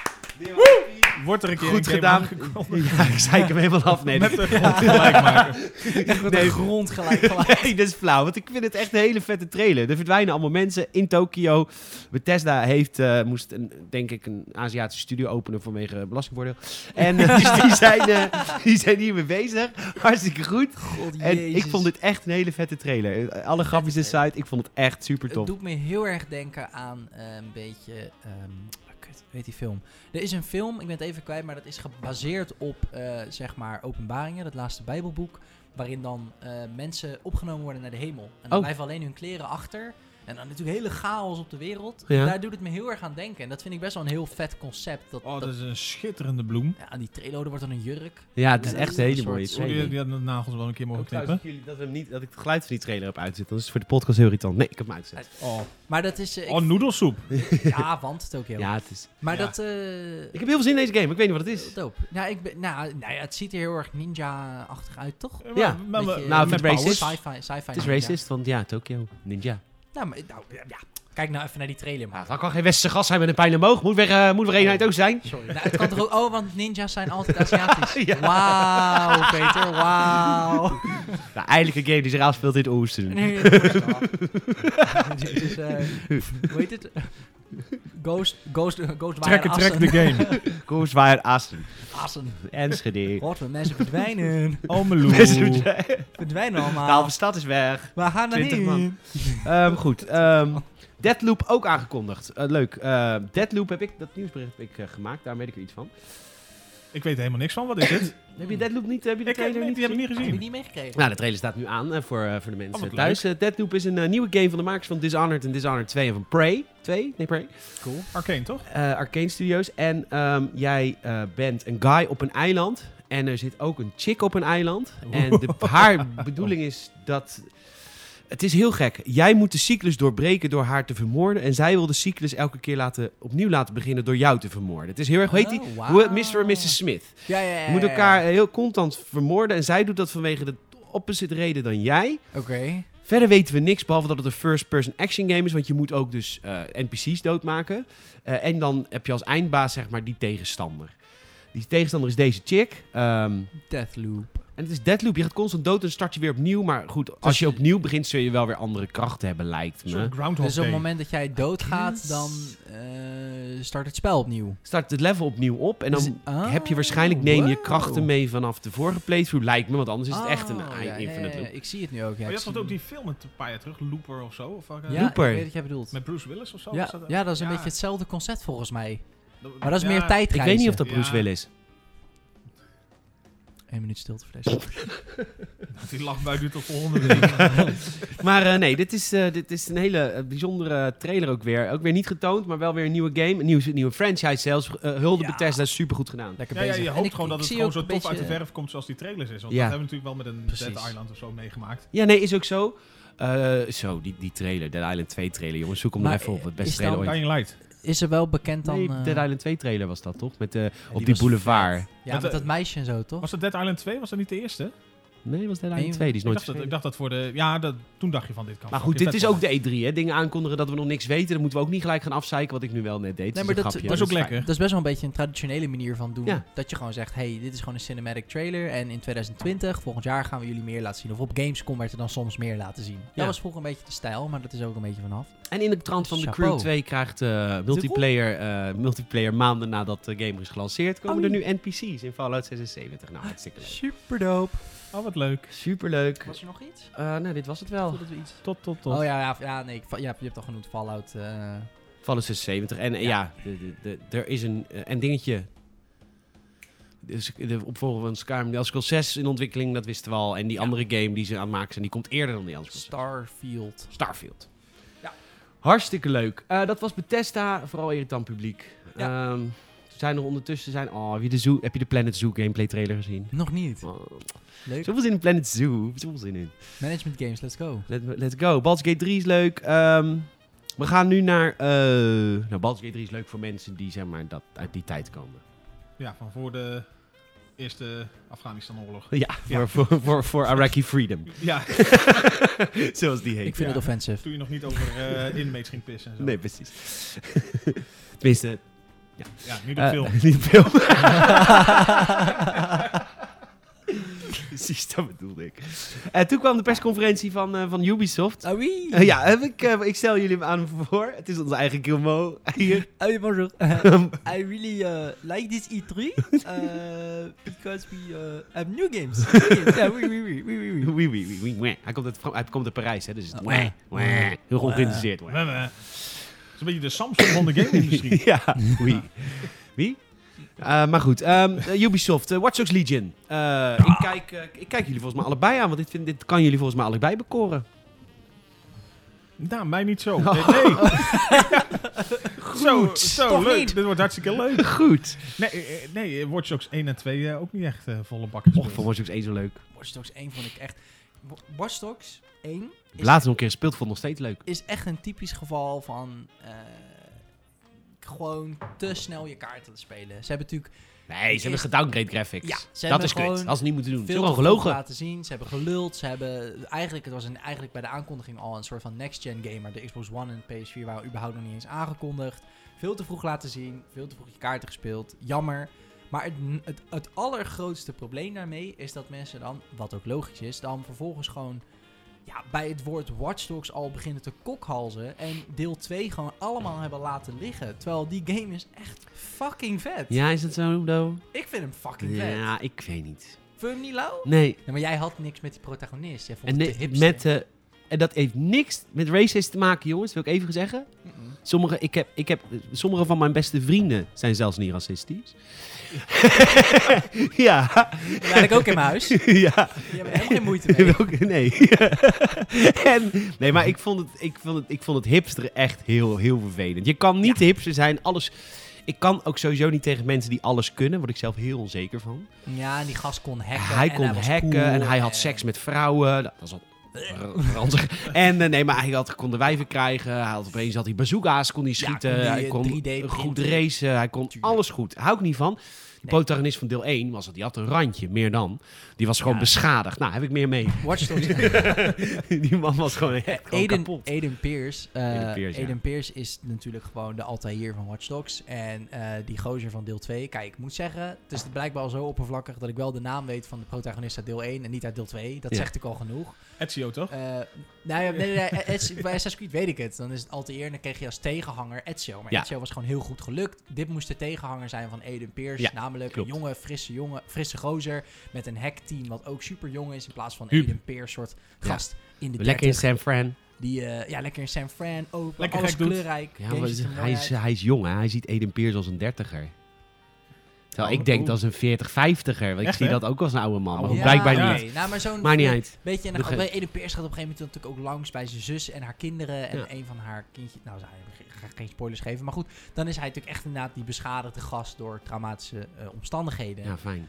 S3: Wordt er een keer
S1: Goed
S3: een game
S1: gedaan.
S3: aangekondigd.
S1: Ja, ik zei ik hem helemaal af. Nee, dat-
S3: Met de grond gelijk maken.
S2: Echt met een grond gelijk. gelijk.
S1: Nee, dat is flauw, want ik vind het echt een hele vette trailer. Er verdwijnen allemaal mensen in Tokio. Bethesda heeft, eh, moest een, denk ik een Aziatische studio openen vanwege belastingvoordeel. En eh, dus die zijn, eh, die zijn hiermee bezig. Hartstikke goed.
S2: God,
S1: En
S2: jezus.
S1: ik vond dit echt een hele vette trailer. Eh, Alle grapjes
S2: trailer.
S1: aside, ik vond het echt super
S2: Het
S1: tof.
S2: doet me heel erg denken aan eh, een beetje. ehm ah, kut, weet die film? Er is een film, ik ben het even kwijt, maar dat is gebaseerd op eh, zeg maar Openbaringen, dat laatste Bijbelboek. Waarin dan eh, mensen opgenomen worden naar de hemel. En dan
S1: Oh.
S2: blijven alleen hun kleren achter. En dan natuurlijk hele chaos op de wereld.
S1: Ja.
S2: Daar doet het me heel erg aan denken. En dat vind ik best wel een heel vet concept. Dat,
S3: Oh,
S2: dat,
S3: dat is een schitterende bloem.
S2: ja, aan die trailer wordt dan een jurk.
S1: Ja, het is echt
S2: Ja, dat
S1: een
S2: is
S1: hele
S2: een
S1: mooie
S2: soort-
S3: Sorry, die,
S1: trailer.
S3: die hadden de nagels wel een keer mogen
S1: Ik hoop
S3: knippen.
S1: trouwens dat jullie- dat, we hem niet, dat ik het geluid van die trailer heb uitzet. Dan is het voor de podcast heel irritant. Nee, ik heb hem uitgezet.
S3: Oh,
S2: Maar dat is. eh, ik-
S3: oh noedelsoep.
S2: ja, want het ook heel.
S1: Ja, het is...
S2: Maar
S3: Ja.
S2: dat. eh,
S1: Ik heb heel veel zin in deze game. Ik weet niet wat het is.
S2: Doop. Ja, ik ben, nou, nou ja, het ziet er heel erg ninja-achtig uit, toch?
S1: Ja,
S3: Eh, maar,
S2: Beetje, eh,
S1: nou,
S3: met
S1: het is
S3: powers.
S1: racist.
S2: Sci-fi, sci-fi
S1: Het is
S2: ninja.
S1: racist, want ja, Tokyo. Ninja.
S2: Nou, maar, nou, ja, ja. Kijk nou even naar die trailer,
S1: Ja,
S2: maar.
S1: dat kan geen westerse gast zijn met een pijl omhoog. Moet weer, eh, moet weer eenheid ook zijn.
S2: Sorry. Nou, het kan toch ook... Oh, want ninjas zijn altijd Aziatisch.
S1: Ja.
S2: Wauw, Peter, wauw.
S1: Nou, eigenlijk een game die zich afspeelt in het oosten.
S2: Nee, dat is wel. Dit is, eh, hoe heet het? Ghost, Ghost, eh, Ghost
S3: Trek het, trek de game.
S1: Kom zwaar Assen.
S2: Assen.
S1: Enschede.
S2: God, we mensen verdwijnen.
S3: Almeloe.
S2: Verdwijnen
S1: De
S2: allemaal.
S1: halve stad is weg.
S2: We gaan naar
S1: 20
S2: heen.
S1: man. Ehm, goed. ehm, Deadloop ook aangekondigd. Eh, leuk. Eh, Deadloop heb ik, dat nieuwsbericht heb ik eh, gemaakt. Daar weet ik er iets van.
S3: Ik weet er helemaal niks van, wat is dit?
S1: Heb je Deadloop niet? eh, Heb je de
S3: ik heb,
S1: trailer
S3: nee,
S1: niet
S3: die heb
S1: gezien?
S3: ik niet
S2: Heb je
S3: gezien.
S2: niet meegekregen?
S1: Nou, de trailer staat nu aan eh, voor, eh, voor de mensen
S3: Oh, wat
S1: thuis. Eh, Deadloop is een eh, nieuwe game van de makers van Dishonored en Dishonored 2 en van Prey. 2? Nee, Prey.
S2: Cool.
S3: Arcane, toch?
S1: eh Arcane Studios. En ehm, jij eh, bent een guy op een eiland. En er zit ook een chick op een eiland. En de, haar bedoeling is dat Het is heel gek. Jij moet de cyclus doorbreken door haar te vermoorden. En zij wil de cyclus elke keer laten, opnieuw laten beginnen door jou te vermoorden. Het is heel erg, hoe heet die?
S2: Oh,
S1: Hoe-
S2: wauw.
S1: Mr. en Mrs. Smith.
S2: Ja, ja, ja,
S1: Je moet
S2: ja, ja.
S1: elkaar eh, heel contant vermoorden. En zij doet dat vanwege de opposite reden dan jij.
S2: Oké.
S1: Verder weten we niks, behalve dat het een first-person action game is. Want je moet ook dus eh, NPC's doodmaken. Eh, en dan heb je als eindbaas, zeg maar, die tegenstander. Die tegenstander is deze chick. Ehm,
S2: Deathloop.
S1: en het is Deadloop. Je gaat constant dood en start je weer opnieuw. Maar goed, als je opnieuw begint, zul je wel weer andere krachten hebben, lijkt me.
S3: Zo'n Groundhog
S2: Dus op
S3: Day.
S2: het moment dat jij doodgaat, dan eh, start het spel opnieuw.
S1: Start het level opnieuw op. En dan
S2: Dus- ah,
S1: heb je waarschijnlijk, neem je
S2: wow.
S1: krachten mee vanaf de vorige playthrough, lijkt me. Want anders is het echt een
S2: Ah, ja,
S1: i-
S2: ja,
S1: infinite
S2: ja,
S1: loop. Oh,
S2: ja, Ik zie het nu ook, ja.
S3: Maar
S2: ik
S3: Oh, je had
S2: zie
S3: toch ook
S2: het
S3: die film een paar jaar terug, Looper of zo? Of welke-
S2: nu. Ja,
S1: Looper.
S2: ik weet dat jij bedoelt.
S3: Met Bruce Willis of zo?
S2: ja,
S3: Was dat- uh,
S2: ja, dat is een
S3: Ja.
S2: beetje hetzelfde concept volgens mij. Maar dat is meer
S1: Ik
S2: tijdreizen.
S1: weet niet of dat Bruce
S3: Ja.
S1: Willis is.
S2: Eén minuut stilte fles.
S3: Die lachbui duurt tot volgende week.
S1: Maar eh, nee, dit is, eh, dit is een hele eh, bijzondere trailer ook weer. Ook weer niet getoond, maar wel weer een nieuwe game. Een nieuwe, nieuwe franchise zelfs. Eh, Hulde
S2: Ja.
S1: Bethesda is supergoed gedaan.
S2: Lekker
S3: ja, ja,
S2: bezig.
S3: je
S2: En
S3: hoopt
S2: ik-
S3: gewoon dat
S2: ik
S3: het
S2: zie
S3: gewoon
S2: ook
S3: zo tof
S2: een
S3: uit de
S2: beetje-
S3: verf komt zoals die trailers is. Want
S1: Ja.
S3: dat hebben we natuurlijk wel met een
S2: Precies.
S3: Dead Island of zo meegemaakt.
S1: Ja, nee, is ook zo. Eh, zo, die, die trailer, Dead Island 2 trailer, jongens. Zoek hem maar
S2: Maar,
S1: even op. Het
S2: eh,
S1: beste
S2: is
S1: trailer
S2: dan-
S1: ooit.
S3: Dying Light.
S2: Is er wel bekend dan...
S1: Nee,
S2: eh,
S1: Dead Island 2 trailer was dat toch? Met, eh, op die,
S2: was
S1: boulevard.
S2: vet. Ja,
S3: Met,
S2: met
S3: eh,
S2: dat meisje en zo, toch?
S3: Was dat Dead Island 2? Was dat niet de eerste?
S1: Nee, was Dead Island
S2: Nee,
S1: 2. Die is
S3: Ik
S1: nooit
S3: dacht, dat, ik dacht dat voor de... Ja, dat, toen dacht je van dit kan.
S1: Maar
S2: Oh,
S1: goed,
S3: fucking
S1: dit is
S3: vet
S1: ook
S3: worden.
S1: de E3, hè? Dingen aankondigen dat we nog niks weten. Dan moeten we ook niet gelijk gaan afzeiken, wat ik nu wel net deed.
S2: Nee,
S1: Het
S2: maar
S1: een
S2: dat-
S1: grapje. Dus-
S3: Dat is ook lekker.
S2: Dat is best wel een beetje een traditionele manier van doen.
S1: Ja.
S2: Dat je gewoon zegt, hey, dit is gewoon een cinematic trailer. En in 2020, volgend jaar, gaan we jullie meer laten zien. Of op Gamescom werd er dan soms meer laten zien.
S1: Ja.
S2: Dat was vroeger een beetje de stijl, maar dat is ook een beetje vanaf.
S1: En in de trant van de
S2: Chapeau.
S1: Crew 2 krijgt eh, multiplayer, eh, multiplayer maanden nadat de game is gelanceerd, komen
S2: Oh,
S1: er nu NPC's in Fallout 76. Nou, hartstikke leuk.
S2: Super dope.
S3: Oh, wat leuk.
S1: Superleuk.
S2: er nog iets?
S1: Eh nou, dit was het wel.
S2: we iets...
S3: Tot, tot, tot.
S2: Oh ja, ja, ja nee, ik, va- ja, je hebt al genoemd Fallout. eh,
S1: Fallout 76. En eh, ja, de- de- de- er is een, eh, een dingetje. Dus de opvolger van Skyrim, The Elder Scrolls 6 in ontwikkeling, dat wisten we al. En die andere game die ze aan het maken zijn, die komt eerder dan The Elder Scrolls 6.
S2: Starfield.
S1: Starfield.
S2: Ja.
S1: Hartstikke leuk. Eh, dat was Bethesda, vooral irritant publiek.
S2: Ja.
S1: Ehm, er zijn er ondertussen zijn. Oh, heb je de, Zoo, heb je de Planet Zoo gameplay trailer gezien?
S2: Nog niet.
S1: Oh,
S2: Leuk.
S1: zoveel zin in Planet Zoo. Zoveel zin in.
S2: Management Games, let's go.
S1: Let, let's go. Baldur's Gate 3 is leuk. Ehm, we gaan nu naar. eh nou, Baldur's Gate 3 is leuk voor mensen die zeg maar dat, uit die tijd komen.
S3: Ja, van voor de eerste Afghanistan-oorlog.
S1: Ja,
S3: Ja.
S1: Voor, voor, voor, voor Iraqi Freedom.
S3: Ja,
S1: Zoals die heet.
S2: Ik vind
S3: ja.
S2: het offensive.
S3: toen je nog niet over eh, inmates ging pissen en zo.
S1: Nee, precies. Tenminste,
S3: Ja, nu de
S1: eh,
S3: film.
S1: niet op film. Precies, dat bedoelde ik. En Eh, toen kwam de persconferentie van, eh, van Ubisoft.
S2: Ah oui!
S1: Eh, ja, heb ik, eh, ik stel jullie hem aan voor. Het is onze eigen Gilmo hier.
S2: Ah oui, bonjour. I really uh, like this E3 uh, because we uh, have new games. New games. Yeah, oui, oui, oui, oui, oui, oui.
S1: Wee, wee, wee, wee, wee. Hij komt uit, Fran- hij komt uit Parijs, hè, dus het is
S2: Ah,
S1: wee, wee. heel georganiseerd.
S3: Het Eh, is een beetje de Samsung van de game-industrie.
S1: Ja, wie? Wie? Eh, maar goed, ehm, eh, Ubisoft, eh, Watch Dogs Legion. Eh, ik, kijk, eh, ik kijk jullie volgens mij allebei aan, want dit, vind, dit kan jullie volgens mij allebei bekoren.
S3: Nou, mij niet zo. Nee, nee. zo, zo
S2: Oh. toch
S3: leuk.
S2: niet?
S3: Dit wordt hartstikke leuk.
S1: Goed.
S3: Nee, eh, eh, nee eh, Watch Dogs 1 en 2 eh, ook niet echt eh, volle bak gespeeld.
S1: Och, voor Watch Dogs 1 zo leuk.
S2: Watch Dogs 1 vond ik echt... Wa- Watch Dogs 1 is,
S1: Laatst nog een keer gespeeld, vond ik nog steeds leuk.
S2: is echt een typisch geval van... eh, gewoon te snel je kaarten spelen. Ze hebben natuurlijk
S1: Nee, ze hebben
S2: Is-
S1: gedowngrade graphics.
S2: Ja, ze
S1: dat
S2: hebben
S1: is kut. Dat
S2: gewoon
S1: hadden ze niet moeten doen. Ze
S2: veel
S1: hebben
S2: te
S1: gewoon
S2: vroeg
S1: gelogen.
S2: laten zien. Ze hebben geluld. Ze hebben eigenlijk, het was een, eigenlijk bij de aankondiging al een soort van next-gen gamer. De Xbox One en PS4 waren überhaupt nog niet eens aangekondigd. Veel te vroeg laten zien. Veel te vroeg je kaarten gespeeld. Jammer. Maar het, het, het allergrootste probleem daarmee is dat mensen dan, wat ook logisch is, dan vervolgens gewoon ja, bij het woord Watch Dogs al beginnen te kokhalzen. En deel 2 gewoon allemaal hebben laten liggen. Terwijl die game is echt fucking vet.
S1: Ja, is dat zo, Udo?
S2: Ik vind hem fucking vet.
S1: Ja, ik weet niet.
S2: Vind je hem niet lauw?
S1: Nee.
S2: Ja, maar jij had niks met die protagonist. Jij vond
S1: En,
S2: het
S1: nee,
S2: te hipster.
S1: met, eh, en dat heeft niks met races te maken, jongens. Wil ik even zeggen.
S2: Mm-mm.
S1: Sommige, ik heb, ik heb, sommige van mijn beste vrienden zijn zelfs niet racistisch. ja.
S2: Die had ik ook in mijn huis. Je
S1: ja.
S2: hebt helemaal geen moeite mee.
S1: Welke- nee. en, nee, maar ik vond, het, ik, vond het, ik vond het hipster echt heel, heel vervelend. Je kan niet hipster zijn, alles... Ik kan ook sowieso niet tegen mensen die alles kunnen. Word ik zelf heel onzeker van.
S2: Ja, en die gast kon hacken.
S1: hij
S2: en
S1: kon
S2: was
S1: hacken
S2: cool
S1: en hij had seks met vrouwen. Dat was al ranzig. En eh, nee, maar hij had konden wijven krijgen. Hij had opeens had hij bazooka's, kon hij schieten.
S2: kon die,
S1: hij kon
S2: eh, 3D
S1: goed
S2: printen.
S1: racen. Hij kon
S2: Tuurlijk.
S1: alles goed. Hou ik niet van. De protagonist van deel 1 was dat. Die had een randje, meer dan. Die was gewoon
S2: Ja.
S1: beschadigd. Nou, heb ik meer mee.
S2: Watch Dogs.
S1: die man was gewoon echt gewoon
S2: Aiden,
S1: kapot.
S2: Aiden Pierce. eh,
S1: Aiden
S2: Aiden,
S1: Pierce,
S2: Pierce
S1: ja.
S2: is natuurlijk gewoon de Altair van Watch Dogs. En eh, die gozer van deel 2. Kijk, ik moet zeggen, het is blijkbaar al zo oppervlakkig dat ik wel de naam weet van de protagonist uit deel 1 en niet uit deel 2. Dat
S1: Ja.
S2: zegt ik al genoeg.
S3: Ezio, toch?
S2: Eh nou ja, nee, nee, nee, Ezio- bij Assassin's Creed weet ik het. Dan is het Altair en dan kreeg je als tegenhanger Ezio. Maar
S1: Ja.
S2: Ezio was gewoon heel goed gelukt. Dit moest de tegenhanger zijn van Aiden Pierce.
S1: Ja,
S2: namelijk
S1: klopt.
S2: een jonge, frisse, jongen, frisse gozer met een hackteam wat ook super jong is. In plaats van
S1: Huub.
S2: Aiden Pierce, soort
S1: Ja.
S2: gast in de
S1: Lekker
S2: 30.
S1: in San Fran.
S2: Die, eh, ja, lekker in San Fran, open,
S3: Lekker
S2: alles
S3: gek doet.
S2: kleurrijk.
S1: Ja, maar
S2: Jezus,
S1: het-
S2: wat
S1: hij, is,
S2: mooi
S1: hij is jong, hè? Hij ziet Eden Peers als een dertiger. Terwijl ik
S3: Oh,
S1: denk
S3: oh.
S1: dat is een 40, 50er. Want ik
S3: Echt,
S1: zie
S3: hè?
S1: dat ook als een oude man. Maar
S2: uit.
S1: goed,
S2: Oh, Ja,
S1: blijkbaar
S3: ja.
S1: niet.
S2: nee, Nou, maar zo'n
S1: Maakt niet uit.
S2: beetje. En
S1: Doe
S2: dan gaat,
S1: ge-
S2: Eden Peers gaat op een gegeven moment natuurlijk ook langs bij zijn zus en haar kinderen. En
S1: Ja.
S2: een van haar kindjes. Nou, ik ga geen spoilers geven. Maar goed, dan is hij natuurlijk echt inderdaad die beschadigde gast door traumatische eh, omstandigheden.
S1: Ja, fijn.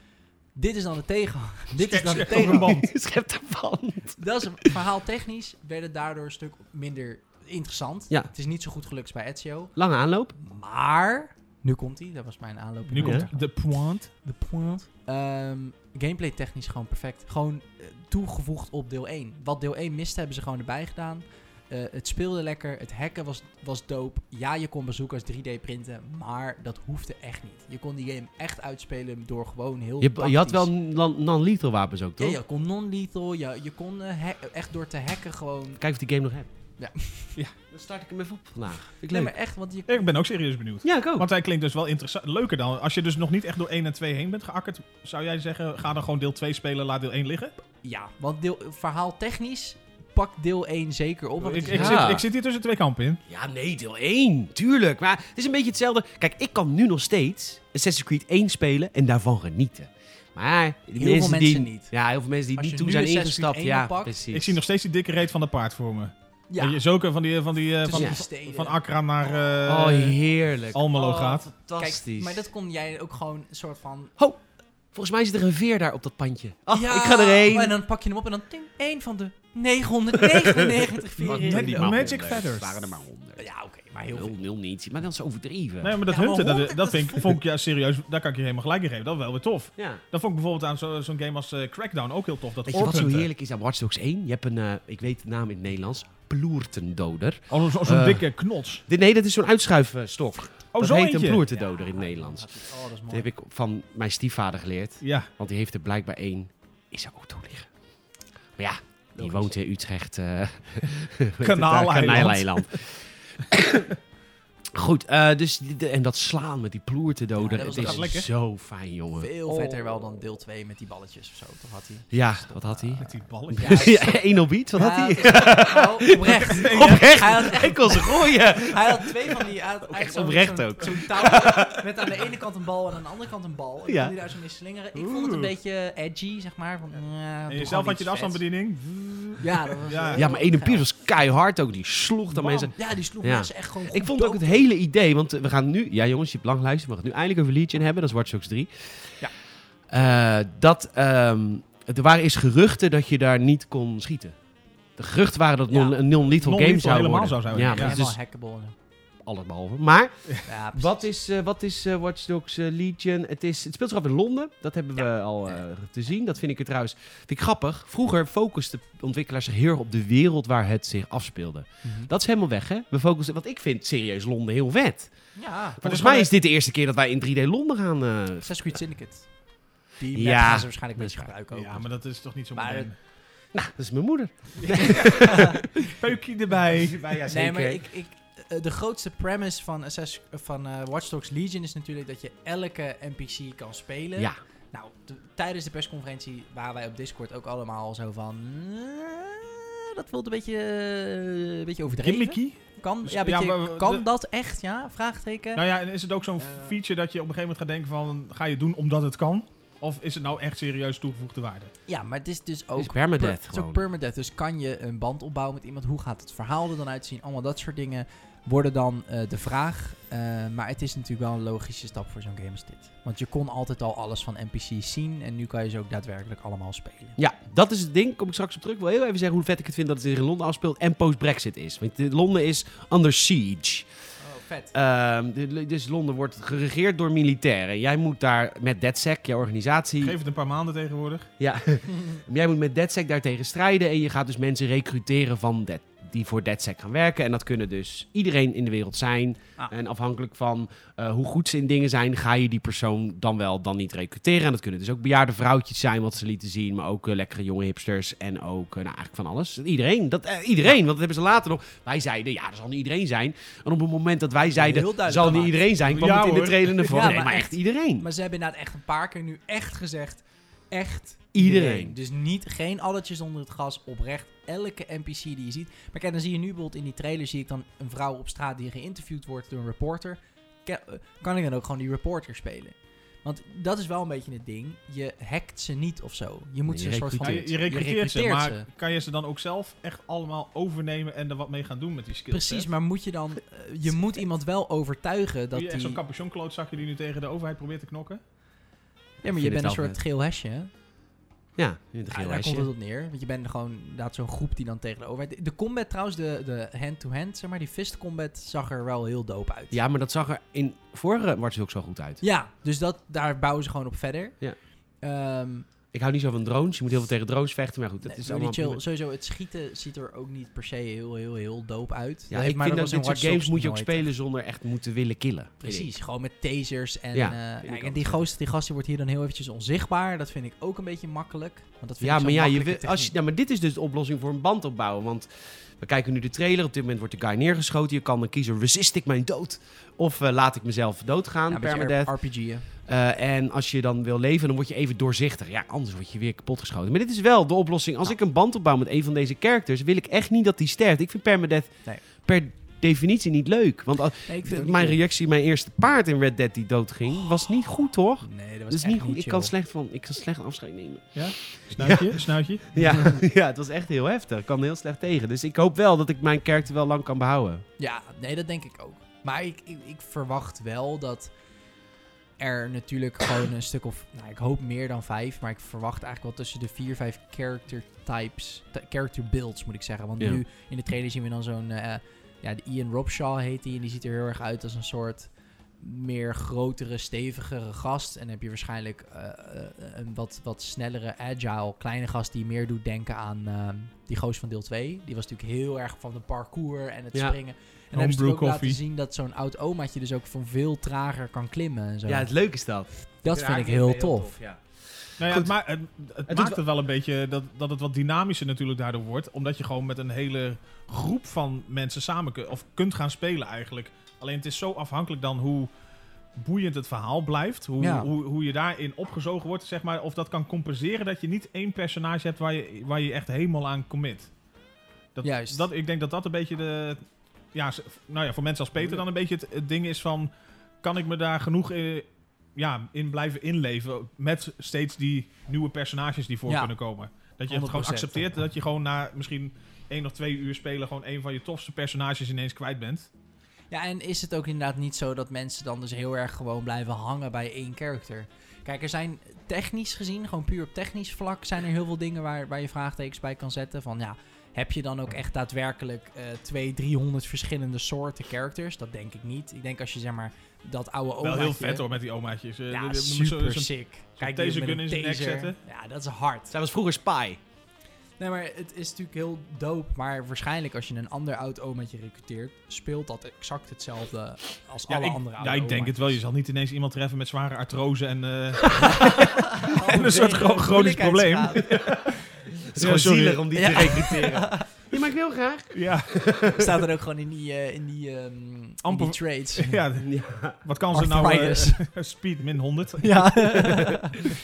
S2: Dit is dan de tegen. Dit is dan de
S3: Schep- schep-
S2: tegen.
S1: Schep daarvan.
S2: Dat is een verhaal technisch. Werd het daardoor een stuk minder interessant.
S1: Ja.
S2: Het is niet zo goed gelukt bij Ezio.
S1: Lange aanloop.
S2: Maar. Nu komt hij. Dat was mijn aanloop.
S3: Nu
S1: Ja.
S3: komt de point.
S2: De point. Ehm, gameplay technisch gewoon perfect. Gewoon eh, toegevoegd op deel 1. Wat deel 1 miste, hebben ze gewoon erbij gedaan. Eh, het speelde lekker. Het hacken was, was dope. Ja, je kon bezoekers 3D printen. Maar dat hoefde echt niet. Je kon die game echt uitspelen door gewoon heel
S1: Je, je had
S2: tactisch-
S1: wel non- non-lethal wapens ook,
S2: Ja,
S1: toch?
S2: je kon non-lethal. Je, je kon eh, hack- echt door te hacken gewoon...
S1: Kijk of die game nog heb.
S2: Ja.
S3: Ja.
S1: Dan start ik hem even op vandaag. Vind ik
S2: Nee,
S1: leuk.
S2: maar echt, want je...
S3: Ik ben ook serieus benieuwd.
S1: Ja, ik ook.
S3: Want hij klinkt dus wel interessant. Leuker dan. Als je dus nog niet echt door 1 en 2 heen bent geakkerd, zou jij zeggen: ga dan gewoon deel 2 spelen, laat deel 1 liggen.
S2: Ja, want deel, verhaal technisch... Pak deel 1 zeker op. want
S3: ik,
S2: het is
S3: ik,
S1: Ja.
S3: zit, ik zit hier tussen twee kampen in.
S1: Ja, nee, deel 1. Tuurlijk. Maar het is een beetje hetzelfde. Kijk, ik kan nu nog steeds Assassin's Creed 1 spelen en daarvan genieten. Maar de
S2: Heel veel
S1: die,
S2: mensen niet.
S1: Ja, heel veel mensen die
S2: Als
S1: niet
S2: je
S1: toen
S2: nu
S1: zijn
S2: Assassin's Creed
S1: ingestapt.
S2: 1
S1: Ja,
S2: oppakt,
S1: precies.
S3: Ik zie nog steeds die dikke reet van dat paard voor me.
S2: Ja.
S3: Dat je zulke van die, van die eh, van,
S2: tussen
S1: ja.
S2: de steden.
S3: van Accra naar eh,
S1: Oh, heerlijk.
S3: Almelo
S1: Oh,
S3: gaat.
S1: Fantastisch.
S2: Kijk, maar dat kon jij ook gewoon een soort van...
S1: Volgens mij zit er een veer daar op dat pandje. Oh,
S2: Ja,
S1: ik ga erheen.
S2: En dan pak je hem op en dan ting, één van de 999
S1: Want
S2: veren.
S3: net
S1: net
S2: in de
S3: die
S1: die
S2: oven.
S3: man. Magic
S1: honderd.
S3: feathers.
S1: Het waren er maar honderd.
S2: Ja, oké, maar heel
S1: Heel,
S2: veel.
S1: heel niet. Maar dat is overdreven.
S3: Nee, maar dat
S2: Ja, maar
S3: hunten, dat,
S2: honderd,
S3: dat vind ik,
S2: dat
S3: vond ik ja, serieus, daar kan ik je helemaal gelijk in geven. Dat is wel weer tof.
S1: Ja.
S3: Dat vond ik bijvoorbeeld aan zo- zo'n game als eh, Crackdown ook heel tof. Dat
S1: Weet je wat zo
S3: oorpunten.
S1: heerlijk is aan Watch Dogs 1? Je hebt een, eh, ik weet de naam in het Nederlands, ploertendoder.
S3: Oh, zo- zo'n
S1: Eh.
S3: dikke knots.
S1: Dit- nee, dat is zo'n uitschuifstok.
S3: Oh,
S1: dat
S3: zo
S1: heet
S3: eentje.
S1: een ploertendoder in het Nederlands.
S2: Ja, Oh, dat is
S1: Dat
S2: mooi.
S1: heb ik van mijn stiefvader geleerd.
S3: Ja,
S1: Want die heeft er blijkbaar één in zijn auto liggen. Maar ja, die
S2: Logisch.
S1: woont in Utrecht. eh,
S3: Kanaaleiland.
S1: Kanaaleiland. Goed, eh, dus die- de- en dat slaan met die ploertendoden.
S2: Ja, dat was-
S1: het
S3: dat
S1: is
S3: gaat lekker.
S1: zo fijn, jongen.
S2: Veel
S1: Oh.
S2: vetter wel dan deel 2 met die balletjes of zo. Dat had hij.
S1: Ja, wat had hij?
S3: met die ballen.
S2: Ja, dat is-
S1: Eén op iets, wat had
S2: Ja,
S1: hij?
S2: dat is- oh, oprecht.
S1: Oprecht,
S2: Hij had echt-
S1: ik kon ze gooien.
S2: Hij had twee van die... Hij had, hij
S1: echt
S2: had zo'n-
S1: oprecht
S2: zo'n-
S1: ook.
S2: Zo'n touw met aan de ene kant een bal en aan de andere kant een bal. En dan
S1: Ja.
S2: kon hij daar zo mee slingeren. Ik vond het een
S3: Oeh.
S2: beetje edgy, zeg maar. Van, eh,
S3: En
S2: doe
S3: jezelf
S2: gewoon
S3: had je de
S2: iets vets.
S3: afstandsbediening.
S2: Ja, dat was,
S3: Ja.
S2: eh,
S1: Ja, maar Eden
S2: geil.
S1: Piers was keihard ook. Die sloeg dan
S3: Bam.
S1: mensen.
S2: Ja, die sloeg
S1: Ja.
S2: mensen echt gewoon
S1: Ik
S2: goed
S1: vond ook
S2: dood.
S1: het hele idee, want eh, we gaan nu... Ja jongens, je hebt lang geluisterd. We gaan het nu eindelijk over Legion hebben. Dat is Watch Dogs 3.
S3: Ja.
S1: Eh, dat... ehm, er waren eerst geruchten dat je daar niet kon schieten. De geruchten waren dat het
S2: Ja.
S1: non- een non-lethal
S3: Non-lethal
S1: game zou
S3: helemaal
S1: worden.
S3: zou zijn.
S1: Ja,
S3: Ja.
S1: Ah, maar dat
S2: Helemaal
S1: is
S2: hackable. en zo.
S1: alles behalve. Maar
S2: Ja, precies.
S1: wat is, eh, wat is eh, Watch Dogs eh, Legion? Het, is, het speelt zich af in Londen. Dat hebben we al eh, te zien. Dat vind ik er trouwens vind ik grappig. Vroeger focusten ontwikkelaars zich heel erg op de wereld waar het zich afspeelde.
S2: Mhm.
S1: Dat is helemaal weg, hè? We focussen, want ik vind serieus Londen heel vet.
S2: Ja,
S1: Volgens
S3: gewoon
S1: mij is dit de eerste keer dat wij in 3D Londen gaan. eh,
S2: Assassin's Creed Syndicate. Die
S1: Ja,
S2: ja, gaan ze waarschijnlijk
S1: dat
S2: een
S1: is
S2: beetje gebruiken ook.
S3: Ja, maar dat is toch niet zo
S2: Maar-
S3: modern.
S1: dat is mijn moeder.
S3: Peukje erbij.
S2: nee, maar ik, ik, eh, de grootste premise van, Assassin's- eh, van eh, Watch Dogs Legion is natuurlijk dat je elke NPC kan spelen.
S1: Ja,
S2: Nou, t- tijdens de persconferentie waren wij op Discord ook allemaal zo van... eh, dat voelt een beetje, eh, een beetje overdreven.
S3: Gimmicky.
S2: Kan,
S3: Dus-
S2: ja,
S3: ja,
S2: beetje,
S3: maar-
S2: kan
S3: de-
S2: dat echt? Ja, vraagteken.
S3: Nou ja, en is het ook zo'n
S2: Eh.
S3: feature dat je op een gegeven moment gaat denken van... Ga je doen omdat het kan? Of is het nou echt serieus toegevoegde waarde?
S2: Ja, maar het is dus
S1: Het
S2: ook...
S1: is permadeath
S2: per- het is ook
S1: gewoon.
S2: permadeath. Dus kan je een band opbouwen met iemand? Hoe gaat het verhaal er dan uitzien? Allemaal dat soort dingen worden dan eh, de vraag. Eh, maar het is natuurlijk wel een logische stap voor zo'n game als dit. Want je kon altijd al alles van NPC's zien. En nu kan je ze ook daadwerkelijk allemaal spelen.
S1: Ja, dat is het ding. Kom ik straks op terug. Ik wil heel even zeggen hoe vet ik het vind dat het zich in Londen afspeelt en post-Brexit is. Want eh, Londen is under siege.
S2: Oh, vet.
S1: Ehm, de- dus Londen wordt geregeerd door militairen. Jij moet daar met DedSec, jouw organisatie.
S3: Geef het een paar maanden tegenwoordig.
S1: Ja, jij moet met DedSec daartegen strijden. En je gaat dus mensen recruteren van Dead, die voor DedSec gaan werken. En dat kunnen dus iedereen in de wereld zijn.
S2: Ah.
S1: En afhankelijk van eh, hoe goed ze in dingen zijn, ga je die persoon dan wel dan niet recruteren. En dat kunnen dus ook bejaarde vrouwtjes zijn, wat ze lieten zien. Maar ook eh, lekkere jonge hipsters. En ook eh, nou, eigenlijk van alles. Iedereen. Dat, eh, iedereen. Want dat hebben ze later nog. Wij zeiden, ja, dat zal niet iedereen zijn. En op het moment dat wij
S2: Heel
S1: zeiden,
S2: duidelijk
S1: zal niet
S2: gemaakt.
S1: iedereen zijn, kwam
S3: Ja,
S1: het in de
S3: hoor.
S1: trailer naar voren.
S2: Ja,
S1: Nee,
S2: maar
S1: maar echt iedereen.
S2: Maar ze hebben inderdaad echt een paar keer nu echt gezegd... Echt
S1: Iedereen.
S2: Dus niet, geen alletjes onder het gas, oprecht. Elke NPC die je ziet. Maar kijk, dan zie je nu bijvoorbeeld in die trailer... zie ik dan een vrouw op straat die geïnterviewd wordt door een reporter. Ke- eh, Kan ik dan ook gewoon die reporter spelen? Want dat is wel een beetje het ding. Je hackt ze niet of zo. Je moet
S1: Nee,
S2: ze
S1: je
S2: een soort
S3: Ja,
S2: van...
S1: recruteert
S3: je, je recruteert ze,
S2: recruteert
S3: maar
S2: ze.
S3: kan je ze dan ook zelf echt allemaal overnemen en er wat mee gaan doen met die skills?
S2: Precies, maar moet je dan... eh, Je moet iemand wel overtuigen dat
S3: Dat je echt
S2: die...
S3: zo'n capuchonklootzakje die nu tegen de overheid probeert te knokken?
S2: Ja,
S1: Ik
S2: maar
S1: vind
S2: je
S1: het
S2: bent een
S1: wel
S2: soort
S1: vet.
S2: geel hesje, hè?
S1: Ja, in het
S2: Ja,
S1: geel
S2: Ah, daar
S1: lijstje.
S2: komt het op neer. Want je bent gewoon inderdaad zo'n groep die dan tegen de overheid... De combat trouwens, de de hand-to-hand, zeg maar, die fist combat zag er wel heel dope uit.
S1: Ja, maar dat zag er in vorige Watch ook zo goed uit.
S2: Ja, dus dat, daar bouwen ze gewoon op verder.
S1: Ja.
S2: Ehm,
S1: Ik hou niet zo van drones. Je moet heel veel tegen drones vechten. Maar goed, dat
S2: nee,
S1: is
S2: really
S1: allemaal...
S2: chill. Sowieso, het schieten ziet er ook niet per se heel, heel, heel dope uit.
S1: Ja,
S2: Nee,
S1: ik
S2: maar
S1: vind dat
S2: was in
S1: dit soort
S2: Watch Dogs
S1: games moet je ook
S2: nooit.
S1: spelen zonder echt moeten willen killen.
S2: Precies, gewoon met tasers. En,
S1: Ja,
S2: eh,
S1: vind ik
S2: en
S1: ook
S2: die
S1: vet.
S2: gast, die gast die wordt hier dan heel eventjes onzichtbaar. Dat vind ik ook een beetje makkelijk. Want dat vind
S1: Ja,
S2: ik
S1: maar,
S2: zo'n
S1: ja, je
S2: makkelijke
S1: wil- als je, ja,
S2: techniek.
S1: maar dit is dus de oplossing voor een band opbouwen. Want we kijken nu de trailer. Op dit moment wordt de guy neergeschoten. Je kan dan kiezen, resist ik mijn dood? Of eh, laat ik mezelf doodgaan,
S2: Ja, een beetje
S1: permadeath.
S2: RPG'en.
S1: Eh, en als je dan wil leven, dan word je even doorzichtig. Ja, anders word je weer kapotgeschoten. Maar dit is wel de oplossing. Als
S2: Ja.
S1: ik een band opbouw met een van deze characters, wil ik echt niet dat die sterft. Ik vind permadeath
S2: Nee.
S1: per definitie niet leuk. Want als-
S2: Nee, ik vind het
S1: mijn
S2: niet
S1: reactie, mijn eerste paard in Red Dead die doodging, was niet goed hoor.
S2: cool. Nee, dat was
S1: Dat is
S2: echt
S1: niet goed. Ik kan
S2: chill.
S1: slecht van, ik kan slecht afscheid nemen.
S3: Snuitje, snuitje.
S1: Ja, ja, het was echt heel heftig. Ik kan heel slecht tegen. Dus ik hoop wel dat ik mijn karakter wel lang kan behouden.
S2: Ja, nee, dat denk ik ook. Maar ik, ik, ik verwacht wel dat er natuurlijk gewoon een stuk of... Nou, ik hoop meer dan vijf, maar ik verwacht eigenlijk wel tussen de vier, vijf character types... t- Character builds, moet ik zeggen. Want
S1: Ja.
S2: nu in de trailer zien we dan zo'n... eh, ja, de Ian Robshaw heet die. En die ziet er heel erg uit als een soort meer grotere, stevigere gast. En dan heb je waarschijnlijk eh, eh, een wat, wat snellere, agile, kleine gast... die meer doet denken aan ehm, die goos van deel 2. Die was natuurlijk heel erg van de parkour en het
S1: Ja.
S2: springen. En dan hebben ze
S3: Homebrew
S2: ook laten
S3: koffie.
S2: zien dat zo'n oud omaatje dus ook van veel trager kan klimmen en zo.
S1: leuke is dat.
S2: dat vind ik heel tof.
S1: ja.
S3: Nou ja,
S1: Goed.
S3: het, ma- het, het
S1: doet
S3: maakt
S1: wel-
S3: het wel een beetje dat, dat het wat dynamischer natuurlijk daardoor wordt. Omdat je gewoon met een hele groep van mensen samen kun- of kunt gaan spelen eigenlijk. Alleen het is zo afhankelijk dan hoe boeiend het verhaal blijft. Hoe,
S2: Ja.
S3: hoe, hoe je daarin opgezogen wordt, zeg maar. Of dat kan compenseren dat je niet één personage hebt waar je, waar je echt helemaal aan commit. Dat,
S2: Juist.
S3: Dat, ik denk dat dat een beetje de... Ja, z- nou ja, voor mensen als Peter dan een beetje het, het ding is van... Kan ik me daar genoeg eh, ja, in blijven inleven. Met steeds die nieuwe personages die voor
S2: Ja.
S3: kunnen komen. Dat je het gewoon
S2: 100%.
S3: accepteert dat je gewoon na misschien één of twee uur spelen... gewoon een van je tofste personages ineens kwijt bent.
S2: Ja, en is het ook inderdaad niet zo dat mensen dan dus heel erg gewoon blijven hangen bij één character? Kijk, er zijn technisch gezien, gewoon puur op technisch vlak, zijn er heel veel dingen waar, waar je vraagtekens bij kan zetten. Van ja, heb je dan ook echt daadwerkelijk eh 200, 300 verschillende soorten characters? Dat denk ik niet. Ik denk als je zeg maar dat oude
S3: Wel
S2: omaatje-
S3: heel vet hoor met die omaatjes. Eh,
S2: Ja,
S3: de- de- zo-
S2: super
S3: zo'n-
S2: sick.
S3: taser
S2: Kijk, deze
S3: gun in zijn nek zetten.
S2: Ja, dat is hard.
S1: Zij was vroeger spy.
S2: Nee, maar het is natuurlijk heel dope. Maar waarschijnlijk als je een ander oud omaatje recruteert, speelt dat exact hetzelfde als
S3: ja,
S2: alle
S3: ik,
S2: andere oude
S3: ja, ik denk het wel. Je
S2: omaatjes.
S3: zal niet ineens iemand treffen met zware artrose en, eh, en een soort gro- chronisch probleem.
S2: Moeilijkheidsgraad.
S1: Het
S3: Ja, sorry.
S1: om die
S2: Ja.
S1: recruteren.
S2: je
S1: maar ik wil graag.
S3: Ja,
S2: Staat er ook gewoon in die, eh, in die, ehm, in
S3: Amper-
S2: die trades.
S3: ja,
S1: Ja.
S3: wat kan ze nou? eh,
S2: Arthritis.
S3: speed min 100.
S2: ja.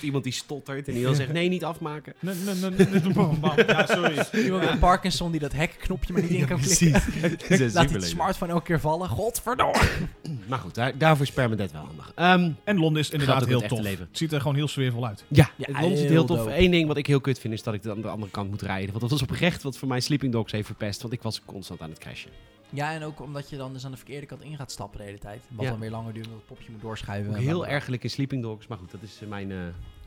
S1: Iemand die stottert en die dan zegt, nee, niet afmaken.
S3: Nee, nee, nee, nee, nee, bam, bam. Ja, sorry.
S2: Iemand met Parkinson die dat hekknopje maar niet in kan klikken.
S1: Precies. Het is een
S2: Laat die
S1: superleven.
S2: smartphone elke keer vallen. Godverdomme.
S1: Maar goed, daar, daarvoor is permanent wel handig. Ehm,
S3: En Londen is inderdaad
S1: ook in
S3: heel
S1: het echte
S3: tof.
S1: leven.
S3: Het ziet er gewoon heel sfeervol uit.
S1: ja,
S2: Ja,
S1: het Londen zit heel
S2: heel
S1: tof.
S2: dope.
S1: Eén ding wat ik heel kut vind is dat ik aan de andere kant moet rijden. Want dat was oprecht wat voor mij Sleeping Dogs heeft verpest. Want ik was constant aan het crashen.
S2: Ja, en ook omdat je dan dus aan de verkeerde kant in gaat stappen de hele tijd. Wat
S1: Ja.
S2: dan weer langer duurt, omdat het popje moet doorschuiven.
S1: Ook heel ergelijk in Sleeping Dogs. Maar goed, dat is eh, mijn... eh,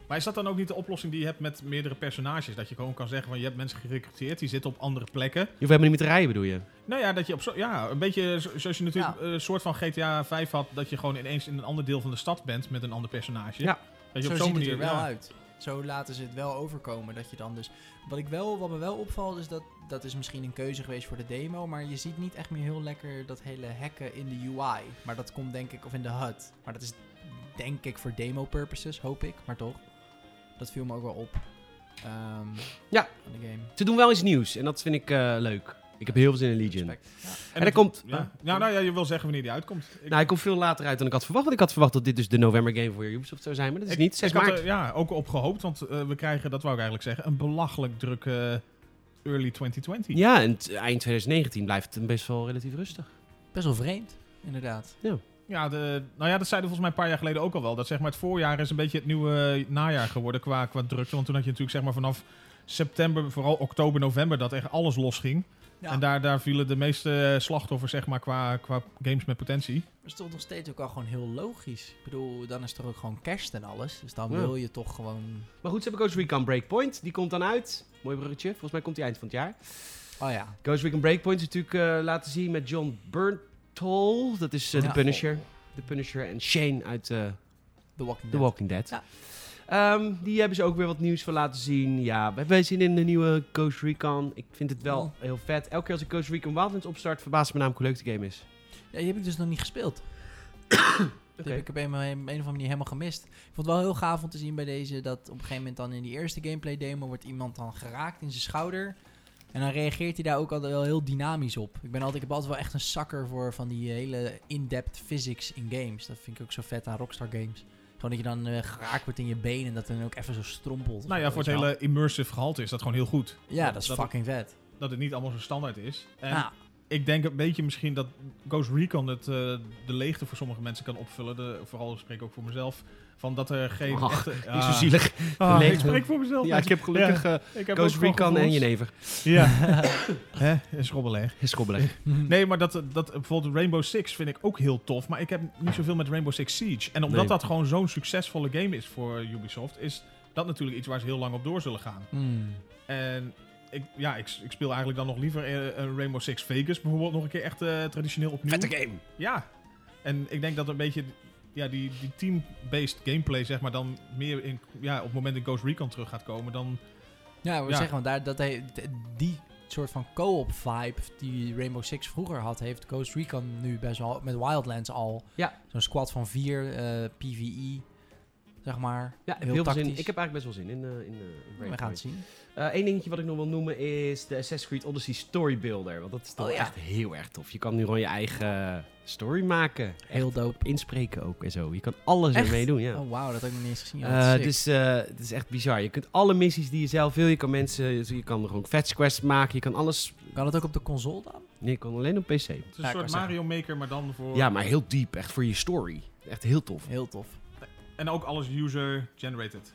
S3: Maar is dat dan ook niet de oplossing die je hebt met meerdere personages? Dat je gewoon kan zeggen van je hebt mensen gerecruiteerd, die zitten op andere plekken.
S1: je hoeft helemaal niet meer te rijden, bedoel je?
S3: Nou ja, dat je op zo, ja, een beetje zo- zoals je natuurlijk eh, een soort van GTA 5 had, dat je gewoon ineens in een ander deel van de stad bent met een ander personage.
S1: Ja.
S3: Dat je
S2: Zo
S3: op
S2: ziet
S3: zo'n
S2: het
S3: manier.
S2: er wel
S3: ja.
S2: uit. Zo laten ze het wel overkomen dat je dan dus... Wat, ik wel, wat me wel opvalt is dat... Dat is misschien een keuze geweest voor de demo, maar je ziet niet echt meer heel lekker dat hele hacken in de UI. Maar dat komt denk ik, of in de HUD. Maar dat is denk ik voor demo purposes, hoop ik. Maar toch, dat viel me ook wel op. Ehm,
S1: Ja.
S2: Van de game.
S1: Ze doen wel iets nieuws. En dat vind ik eh, leuk. Ik heb heel veel zin in Legion.
S2: Respect. Ja.
S1: En er
S3: het-
S1: komt...
S3: Ja. Nou, nou ja, je wil zeggen wanneer die uitkomt. Ik-
S1: Nou, hij komt veel later uit dan ik had verwacht. Want ik had verwacht dat dit dus de november game voor Ubisoft zou zijn. Maar dat is
S3: ik-
S1: niet. 6
S3: ik had
S1: maart.
S3: er, ja, ook op gehoopt, want eh, we krijgen, dat wou ik eigenlijk zeggen, een belachelijk druk eh, early 2020.
S1: Ja, en t- eind 2019 blijft het best wel relatief rustig.
S2: Best wel vreemd, inderdaad.
S3: Ja, de, nou ja, dat zeiden we volgens mij een paar jaar geleden ook al wel. Dat zeg maar het voorjaar is een beetje het nieuwe eh, najaar geworden qua, qua drukte. Want toen had je natuurlijk zeg maar vanaf september, vooral oktober, november, dat echt alles losging.
S2: Ja.
S3: En daar, daar vielen de meeste eh, slachtoffers zeg maar qua, qua games met potentie.
S2: Maar het is toch nog steeds ook al gewoon heel logisch. Ik bedoel, dan is er ook gewoon kerst en alles. Dus dan
S1: Ja.
S2: wil je toch gewoon...
S1: Maar goed, ze hebben Ghost Recon Breakpoint. Die komt dan uit. Mooi bruggetje. Volgens mij komt die eind van het jaar.
S2: Oh ja.
S1: Ghost Recon Breakpoint is natuurlijk eh, laten zien met John Burntall. Dat is eh,
S2: Ja.
S1: de Punisher. De Punisher en Shane uit eh,
S2: The Walking
S1: The
S2: Dead.
S1: Walking Dead.
S2: Ja.
S1: Ehm, die hebben ze ook weer wat nieuws van laten zien. Ja, we hebben zin in de nieuwe Ghost Recon. Ik vind het
S2: Mm.
S1: wel heel vet. Elke keer als ik Ghost Recon Wildlands opstart, verbaast het me namelijk hoe leuk de game is.
S2: Ja, die heb ik dus nog niet gespeeld. Dat heb ik op een, op een of andere manier helemaal gemist. Ik vond het wel heel gaaf om te zien bij deze dat op een gegeven moment dan in die eerste gameplay demo wordt iemand dan geraakt in zijn schouder. En dan reageert hij daar ook altijd wel heel dynamisch op. Ik, ben altijd, ik heb altijd wel echt een sucker voor van die hele in-depth physics in games. Dat vind ik ook zo vet aan Rockstar Games. Gewoon dat je dan eh, geraakt wordt in je benen en dat dan ook even zo strompelt. of
S3: Nou
S2: zo,
S3: ja, voor
S2: weet
S3: het
S2: je wel.
S3: hele immersive gehalte is dat gewoon heel goed.
S2: Ja, dat is
S3: het-
S2: fucking vet.
S3: dat het niet allemaal zo standaard is. En
S2: Ja,
S3: ik denk een beetje misschien dat Ghost Recon het, eh, de leegte voor sommige mensen kan opvullen. De, vooral spreek ik ook voor mezelf. Van dat er geen
S1: Ach,
S3: echte...
S1: Niet
S3: Ah.
S1: zo zielig.
S3: Ah,
S1: De leegte.
S3: ik spreek voor mezelf.
S1: Ja, ik heb gelukkig eh,
S3: Ik heb
S1: Ghost
S3: ook gewoon
S1: Recon en
S3: gevoelens.
S1: Jenever.
S3: Ja. Hè? Is robbelig.
S1: Is schobbelig.
S3: Nee, maar dat, dat bijvoorbeeld Rainbow Six vind ik ook heel tof. Maar ik heb niet zoveel met Rainbow Six Siege. En omdat
S1: Nee.
S3: dat gewoon zo'n succesvolle game is voor Ubisoft, is dat natuurlijk iets waar ze heel lang op door zullen gaan.
S2: Hmm.
S3: En ik, ja, ik, ik speel eigenlijk dan nog liever eh, een Rainbow Six Vegas bijvoorbeeld nog een keer echt eh, traditioneel opnieuw.
S1: Vette game.
S3: Ja. En ik denk dat een beetje ja, die, die team-based gameplay, zeg maar, dan meer in, ja, op het moment dat Ghost Recon terug gaat komen, dan
S2: Ja, ik wil
S3: Ja.
S2: zeggen, want daar, dat hij, d- die soort van co-op vibe die Rainbow Six vroeger had, heeft Ghost Recon nu best wel met Wildlands al.
S1: Ja.
S2: Zo'n squad van vier eh, PvE, zeg maar.
S1: Ja, ik heb
S2: Heel
S1: heel veel zin.
S2: tactisch.
S1: Ik heb eigenlijk best wel zin in, eh, in, eh, in
S2: We
S1: Breakpoint.
S2: gaan het zien.
S1: Eén Eh, dingetje wat ik nog wil noemen is de Assassin's Creed Odyssey Story Builder. Want dat is toch
S2: Oh ja.
S1: echt heel erg tof. Je kan nu gewoon je eigen story maken. Echt
S2: Heel dope.
S1: inspreken ook en zo. Je kan alles
S2: Echt?
S1: ermee doen, ja.
S2: Oh wauw, dat heb ik nog niet eens gezien.
S1: Eh,
S2: Ja, dat is sick.
S1: dus eh, het is echt bizar. Je kunt alle missies die je zelf wil. Je kan mensen, je kan gewoon fetch quests maken. Je kan alles.
S2: Kan dat ook op de console dan?
S1: Nee, je kan alleen op PC.
S3: het is
S2: Ja,
S3: een
S2: ik wou
S3: soort
S2: zeggen.
S3: Mario Maker, maar dan voor...
S1: Ja, maar heel diep, echt voor je story. Echt heel tof.
S2: Heel tof.
S3: En ook alles user-generated.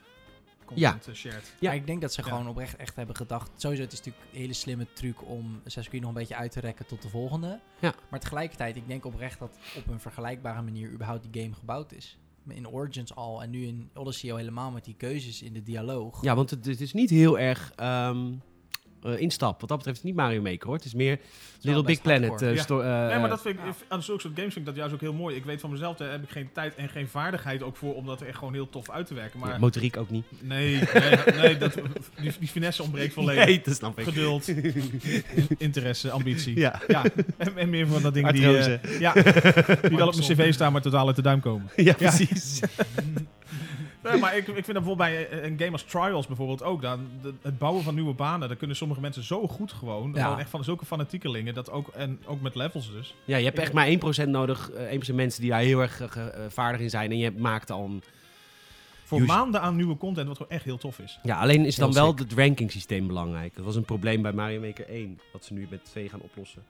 S1: Ja.
S3: Content eh, shared.
S1: Ja.
S2: Ja. ik denk dat ze
S3: Ja.
S2: gewoon oprecht echt hebben gedacht. Sowieso, het is natuurlijk een hele slimme truc om Assassin's Creed nog een beetje uit te rekken tot de volgende.
S1: Ja.
S2: Maar tegelijkertijd, ik denk oprecht dat op een vergelijkbare manier überhaupt die game gebouwd is. In Origins al en nu in Odyssey al helemaal met die keuzes in de dialoog.
S1: Ja, want het, het is niet heel erg ehm, eh, instap. Wat dat betreft is het niet Mario Maker hoor. Het is meer
S2: Het is wel
S1: Little Big
S2: best
S1: Planet.
S2: hardcore.
S1: eh,
S3: Ja.
S1: sto- eh,
S3: nee, maar dat vind ik,
S2: ja.
S3: aan zulke soort games vind ik dat juist ook heel mooi. Ik weet van mezelf, daar heb ik geen tijd en geen vaardigheid ook voor om dat echt gewoon heel tof uit te werken.
S1: ja,
S3: Maar
S1: motoriek ook niet.
S3: nee, nee, nee dat, die, die finesse ontbreekt volledig.
S1: dat snap
S3: Geduld, interesse, ambitie.
S1: Ja.
S3: Ja, en, en meer van dat ding die,
S1: Artrose.
S3: eh, ja, die wel op mijn cv staan, maar totaal uit de duim komen.
S1: ja, precies.
S3: Nee, maar ik, ik vind dat bijvoorbeeld bij eh, een game als Trials bijvoorbeeld ook. Dan, de- het bouwen van nieuwe banen, daar kunnen sommige mensen zo goed gewoon.
S2: Ja.
S3: Gewoon echt van zulke fanatiekelingen. Dat ook, en ook met levels dus.
S1: Ja, je hebt echt maar 1% nodig. eh, 1% mensen die daar heel erg eh, ge- eh, vaardig in zijn. En je maakt al een...
S3: Voor
S1: Juist.
S3: maanden aan nieuwe content, wat gewoon echt heel tof is.
S1: Ja, alleen is dan
S2: Heel
S1: wel het ranking systeem belangrijk. Dat was een probleem bij Mario Maker 1. Wat ze nu met 2 gaan oplossen.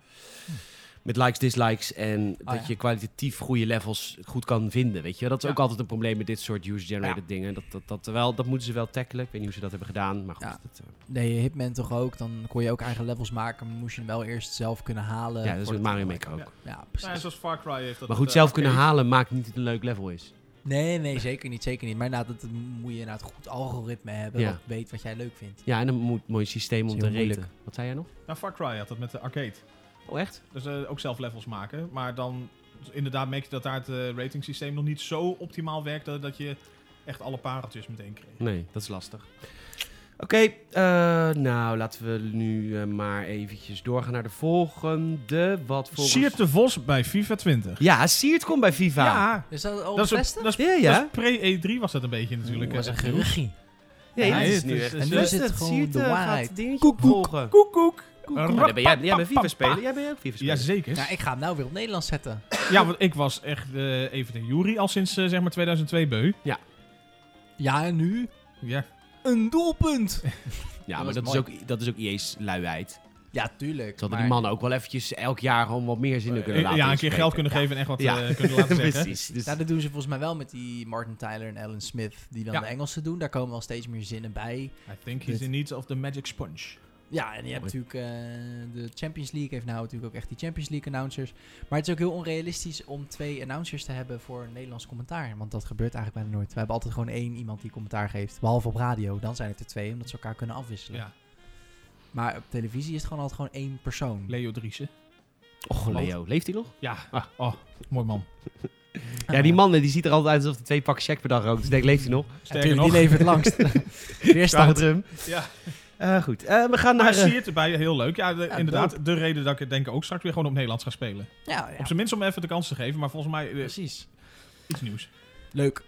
S1: Met likes, dislikes en dat
S2: ja.
S1: je kwalitatief goede levels goed kan vinden, weet je. Dat is
S2: Ja.
S1: ook altijd een probleem met dit soort user-generated dingen. Dat, dat, dat, wel, dat moeten ze wel tackelen. Ik weet niet hoe ze dat hebben gedaan, maar goed.
S2: Ja.
S1: Dat, eh,
S2: Nee, Hitman toch ook. Dan kon je ook eigen levels maken, maar moest je hem wel eerst zelf kunnen halen.
S1: ja, dat is
S2: voor
S1: met
S2: het-
S1: Mario Maker ook.
S3: Ja.
S2: Ja,
S3: Nou ja,
S2: precies.
S3: zoals Far Cry heeft dat.
S1: Maar
S3: met,
S1: goed,
S3: eh,
S1: zelf kunnen
S3: arcade.
S1: halen maakt niet dat het een leuk level is.
S2: Nee, nee, zeker niet, zeker niet. Maar inderdaad, dat moet je inderdaad een goed algoritme hebben,
S1: Ja.
S2: dat weet wat jij leuk vindt.
S1: Ja, en dan moet een mooi systeem
S2: Dat
S1: om
S2: is
S1: te
S2: heel moeilijk.
S1: reten. Wat zei jij nog?
S3: Nou, Far Cry had dat met de arcade.
S1: Oh, echt?
S3: Dus eh, ook zelf levels maken. Maar dan inderdaad merk je dat daar het eh, rating systeem nog niet zo optimaal werkte dat je echt alle pareltjes meteen kreeg.
S1: Nee, dat is lastig. Oké, eh, nou laten we nu eh, maar eventjes doorgaan naar de volgende. Wat volgens...
S3: Siert de Vos bij FIFA 20.
S1: Ja, Siert komt bij FIFA.
S3: Ja,
S2: Is dat al
S3: dat is,
S2: het beste?
S3: dat is,
S1: Ja, ja.
S3: dat is pre-E3 was dat een beetje natuurlijk.
S2: Oeh,
S3: eh,
S2: dat is een geruchtje.
S1: Nee,
S3: Ja,
S1: dit is
S3: het
S1: nu
S3: is-
S1: echt.
S3: het is-
S2: nu is het gewoon
S1: Siert,
S2: de
S1: eh,
S2: waarheid.
S1: gaat dingetje
S2: Koek, koek.
S1: volgen.
S2: Koek, koek.
S1: Maar dan ben jij, jij bent FIFA spelen. Jij bent ook FIFA spelen.
S3: Jazeker.
S2: Nou, ik ga hem nou weer op Nederlands zetten.
S3: Ja, want ik was echt eh, even de Jury al sinds eh, zeg maar 2002 beu.
S2: Ja, en nu?
S3: Ja.
S2: Een doelpunt!
S1: Ja,
S2: Dat
S1: maar
S2: was
S1: dat is, ook, dat is ook IE's luiheid.
S2: Ja, tuurlijk.
S1: Zodat die
S2: maar-
S1: mannen ook wel eventjes elk jaar gewoon wat meer zin in kunnen
S3: Eh,
S1: laten.
S3: ja, een keer
S1: inspreken.
S3: geld kunnen geven en echt wat
S1: Ja.
S3: eh, kunnen laten zeggen.
S1: Precies. Dus,
S2: Ja, nou, dat doen ze volgens mij wel met die Martin Tyler en Alan Smith, die dan
S3: Ja.
S2: de Engelsen doen. Daar komen wel steeds meer zinnen bij.
S3: I think he's in need of the magic sponge.
S2: Ja, en je hebt
S1: Mooi.
S2: natuurlijk eh, de Champions League heeft nou natuurlijk ook echt die Champions League announcers. Maar het is ook heel onrealistisch om twee announcers te hebben voor een Nederlands commentaar. Want dat gebeurt eigenlijk bijna nooit. We hebben altijd gewoon één iemand die commentaar geeft. Behalve op radio, dan zijn het er twee, omdat ze elkaar kunnen afwisselen.
S3: Ja,
S2: Maar op televisie is het gewoon altijd gewoon één persoon.
S3: Leo Driessen.
S1: Och, Oh, Leo. Leeft hij nog?
S3: Ja,
S1: Ah.
S3: oh, mooi man.
S1: Ja, die man die ziet er altijd uit alsof hij twee pakken check per dag rookt. Dus ik denk, leeft hij nog?
S3: Sterker
S2: die
S3: nog,
S2: levert het langst. Weerstand.
S1: Drum.
S3: ja.
S1: Eh, goed, Eh, we gaan
S3: Maar
S1: naar... eh,
S3: zie je het erbij, heel leuk. Ja, de- inderdaad, de reden dat ik het denk ik ook straks weer gewoon op Nederlands ga spelen.
S2: Ja, ja,
S3: Op zijn minst om even de kans te geven, maar volgens mij eh,
S2: precies.
S3: iets nieuws.
S2: Leuk.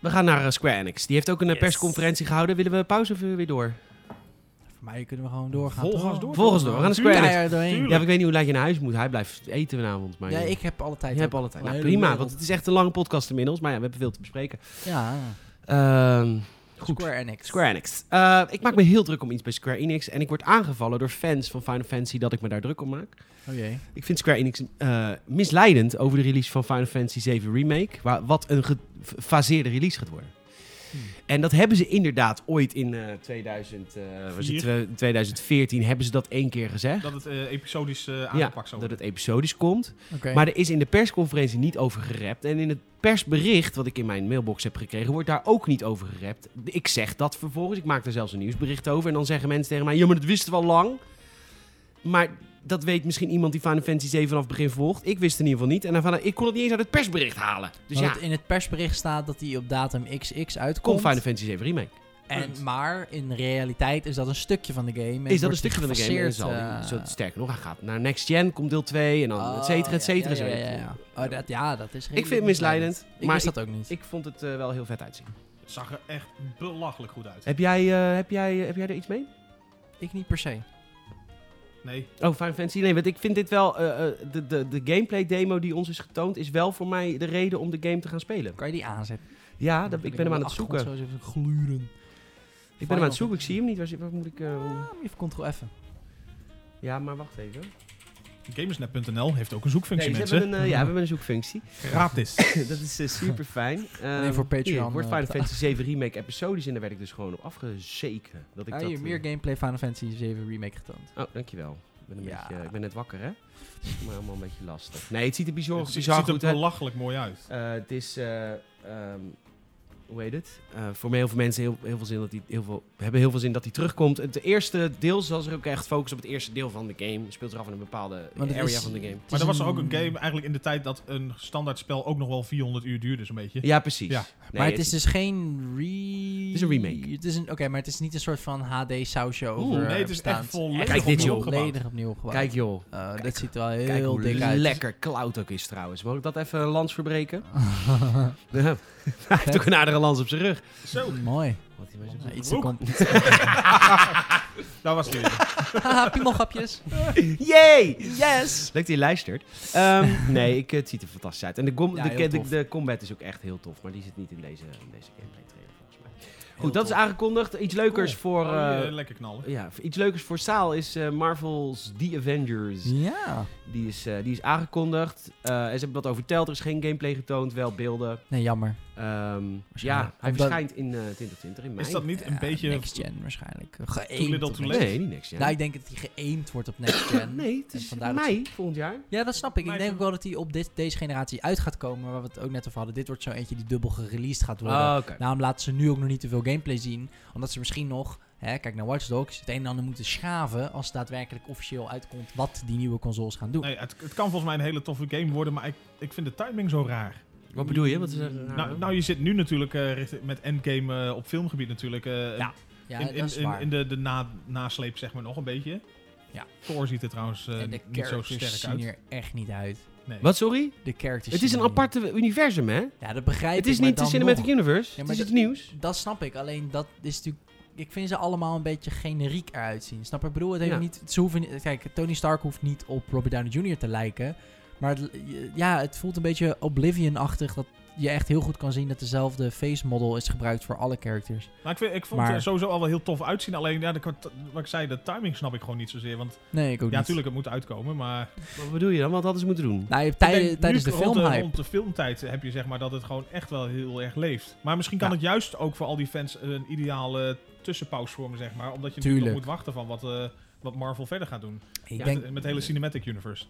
S1: we gaan naar eh, Square Enix. Die heeft ook een eh,
S2: Yes.
S1: persconferentie gehouden. Willen we pauze of willen we weer door?
S2: Voor mij kunnen we gewoon doorgaan.
S3: Volgens
S2: toch?
S3: door.
S1: Volgens door. We gaan naar Square Enix.
S2: Keihard doorheen.
S1: Ja, ik weet niet hoe laat je naar huis moet. Hij blijft eten vanavond. Maar
S2: Ja, ik heb alle tijd.
S1: Je hebt
S2: ook.
S1: alle tijd.
S2: Een
S1: Nou,
S2: hele
S1: prima,
S2: wereld.
S1: want het is echt een lange podcast inmiddels. Maar ja, we hebben veel te bespreken.
S2: Ja,
S1: Ehm, goed.
S2: Square Enix.
S1: Square Enix. Eh, ik maak me heel druk om iets bij Square Enix. En ik word aangevallen door fans van Final Fantasy dat ik me daar druk om maak.
S2: Oh jee.
S1: Ik vind Square Enix eh, misleidend over de release van Final Fantasy 7 Remake. Wa- wat een gefaseerde release gaat worden.
S2: Hmm.
S1: En dat hebben ze inderdaad ooit in eh, 2000, eh, waar
S3: Vier.
S1: zitten we? 2014 hebben ze dat één keer gezegd.
S3: Dat het eh, episodisch eh aangepakt zou
S1: dat
S3: worden.
S1: het episodisch komt.
S2: Oké.
S1: Maar er is in de persconferentie niet over gerept. En in het persbericht wat ik in mijn mailbox heb gekregen, wordt daar ook niet over gerept. Ik zeg dat vervolgens. Ik maak daar zelfs een nieuwsbericht over. En dan zeggen mensen tegen mij, ja, maar dat wisten we al lang. Maar dat weet misschien iemand die Final Fantasy 7 vanaf het begin volgt. Ik wist het in ieder geval niet. En daarvan, ik kon het niet eens uit het persbericht halen. Dus
S2: Want
S1: ja,
S2: in het persbericht staat dat die op datum XX
S1: komt
S2: uitkomt.
S1: Final Fantasy 7 Remake.
S2: en, maar in realiteit is dat een stukje van de game. en
S1: is dat
S2: wordt
S1: een stukje van de game? En
S2: gefaseerd,
S1: zal die-
S2: eh,
S1: zo, sterker nog, hij gaat naar Next Gen, komt deel 2 en dan
S2: oh,
S1: et cetera, et
S2: ja,
S1: cetera. et
S2: Ja, ja,
S1: cetera.
S2: ja, ja. Oh, dat, ja, dat is
S1: Ik vind het misleidend,
S2: Ik
S1: maar
S2: wist dat ook niet.
S1: ik vond het eh, wel heel vet uitzien.
S3: Het zag er echt belachelijk goed uit.
S1: Heb jij, eh, heb, jij, heb jij er iets mee?
S2: Ik niet per se.
S3: Nee,
S1: Oh, Final Fantasy. Nee, want ik vind dit wel... eh, eh, de, de, de gameplay demo die ons is getoond... is wel voor mij de reden om de game te gaan spelen.
S2: Kan je die aanzetten?
S1: Ja, Ah, dat, ik ben hem aan
S2: De
S1: het zoeken.
S2: achtergrond Zo is even gluren.
S1: Ik ben hem aan het zoeken. Ik zie hem niet. Waar, zit- waar moet ik... eh, hoe-
S2: Ah, Even control F.
S1: Ja, maar wacht even. Nee,
S3: gamersnet.nl heeft ook een
S1: ze
S3: zoekfunctie, mensen.
S1: hebben een, eh, ja, we hebben een zoekfunctie.
S3: Gratis.
S1: dat is eh, super fijn. Ehm,
S2: Alleen voor Patreon,
S1: wordt
S2: eh,
S1: Final
S2: betaald.
S1: Fantasy 7 Remake episodisch... en daar werd ik dus gewoon op afgezeken. Dat ik
S2: Ah,
S1: dat,
S2: hier,
S1: eh,
S2: meer gameplay Final Fantasy 7 Remake getoond.
S1: Oh, dankjewel. Ik ben, een
S2: Ja.
S1: beetje, eh, ik ben net wakker, hè? Maar allemaal een beetje lastig. Nee, het ziet er bizar,
S3: het ziet,
S1: bizar
S3: ziet er
S1: goed uit.
S3: belachelijk mooi uit.
S1: Eh, het is, eh, ehm, hoe heet het? Eh, voor mij heel veel mensen heel, heel veel zin dat die, heel veel, hebben heel veel zin dat hij terugkomt. Het eerste deel zal zich ook echt focussen op het eerste deel van de game. Het Speelt er af in een bepaalde
S2: Want het
S1: area
S2: is-
S1: van de game.
S2: het
S3: Maar
S2: is
S3: dat was er ook een game eigenlijk in de tijd dat een standaard spel ook nog wel 400 uur duurde, zo'n beetje.
S1: Ja, precies.
S3: Ja.
S1: Nee,
S2: maar het is dus geen re...
S1: Het is een remake.
S2: Het is een, Oké, maar het is niet een soort van HD-sausje over...
S1: Oeh,
S3: nee, het is echt
S2: vol.
S3: volledig
S1: Kijk dit,
S3: opnieuw
S1: joh.
S3: opgebouwd.
S2: Volledig opnieuw gebouwd.
S1: Kijk joh,
S2: Eh,
S1: Kijk.
S2: dat ziet er wel heel
S1: kijk hoe
S2: dik uit.
S1: lekker cloud ook is trouwens. Mag ik dat even een lans verbreken? Hij heeft ook een aardige lans op zijn rug.
S3: Zo,
S2: Mooi.
S1: Want die was op
S2: Nou,
S1: zijn
S2: iets te
S1: broek.
S2: komt.
S3: daar was hij weer.
S2: Haha, Ah, piemelgrapjes.
S1: Yay!
S2: Yes!
S1: Leuk dat je luistert. Ehm, nee, ik, het ziet er fantastisch uit. En de, gom-
S2: Ja,
S1: de,
S2: heel
S1: de,
S2: tof.
S1: de combat is ook echt heel tof. Maar die zit niet in deze, in deze gameplay trailer volgens mij. Goed,
S2: Heel
S1: dat
S2: tof.
S1: is aangekondigd. Iets leukers
S3: Cool.
S1: voor...
S3: Oh, die,
S1: eh,
S3: eh, lekker knallen.
S1: ja, iets leukers voor Saal is eh, Marvel's The Avengers.
S2: Ja.
S1: Die is, eh, die is aangekondigd. Eh, en ze hebben dat over verteld. Er is geen gameplay getoond, wel beelden.
S2: Nee, jammer.
S1: Ehm, ja,
S2: Waarschijnlijk.
S1: hij
S2: Omdat-
S1: verschijnt in eh, 2020 in mei.
S3: Is dat niet een
S2: Ja,
S3: beetje...
S2: Eh, Next gen waarschijnlijk.
S3: Too
S2: Geëend.
S3: little
S2: op
S3: too
S2: next-
S3: late.
S1: Nee, niet niks. Ja.
S2: Nou, ik denk dat hij geëend wordt op next gen.
S1: nee, het
S2: en
S1: is
S2: vandaar dat
S1: mei volgend jaar.
S2: Ja, dat snap ik. Ik
S3: Maar
S2: denk
S3: ik-
S2: ook wel dat hij op dit, deze generatie uit gaat komen. Waar we het ook net over hadden. Dit wordt zo eentje die dubbel gereleased gaat worden.
S1: Ah, oké.
S2: Daarom laten ze nu ook nog niet te veel gameplay zien. Omdat ze misschien nog, hè, kijk naar Watch Dogs, het een en ander moeten schaven. Als het daadwerkelijk officieel uitkomt wat die nieuwe consoles gaan doen.
S3: Nee, het, het kan volgens mij een hele toffe game worden, maar ik, ik vind de timing zo raar.
S1: Wat bedoel je? Wat is er,
S3: Nou, nou, je zit nu natuurlijk eh, richting- met Endgame eh, op filmgebied natuurlijk. eh,
S2: Ja, ja,
S3: in,
S2: dat
S3: in,
S2: is
S3: in,
S2: waar.
S3: in de, de na, nasleep zeg maar nog een beetje.
S2: Ja.
S3: Thor ziet er trouwens eh,
S2: en de
S3: niet zo
S2: characters
S3: sterk
S2: zien
S3: uit.
S2: er echt niet uit.
S3: Nee.
S1: Wat, sorry?
S2: De characters
S1: Het is
S2: zien
S1: een
S2: er niet-
S1: aparte universum, hè?
S2: Ja, dat begrijp ik.
S1: Het is
S2: maar
S1: niet de
S2: dan
S1: Cinematic
S2: nog.
S1: Universe. het
S2: Ja, maar
S1: is
S2: dat-
S1: iets nieuws.
S2: Dat snap ik, alleen dat is natuurlijk... Ik vind ze allemaal een beetje generiek eruit zien. Snap je? Ik bedoel, het heeft
S1: Ja.
S2: niet, ze hoeven niet... Kijk, Tony Stark hoeft niet op Robert Downey Jr. te lijken. Maar het, ja, het voelt een beetje Oblivion-achtig dat je echt heel goed kan zien dat dezelfde face model is gebruikt voor alle characters.
S3: Nou, ik, vind, ik vond
S2: Maar-
S3: het sowieso al wel heel tof uitzien. Alleen, ja, de, kwart- wat ik zei, de timing snap ik gewoon niet zozeer. Want
S2: Nee, ik ook
S3: ja,
S2: niet.
S3: natuurlijk, het moet uitkomen. Maar ik
S1: Wat bedoel je dan? Wat hadden ze moeten doen?
S2: Nou, je hebt
S3: denk,
S2: tijden-
S3: nu
S2: tijdens de
S3: rond
S2: filmhype.
S3: Rond de filmtijd heb je zeg maar dat het gewoon echt wel heel erg leeft. Maar misschien kan
S2: Ja.
S3: het juist ook voor al die fans een ideale tussenpauze vormen, zeg maar. Omdat je
S2: Tuurlijk.
S3: natuurlijk nog moet wachten van wat, eh, wat Marvel verder gaat doen.
S2: Ik
S1: Ja,
S2: denk,
S3: Met het hele Cinematic Universe.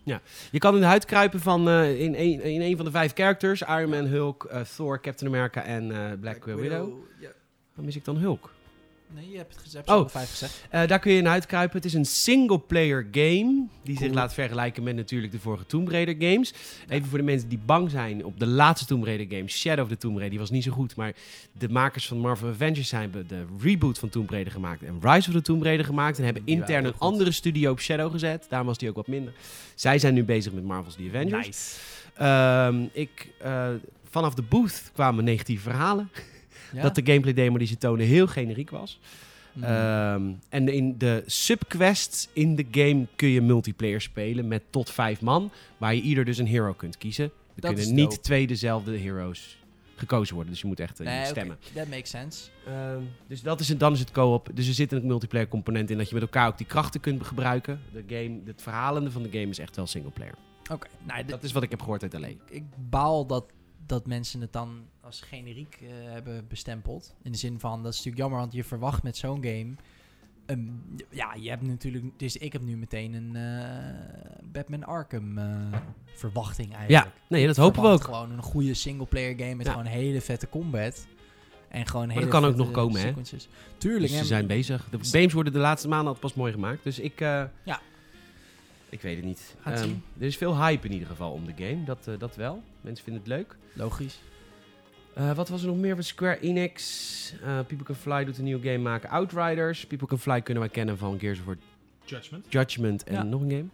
S1: Je kan in de huid kruipen van, eh, in, een, in een van de vijf characters. Iron Man, Hulk, eh, Thor, Captain America en eh, Black, Widow. Dan mis ik dan Hulk.
S2: Nee, je hebt het gezegd.
S1: Oh.
S2: Oh. Vijf gezegd.
S1: Eh, daar kun je in uitkruipen. Het is een single-player game. Die zich
S2: Cool.
S1: laat vergelijken met natuurlijk de vorige Tomb Raider games. Even voor de mensen die bang zijn op de laatste Tomb Raider game. Shadow of the Tomb Raider. Die was niet zo goed. Maar de makers van Marvel Avengers hebben de reboot van Tomb Raider gemaakt. En Rise of the Tomb Raider gemaakt. En hebben
S2: Die waren
S1: intern
S2: heel
S1: een
S2: goed.
S1: andere studio op Shadow gezet. Daarom was die ook wat minder. Zij zijn nu bezig met Marvel's The Avengers.
S2: Nice.
S1: Ehm, ik, eh, vanaf de booth kwamen negatieve verhalen.
S2: Ja?
S1: Dat de gameplay demo die ze tonen heel generiek was.
S2: Mm.
S1: Ehm, en in de subquests in de game kun je multiplayer spelen met tot vijf man, waar je ieder dus een hero kunt kiezen. Er
S2: Dat is
S1: kunnen niet
S2: dope.
S1: twee dezelfde heroes gekozen worden, dus je moet echt eh, je
S2: nee,
S1: moet
S2: oké,
S1: stemmen.
S2: that makes sense.
S1: Ehm, dus dat is het, dan is het co-op. Dus er zit een multiplayer component in dat je met elkaar ook die krachten kunt gebruiken. De game, het verhalende van de game is echt wel singleplayer.
S2: Oké, nou, dit-
S1: Dat is wat ik heb gehoord uit alleen.
S2: Ik, ik baal dat, dat mensen het dan als generiek eh, hebben bestempeld. In de zin van, dat is natuurlijk jammer, want je verwacht met zo'n game... een- ja, je hebt natuurlijk... Dus ik heb nu meteen een eh, Batman Arkham eh, verwachting eigenlijk.
S1: Ja, nee, dat hopen we
S2: Verwacht
S1: ook.
S2: Gewoon een goede singleplayer game met
S1: Ja.
S2: gewoon hele vette combat. En gewoon
S1: dat
S2: hele
S1: kan ook
S2: vette
S1: nog komen, hè?
S2: sequences. Tuurlijk,
S1: Dus ze
S2: hè,
S1: zijn bezig. De games worden de laatste maanden altijd pas mooi gemaakt. Dus ik. eh,
S2: Ja.
S1: Ik weet het niet.
S2: Gaat
S1: Ehm,
S2: zien.
S1: er is veel hype in ieder geval om de game. Dat, eh, dat wel. Mensen vinden het leuk.
S2: Logisch.
S1: Eh, wat was er nog meer van Square Enix? Eh, People Can Fly doet een nieuwe game maken. Outriders. People Can Fly kunnen wij kennen van Gears of War
S3: Judgment.
S1: Judgment en
S2: Ja.
S1: nog een game.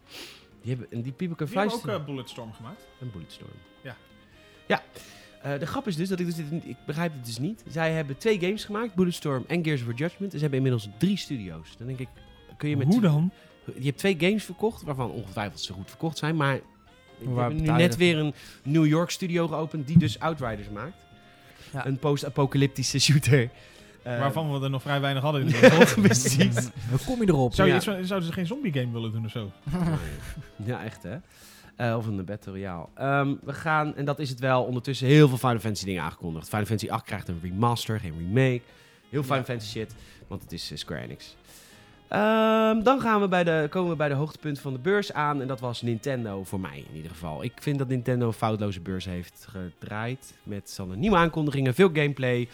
S1: Die hebben, en die People Can
S3: Die
S1: Fly
S3: hebben ook
S1: is-
S3: eh, Bulletstorm gemaakt.
S1: een Bulletstorm.
S3: Ja.
S1: Ja. Eh, de grap is dus dat ik, dus dit- ik begrijp het dus niet. Zij hebben twee games gemaakt, Bulletstorm en Gears of War Judgment. En ze hebben inmiddels drie studio's. Dan denk ik, kun je met
S3: Hoe dan?
S1: Je hebt twee games verkocht, waarvan ongetwijfeld ze goed verkocht zijn. Maar we
S2: Waar
S1: hebben nu
S2: betaal je
S1: net
S2: dat
S1: weer een New York studio geopend die dus Outriders maakt.
S2: Ja.
S1: Een post-apocalyptische shooter. Eh,
S3: Waarvan we er nog vrij weinig hadden in de
S1: Ja, precies.
S2: Hoe kom je erop?
S3: Zou je
S1: Ja.
S3: iets van- zouden ze geen zombie game willen doen of zo?
S1: ja, echt hè. Eh, of een Battle Royale. Ehm, we gaan, en dat is het wel, ondertussen heel veel Final Fantasy dingen aangekondigd. Final Fantasy 8 krijgt een remaster, geen remake. Heel Final
S2: Ja.
S1: Fantasy shit, want het is eh, Square Enix. Ehm, dan gaan we bij de, komen we bij de hoogtepunt van de beurs aan. En dat was Nintendo voor mij in ieder geval. Ik vind dat Nintendo een foutloze beurs heeft gedraaid. Met z'n allen nieuwe aankondigingen, veel gameplay,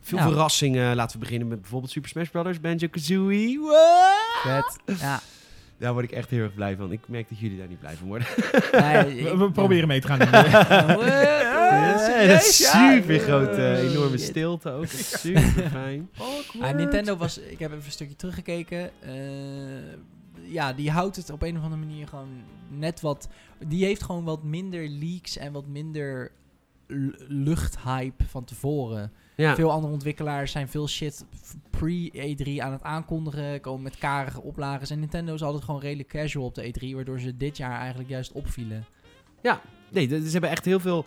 S1: veel
S2: Ja.
S1: verrassingen. Laten we beginnen met bijvoorbeeld Super Smash Bros. Banjo-Kazooie. Wow!
S2: Vet. Ja,
S1: Daar word ik echt heel erg blij van. Ik merk dat jullie daar niet blij van worden.
S2: nee,
S3: We,
S2: ik-
S3: we proberen mee te gaan.
S1: Ja, dat is super grote,
S2: Eh,
S1: enorme
S2: shit.
S1: stilte ook. Dat is Super fijn.
S2: Ah, Nintendo was, ik heb even een stukje teruggekeken. eh, ja, die houdt het op een of andere manier gewoon net wat. Die heeft gewoon wat minder leaks en wat minder l- luchthype van tevoren.
S1: Ja.
S2: Veel andere ontwikkelaars zijn veel shit pre-E3 aan het aankondigen. Komen met karige oplages. En Nintendo is altijd gewoon redelijk casual op de E3. Waardoor ze dit jaar eigenlijk juist opvielen.
S1: Nee, de- ze hebben echt heel veel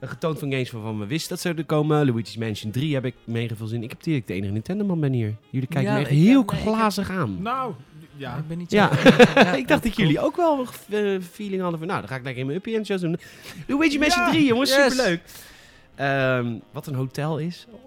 S1: eh, getoond van games waarvan we wisten dat ze er komen. Luigi's Mansion 3 heb ik mega veel zin in. Ik heb natuurlijk de enige Nintendo-man ben hier. Jullie kijken
S2: Ja,
S1: me echt
S2: ik-
S1: heel
S2: nee, ik heb-
S1: glazig aan.
S3: Nou, ja.
S2: Ik ben niet zo...
S1: Ja,
S2: Ja,
S1: ik dacht dat jullie ook wel een ge- eh, feeling hadden van... Nou, dan ga ik lekker in mijn uppie en zo doen. Luigi Mansion
S3: Ja,
S1: 3, jongens.
S2: yes.
S1: Superleuk. Ehm, wat een hotel is. Oh,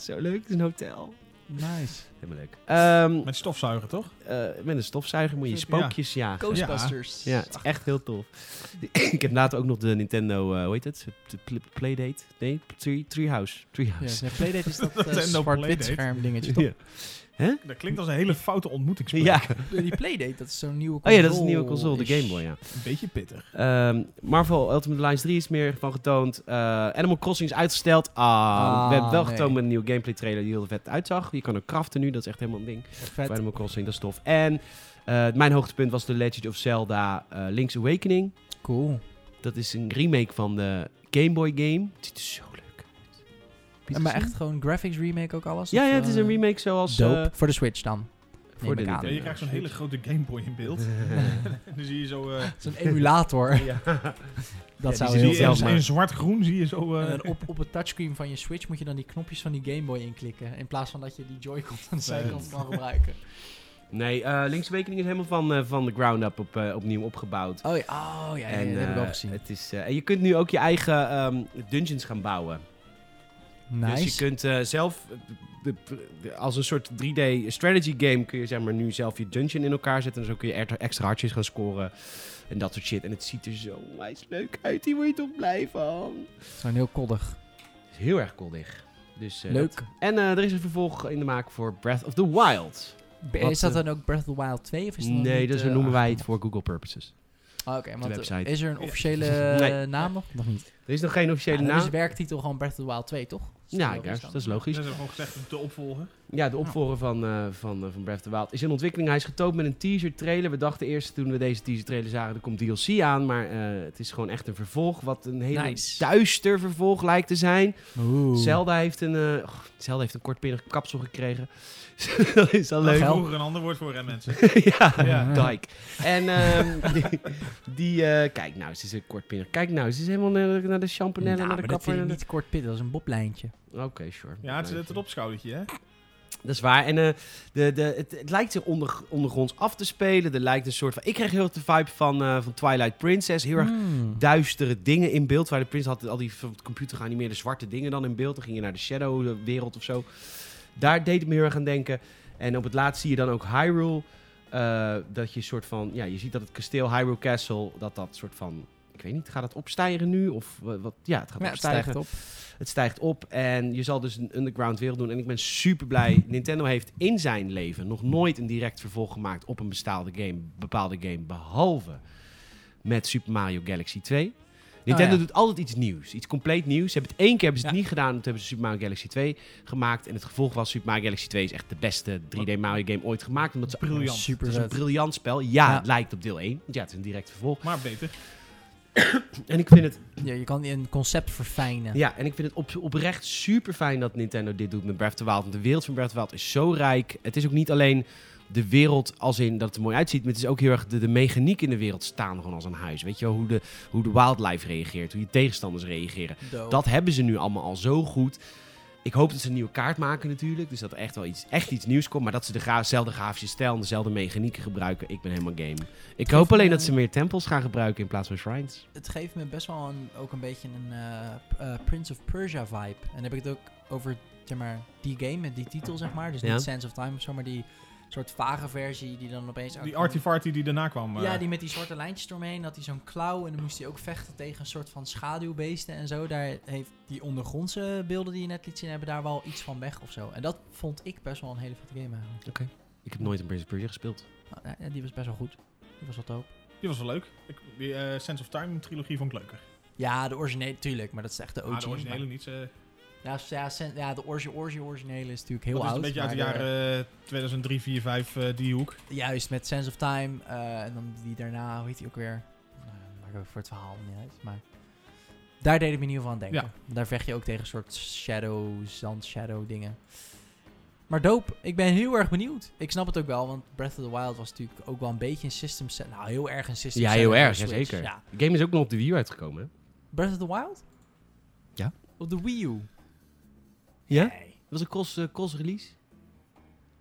S1: zo leuk, het is een hotel.
S2: Nice.
S1: Helemaal leuk. Ehm,
S3: Met stofzuigen, toch?
S1: eh, met een stofzuiger moet je
S3: Ja.
S1: spookjes jagen.
S2: Ghostbusters.
S1: Ja, het is echt heel tof. ik heb later ook nog de Nintendo, eh hoe heet het? De pl- Playdate? Nee, Tree, Treehouse.
S2: Ja,
S1: Treehouse.
S2: nee, Playdate is dat eh,
S3: Nintendo
S2: zwart-wit
S3: Playdate.
S2: scherm dingetje, toch?
S1: Ja.
S3: Dat klinkt als een hele foute ontmoetingsplek.
S1: ja.
S2: Die Playdate, dat is zo'n nieuwe
S1: Oh
S2: console.
S1: ja, dat is een nieuwe console, de Game Boy, ja.
S3: Een beetje pittig.
S1: Ehm, Marvel Ultimate Alliance 3 is meer van getoond. Eh, Animal Crossing is uitgesteld. Ah, we hebben wel
S2: nee.
S1: getoond met een nieuwe gameplay trailer die heel vet uitzag. Je kan ook craften nu, dat is echt helemaal een ding.
S2: Vet.
S1: Bij Animal Crossing, dat is tof. En eh, mijn hoogtepunt was The Legend of Zelda eh, Link's Awakening.
S2: Cool.
S1: Dat is een remake van de Game Boy game. Het ziet er zo leuk uit. Heb je het
S2: En maar
S1: gezien?
S2: echt gewoon graphics remake ook alles?
S1: Ja,
S2: Of,
S1: ja, het is een
S2: eh,
S1: remake zoals...
S2: Dope.
S1: eh,
S2: Voor de Switch dan.
S1: voor de
S2: ik aan.
S1: Nintendo
S3: Ja, je krijgt zo'n hele
S1: Switch.
S3: grote Game Boy in beeld. En dan zie je zo... eh,
S2: Zo'n emulator.
S1: Ja.
S2: Dat
S1: Ja, die
S2: zou
S3: zie
S2: heel
S1: zien
S3: je
S1: zelf
S2: zelf
S3: in,
S1: maar.
S3: in zwart-groen zie je zo... eh,
S2: En op, op het touchscreen van je Switch moet je dan die knopjes van die Game Boy inklikken. In plaats van dat je die Joy-Con aan de zijkant kan gebruiken.
S1: Nee, eh Link's Awakening is helemaal van, eh, van de ground up op, eh, opnieuw opgebouwd.
S2: Oh ja, oh, ja, ja,
S1: en,
S2: dat heb ik al
S1: eh,
S2: gezien.
S1: Het is, eh, en je kunt nu ook je eigen ehm, dungeons gaan bouwen. Dus je
S2: nice.
S1: kunt eh, zelf, eh, de- de- als een soort 3D strategy game, kun je zeg maar nu zelf je dungeon in elkaar zetten. En zo kun je er- extra hartjes gaan scoren en dat soort shit. En het ziet er zo onwijs leuk uit, hier word je toch blij van.
S2: Zo'n heel koddig.
S1: Het is heel erg koddig. Dus, eh, dat-
S2: Leuk.
S1: En eh, er is een vervolg in de maak voor Breath of the Wild. Wat,
S2: is dat
S1: eh,
S2: dan ook Breath of the Wild 2? Of is dat nog
S1: Nee,
S2: niet,
S1: dat is-
S2: eh,
S1: noemen wij het
S2: aangekondigd?
S1: voor Google Purposes.
S2: Ah, Oké, maar wat-
S1: website.
S2: is er een officiële
S1: Nee.
S2: eh, naam nog? Nog niet.
S1: Er is nog geen
S2: Ja,
S1: officiële
S2: dan
S1: naam.
S2: is de werktitel gewoon Breath of the Wild 2, toch? Dat is
S1: Ja,
S2: wel
S1: ik juist,
S2: dan.
S1: dat is logisch.
S3: Ze hebben gewoon gezegd de opvolger.
S1: Ja, de opvolger van, eh, van, eh, van Breath of the Wild is in ontwikkeling. Hij is getoond met een teaser-trailer. We dachten eerst toen we deze teaser-trailer zagen, er komt DLC aan. Maar eh, het is gewoon echt een vervolg, wat een hele
S2: Nice.
S1: duister vervolg lijkt te zijn.
S2: Oeh.
S1: Zelda heeft een, eh, oh, Zelda heeft een kortpinnig kapsel gekregen. dat is al leuk.
S2: geld.
S3: Vroeger een ander woord voor hem, mensen.
S1: ja,
S3: Ja.
S1: dijk. En ehm, die, die eh, kijk nou, ze is een kortpinnig. Kijk nou, ze is helemaal naar, naar de champanelle,
S2: Nou,
S1: naar de
S2: maar dat
S1: kapper.
S2: vind ik
S1: naar de-
S2: niet kort pitten, dat is een boblijntje.
S1: Oké, sure.
S3: Ja, het zit het opschoudertje, hè?
S1: Dat is waar. En eh, de, de, het, het lijkt zich onder, ondergronds af te spelen. Er lijkt een soort van... Ik kreeg heel erg de vibe van, eh, van Twilight Princess. Heel erg
S2: Mm.
S1: duistere dingen in beeld. Twilight Princess had al die van de computer geanimeerde zwarte dingen dan in beeld. Dan ging je naar de Shadow-wereld of zo. Daar deed het me heel erg aan denken. En op het laatst zie je dan ook Hyrule. eh, dat je soort van... Ja, je ziet dat het kasteel Hyrule Castle... Dat dat soort van... Ik weet niet, gaat het opstijgen nu? Of eh, wat? Ja, het gaat
S2: Ja, het
S1: opstijgen.
S2: stijgt op.
S1: Het stijgt op en je zal dus een underground wereld doen. En ik ben super blij. Nintendo heeft in zijn leven nog nooit een direct vervolg gemaakt op een bestaande game, bepaalde game. Behalve met Super Mario Galaxy 2. Nintendo
S2: ja.
S1: doet altijd iets nieuws, iets compleet nieuws. Ze hebben het één keer hebben ze het
S2: Ja.
S1: niet gedaan, toen hebben ze Super Mario Galaxy 2 gemaakt. En het gevolg was Super Mario Galaxy 2 is echt de beste 3D Mario game ooit gemaakt. Omdat ze,
S3: Briljant.
S2: Super
S1: het is een
S2: vet.
S1: briljant spel. Ja,
S2: Ja.
S1: het lijkt op deel 1. Want ja, het is een direct vervolg.
S3: Maar beter.
S1: En ik vind het
S2: Ja, je kan een concept verfijnen.
S1: Ja, en ik vind het op, oprecht super fijn dat Nintendo dit doet met Breath of the Wild. Want de wereld van Breath of the Wild is zo rijk. Het is ook niet alleen de wereld als in dat het er mooi uitziet. Maar het is ook heel erg de, de mechaniek in de wereld staan gewoon als een huis. Weet je wel, hoe de, hoe de wildlife reageert, hoe je tegenstanders reageren.
S2: Dope.
S1: Dat hebben ze nu allemaal al zo goed. Ik hoop dat ze een nieuwe kaart maken natuurlijk. Dus dat er echt wel iets, echt iets nieuws komt. Maar dat ze de gra- dezelfde grafische stijl en dezelfde mechanieken gebruiken. Ik ben helemaal game. Ik hoop alleen dat ze meer tempels gaan gebruiken in plaats van shrines.
S2: Het geeft me best wel een, ook een beetje een eh, p- eh, Prince of Persia vibe. En dan heb ik het ook over zeg maar, die game met die titel, zeg maar. Dus
S1: Ja.
S2: niet Sands of Time of zo, maar die soort vage versie die dan opeens...
S3: Die artifarty die daarna kwam. eh,
S2: Ja, die met die zwarte lijntjes eromheen. Dat hij zo'n klauw en dan moest hij ook vechten tegen een soort van schaduwbeesten en zo. Daar heeft die ondergrondse beelden die je net liet zien, hebben daar wel iets van weg of zo. En dat vond ik best wel een hele vette game eigenlijk.
S1: Ik heb nooit een Prince of Persia gespeeld.
S2: Maar, ja, die was best wel goed. Die was wel dope.
S3: die was wel leuk. Ik, die eh, Sense of Time trilogie vond ik leuker.
S2: Ja, de originele, tuurlijk, maar dat is echt de OG.
S3: Maar de
S2: maar-
S3: originele niet. eh,
S2: Ja, s- ja, sen- ja, de orgi- orgi- originele is natuurlijk heel
S3: dat is
S2: oud.
S3: een beetje uit de
S2: maar de-
S3: jaren eh, 2003, 4, 5, eh, die hoek.
S2: Juist, met Sense of Time. eh, en dan die daarna, hoe heet die ook weer? Nou, maakt ook voor het verhaal niet uit, maar... Daar deed het me in ieder geval aan denken.
S3: Ja.
S2: Daar vecht je ook tegen een soort shadow, zand shadow dingen. Maar dope, ik ben heel erg benieuwd. Ik snap het ook wel, want Breath of the Wild was natuurlijk ook wel een beetje een system set. Nou, heel erg een system
S1: Ja,
S2: seller
S1: heel
S2: voor de
S1: erg, ja,
S2: Switch.
S1: zeker.
S2: Ja.
S1: De game is ook nog op de Wii U uitgekomen, hè?
S2: Breath of the Wild?
S1: Ja.
S2: Op de Wii U?
S1: Ja?
S2: Nee.
S1: Dat was een cross, eh, cross-release.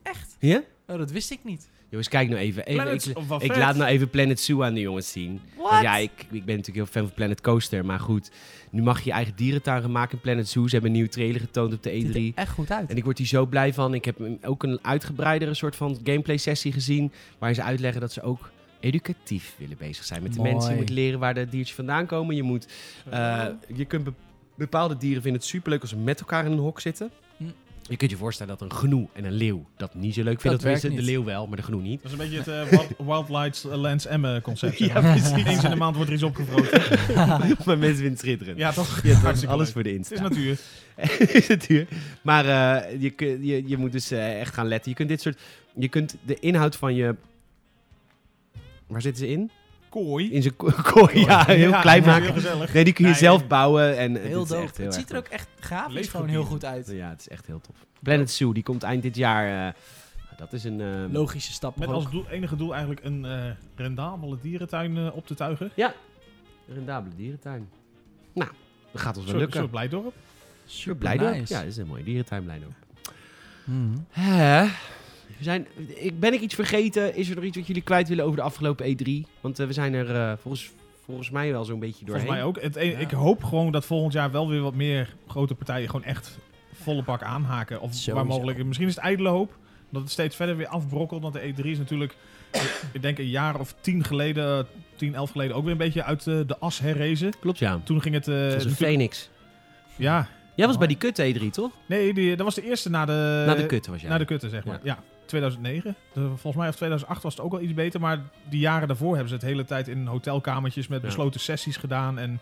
S2: Echt?
S1: Ja?
S2: Oh, dat wist ik niet.
S1: Jongens, kijk nou even. even
S3: Planets
S1: ik
S3: of wat
S1: ik
S3: vet.
S1: laat nou even Planet Zoo aan de jongens zien.
S2: Wat?
S1: Want ja, ik, ik ben natuurlijk heel fan van Planet Coaster. Maar goed, nu mag je je eigen dierentuin gaan maken in Planet Zoo. Ze hebben een nieuwe trailer getoond op de E
S2: Ziet er
S1: E3.
S2: echt goed uit.
S1: En ik word hier zo blij van. Ik heb een- ook een uitgebreidere soort van gameplay sessie gezien. Waarin ze uitleggen dat ze ook educatief willen bezig zijn met de
S2: Mooi.
S1: mensen. Je moet leren waar de diertjes vandaan komen. Je, moet, eh, je kunt be- bepaalde dieren vinden het superleuk als ze met elkaar in een hok zitten.
S2: Hm.
S1: Je kunt je voorstellen dat een genoe en een leeuw dat niet zo leuk vinden.
S2: Dat
S1: Tenminste,
S2: werkt
S1: de
S2: niet.
S1: leeuw wel, maar de genoe niet.
S3: Dat is een beetje het eh, Wild- Wild Lights eh, Lance Emme concept. zeg
S1: Ja,
S3: maar.
S1: precies.
S3: Eens in de maand wordt er iets opgevroten.
S1: maar mensen vinden het schitterend.
S3: Ja, toch?
S1: Ja, het wordt
S3: Hartstikke
S1: alles
S3: leuk.
S1: voor de
S3: Het
S1: Insta.
S3: is natuur.
S1: is het duur. Maar eh, je, kun- je, je moet dus eh, echt gaan letten. Je kunt dit soort. Je kunt de inhoud van je. Waar zitten ze in?
S3: Kooi.
S1: In zijn ko- kooi. Ja, heel klein maken.
S3: Heel gezellig.
S1: Nee, die kun je
S3: Nee.
S1: zelf bouwen. En, eh,
S2: heel
S1: dit is
S2: dope.
S1: echt heel
S2: het
S1: erg
S2: ziet er ook echt grafisch
S3: Leefgebied.
S2: gewoon heel goed uit.
S1: leuk. Ja, het is echt heel tof. Planet Zoo, die komt eind dit jaar. eh, nou, dat is een. eh,
S2: Logische stap.
S3: Met
S2: ook.
S3: als doel, enige doel eigenlijk een eh, rendabele dierentuin eh, op te tuigen.
S1: rendabele dierentuin. Nou, dat gaat ons wel
S3: Zo, zo
S1: lukken.
S3: blij dorp.
S2: Super
S1: Blijdorp.
S2: nice.
S1: Ja, dat is een mooie dierentuin, Blijdorp.
S2: Mhm.
S1: Hè? We zijn, ik, ben ik iets vergeten? Is er nog iets wat jullie kwijt willen over de afgelopen E3? Want eh, we zijn er eh, volgens, volgens mij wel zo'n beetje doorheen.
S3: Volgens mij ook. Het, e-
S2: Ja.
S3: Ik hoop gewoon dat volgend jaar wel weer wat meer grote partijen gewoon echt volle bak aanhaken. Of
S2: Sowieso.
S3: waar mogelijk. Misschien is het ijdele hoop dat het steeds verder weer afbrokkelt. Want de E3 is natuurlijk, ik- ik denk een jaar of tien geleden, tien, elf geleden, ook weer een beetje uit eh, de as herrezen.
S1: Klopt, ja.
S3: Toen ging het... eh,
S1: Zoals een
S3: natuurlijk-
S1: Phoenix.
S3: ja,
S1: Jij was bij die kut E3, toch?
S3: nee, die, dat was de eerste na de...
S1: Na de kutte was jij.
S3: Eh, Na de kutte, zeg maar. Ja. 2009. Dus volgens mij of 2008 was het ook wel iets beter. Maar die jaren daarvoor hebben ze het hele tijd in hotelkamertjes met
S1: Ja.
S3: besloten sessies gedaan. En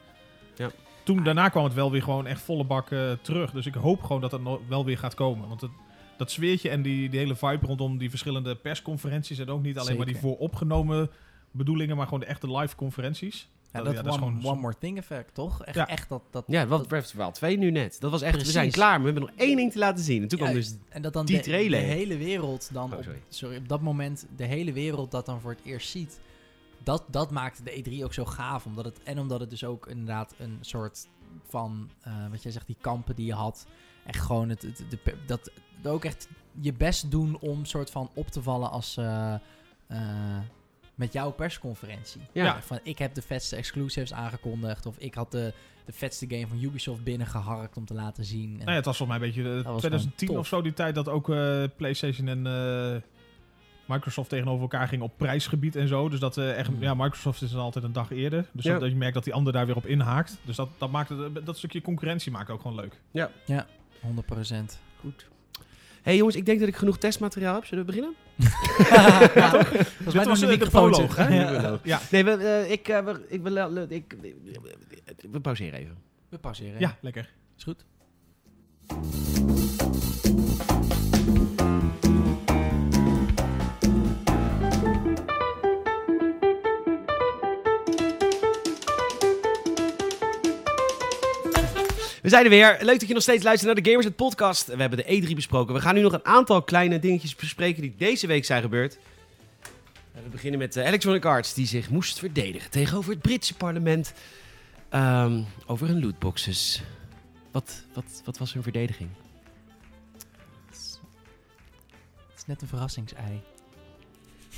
S1: Ja.
S3: toen daarna kwam het wel weer gewoon echt volle bak eh, terug. Dus ik hoop gewoon dat dat no- wel weer gaat komen. Want het, dat sfeertje en die, die hele vibe rondom die verschillende persconferenties. En ook niet alleen maar die
S2: Zeker.
S3: vooropgenomen bedoelingen, maar gewoon de echte live conferenties.
S2: Ja,
S3: Ja,
S2: dat,
S3: ja, dat
S2: one,
S3: is gewoon-
S2: one more thing effect, toch? Echt,
S3: Ja.
S2: echt dat, dat,
S1: Ja, wat Breath of the Wild 2 nu net. Dat was echt, we zijn
S2: Precies.
S1: klaar, maar we hebben nog één ding te laten zien. En toen kwam
S2: Ja,
S1: dus...
S2: En dat dan
S1: Die
S2: de, de
S1: trailer.
S2: hele wereld dan...
S1: Oh,
S2: op,
S1: sorry.
S2: sorry, op dat moment de hele wereld dat dan voor het eerst ziet. Dat, dat maakt de E3 ook zo gaaf. Omdat het, en omdat het dus ook inderdaad een soort van... eh, wat jij zegt, die kampen die je had. Echt gewoon het, het- de, pe- dat, dat ook echt je best doen om soort van op te vallen als... eh, eh, met jouw persconferentie.
S1: Ja.
S3: Ja.
S2: Van ik heb de vetste exclusives aangekondigd. Of ik had de, de vetste game van Ubisoft binnengeharkt om te laten zien. En-
S3: Nou ja, het was volgens mij een beetje eh,
S2: was gewoon
S3: 2010
S2: tof.
S3: of zo die tijd dat ook eh, PlayStation en eh, Microsoft tegenover elkaar gingen op prijsgebied en zo. Dus dat eh, echt,
S2: Hmm.
S3: ja, Microsoft is dan altijd een dag eerder. Dus
S1: Ja.
S3: dat, dat je merkt dat die ander daar weer op inhaakt. Dus dat, dat maakt het, dat stukje concurrentie maakt ook gewoon leuk.
S2: 100 procent.
S1: Goed. hey, jongens, ik denk dat ik genoeg testmateriaal heb. Zullen we beginnen?
S2: Volgens
S3: Dit
S2: mij
S3: was,
S2: doen
S3: eh, de
S2: we de microfoon
S3: proloog,
S2: zo.
S3: hè?
S2: Ja.
S3: Ja,
S1: Nee, we, eh, ik, eh, we, ik, wil wel- ik, we pauzeren even.
S2: We pauzeren.
S3: ja, lekker.
S2: Is goed.
S1: We zijn er weer. Leuk dat je nog steeds luistert naar de Gamers het Podcast. We hebben de E3 besproken. We gaan nu nog een aantal kleine dingetjes bespreken die deze week zijn gebeurd. En we beginnen met eh, Electronic Arts, die zich moest verdedigen tegenover het Britse parlement ehm, over hun lootboxes. Wat, wat, wat was hun verdediging?
S2: Het is- het is net een verrassingsei.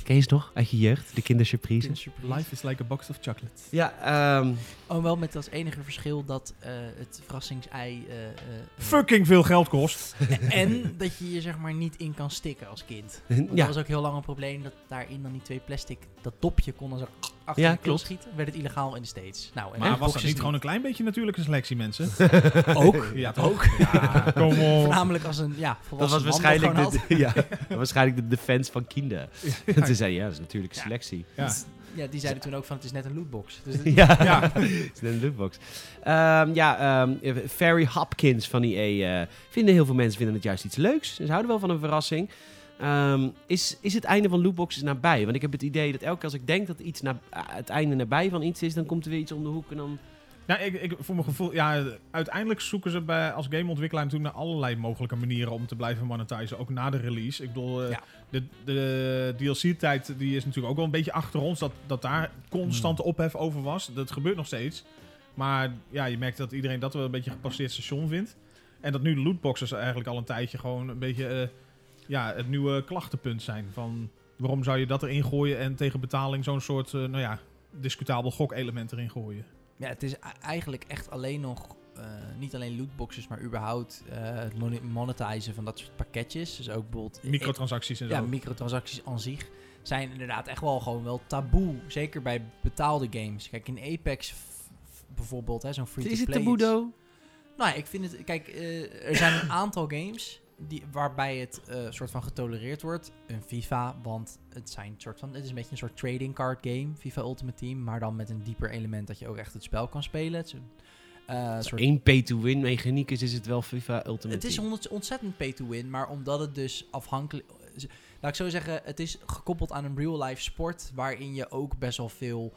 S1: Ken je ze nog uit je jeugd? De kindersurprise?
S3: Life is like a box of chocolates.
S1: Ja, ehm,
S2: Oh, wel met als enige verschil dat eh, het verrassingsei... eh, eh, eh,
S3: Fucking veel geld kost.
S2: en dat je je zeg maar niet in kan stikken als kind. Want
S1: ja.
S2: Dat was ook heel lang een probleem dat daarin dan die twee plastic... Dat dopje kon dan zo achter
S1: Ja,
S2: je keel
S1: klopt.
S2: schieten. Werd het illegaal in de States. Nou, en
S3: Maar
S2: Xbox
S3: was
S2: is
S3: dat niet gewoon een klein beetje natuurlijke selectie, mensen?
S2: Ook.
S3: Ja, toch?
S2: Ook.
S3: Ja, kom op.
S2: Voornamelijk als een ja,
S1: Dat was
S2: volwassen man dat
S1: waarschijnlijk
S2: gewoon had.
S1: de, ja, dat was waarschijnlijk de defense van Kinder. En toen zei hij, ja, dat is natuurlijk selectie.
S3: Ja.
S2: Ja, die zeiden toen ook van het is net een lootbox. Dus dat-
S1: Ja,
S3: Ja.
S1: het is net een lootbox. Ehm, ja, ehm Ferry Hopkins van EA eh vinden heel veel mensen vinden het juist iets leuks. Ze houden wel van een verrassing. Ehm, is, is het einde van lootboxes nabij? Want ik heb het idee dat elke keer als ik denk dat iets na, eh, het einde nabij van iets is, dan komt er weer iets om de hoek en dan
S3: Ja, Nou, ik, ik, voor mijn gevoel, ja, uiteindelijk zoeken ze bij, als gameontwikkelaar natuurlijk naar allerlei mogelijke manieren om te blijven monetizen, ook na de release. Ik bedoel, eh,
S2: Ja.
S3: de, de DLC-tijd die is natuurlijk ook wel een beetje achter ons, dat, dat daar constant ophef over was. Dat gebeurt nog steeds. Maar ja, je merkt dat iedereen dat wel een beetje een gepasseerd station vindt. En dat nu de lootboxes eigenlijk al een tijdje gewoon een beetje eh, ja, het nieuwe klachtenpunt zijn. Van waarom zou je dat erin gooien en tegen betaling zo'n soort, eh, nou ja, discutabel gokelement erin gooien.
S2: Ja, het is e- eigenlijk echt alleen nog, eh, niet alleen lootboxes, maar überhaupt eh, het moni- monetizen van dat soort pakketjes. Dus ook bijvoorbeeld...
S3: Microtransacties en zo.
S2: Ja, microtransacties aan zich zijn inderdaad echt wel gewoon wel taboe. Zeker bij betaalde games. Kijk, in Apex f- f- bijvoorbeeld, hè, zo'n free-to-play...
S1: Is het
S2: iets.
S1: Tabudo?
S2: Nou, ja, ik vind het. Kijk, eh, er zijn een aantal games die, waarbij het eh, soort van getolereerd wordt. Een FIFA, want het zijn soort van. Het is een beetje een soort trading card game, FIFA Ultimate Team, maar dan met een dieper element dat je ook echt het spel kan spelen. Het is een, eh, soort
S1: Eén pay-to-win mechaniek is, is het wel FIFA Ultimate
S2: het is
S1: Team.
S2: ont- ontzettend pay to win, maar omdat het dus afhankelijk. z- Laat ik zo zeggen, het is gekoppeld aan een real-life sport. waarin je ook best wel veel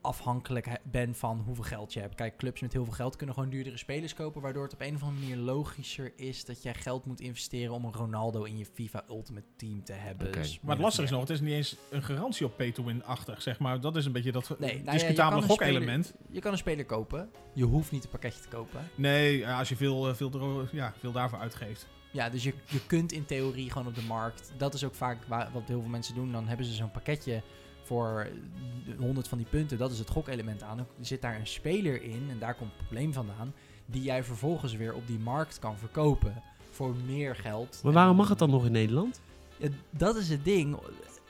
S2: afhankelijk he- bent van hoeveel geld je hebt. Kijk, clubs met heel veel geld kunnen gewoon duurdere spelers kopen. waardoor het op een of andere manier logischer is dat jij geld moet investeren. om een Ronaldo in je FIFA Ultimate Team te hebben.
S1: Oké.
S2: Dus
S3: Maar het
S2: min of
S3: lastige is
S2: meer.
S3: nog, het is niet eens een garantie op pay-to-win-achtig, zeg maar. Dat is een beetje dat
S2: Nee, nou ja, je
S3: discutabele
S2: kan een
S3: gokelement.
S2: Je kan een speler kopen. Je hoeft niet een pakketje te kopen.
S3: Nee, ja, als je veel, eh, veel, dro- ja, veel daarvoor uitgeeft.
S2: Ja, dus je, je kunt in theorie gewoon op de markt. Dat is ook vaak wa- wat heel veel mensen doen. Dan hebben ze zo'n pakketje voor eh, 100 van die punten. Dat is het gokelement aan. Er zit daar een speler in en daar komt het probleem vandaan. Die jij vervolgens weer op die markt kan verkopen voor meer geld.
S1: Maar waarom mag het dan nog in Nederland?
S2: Ja, dat is het ding.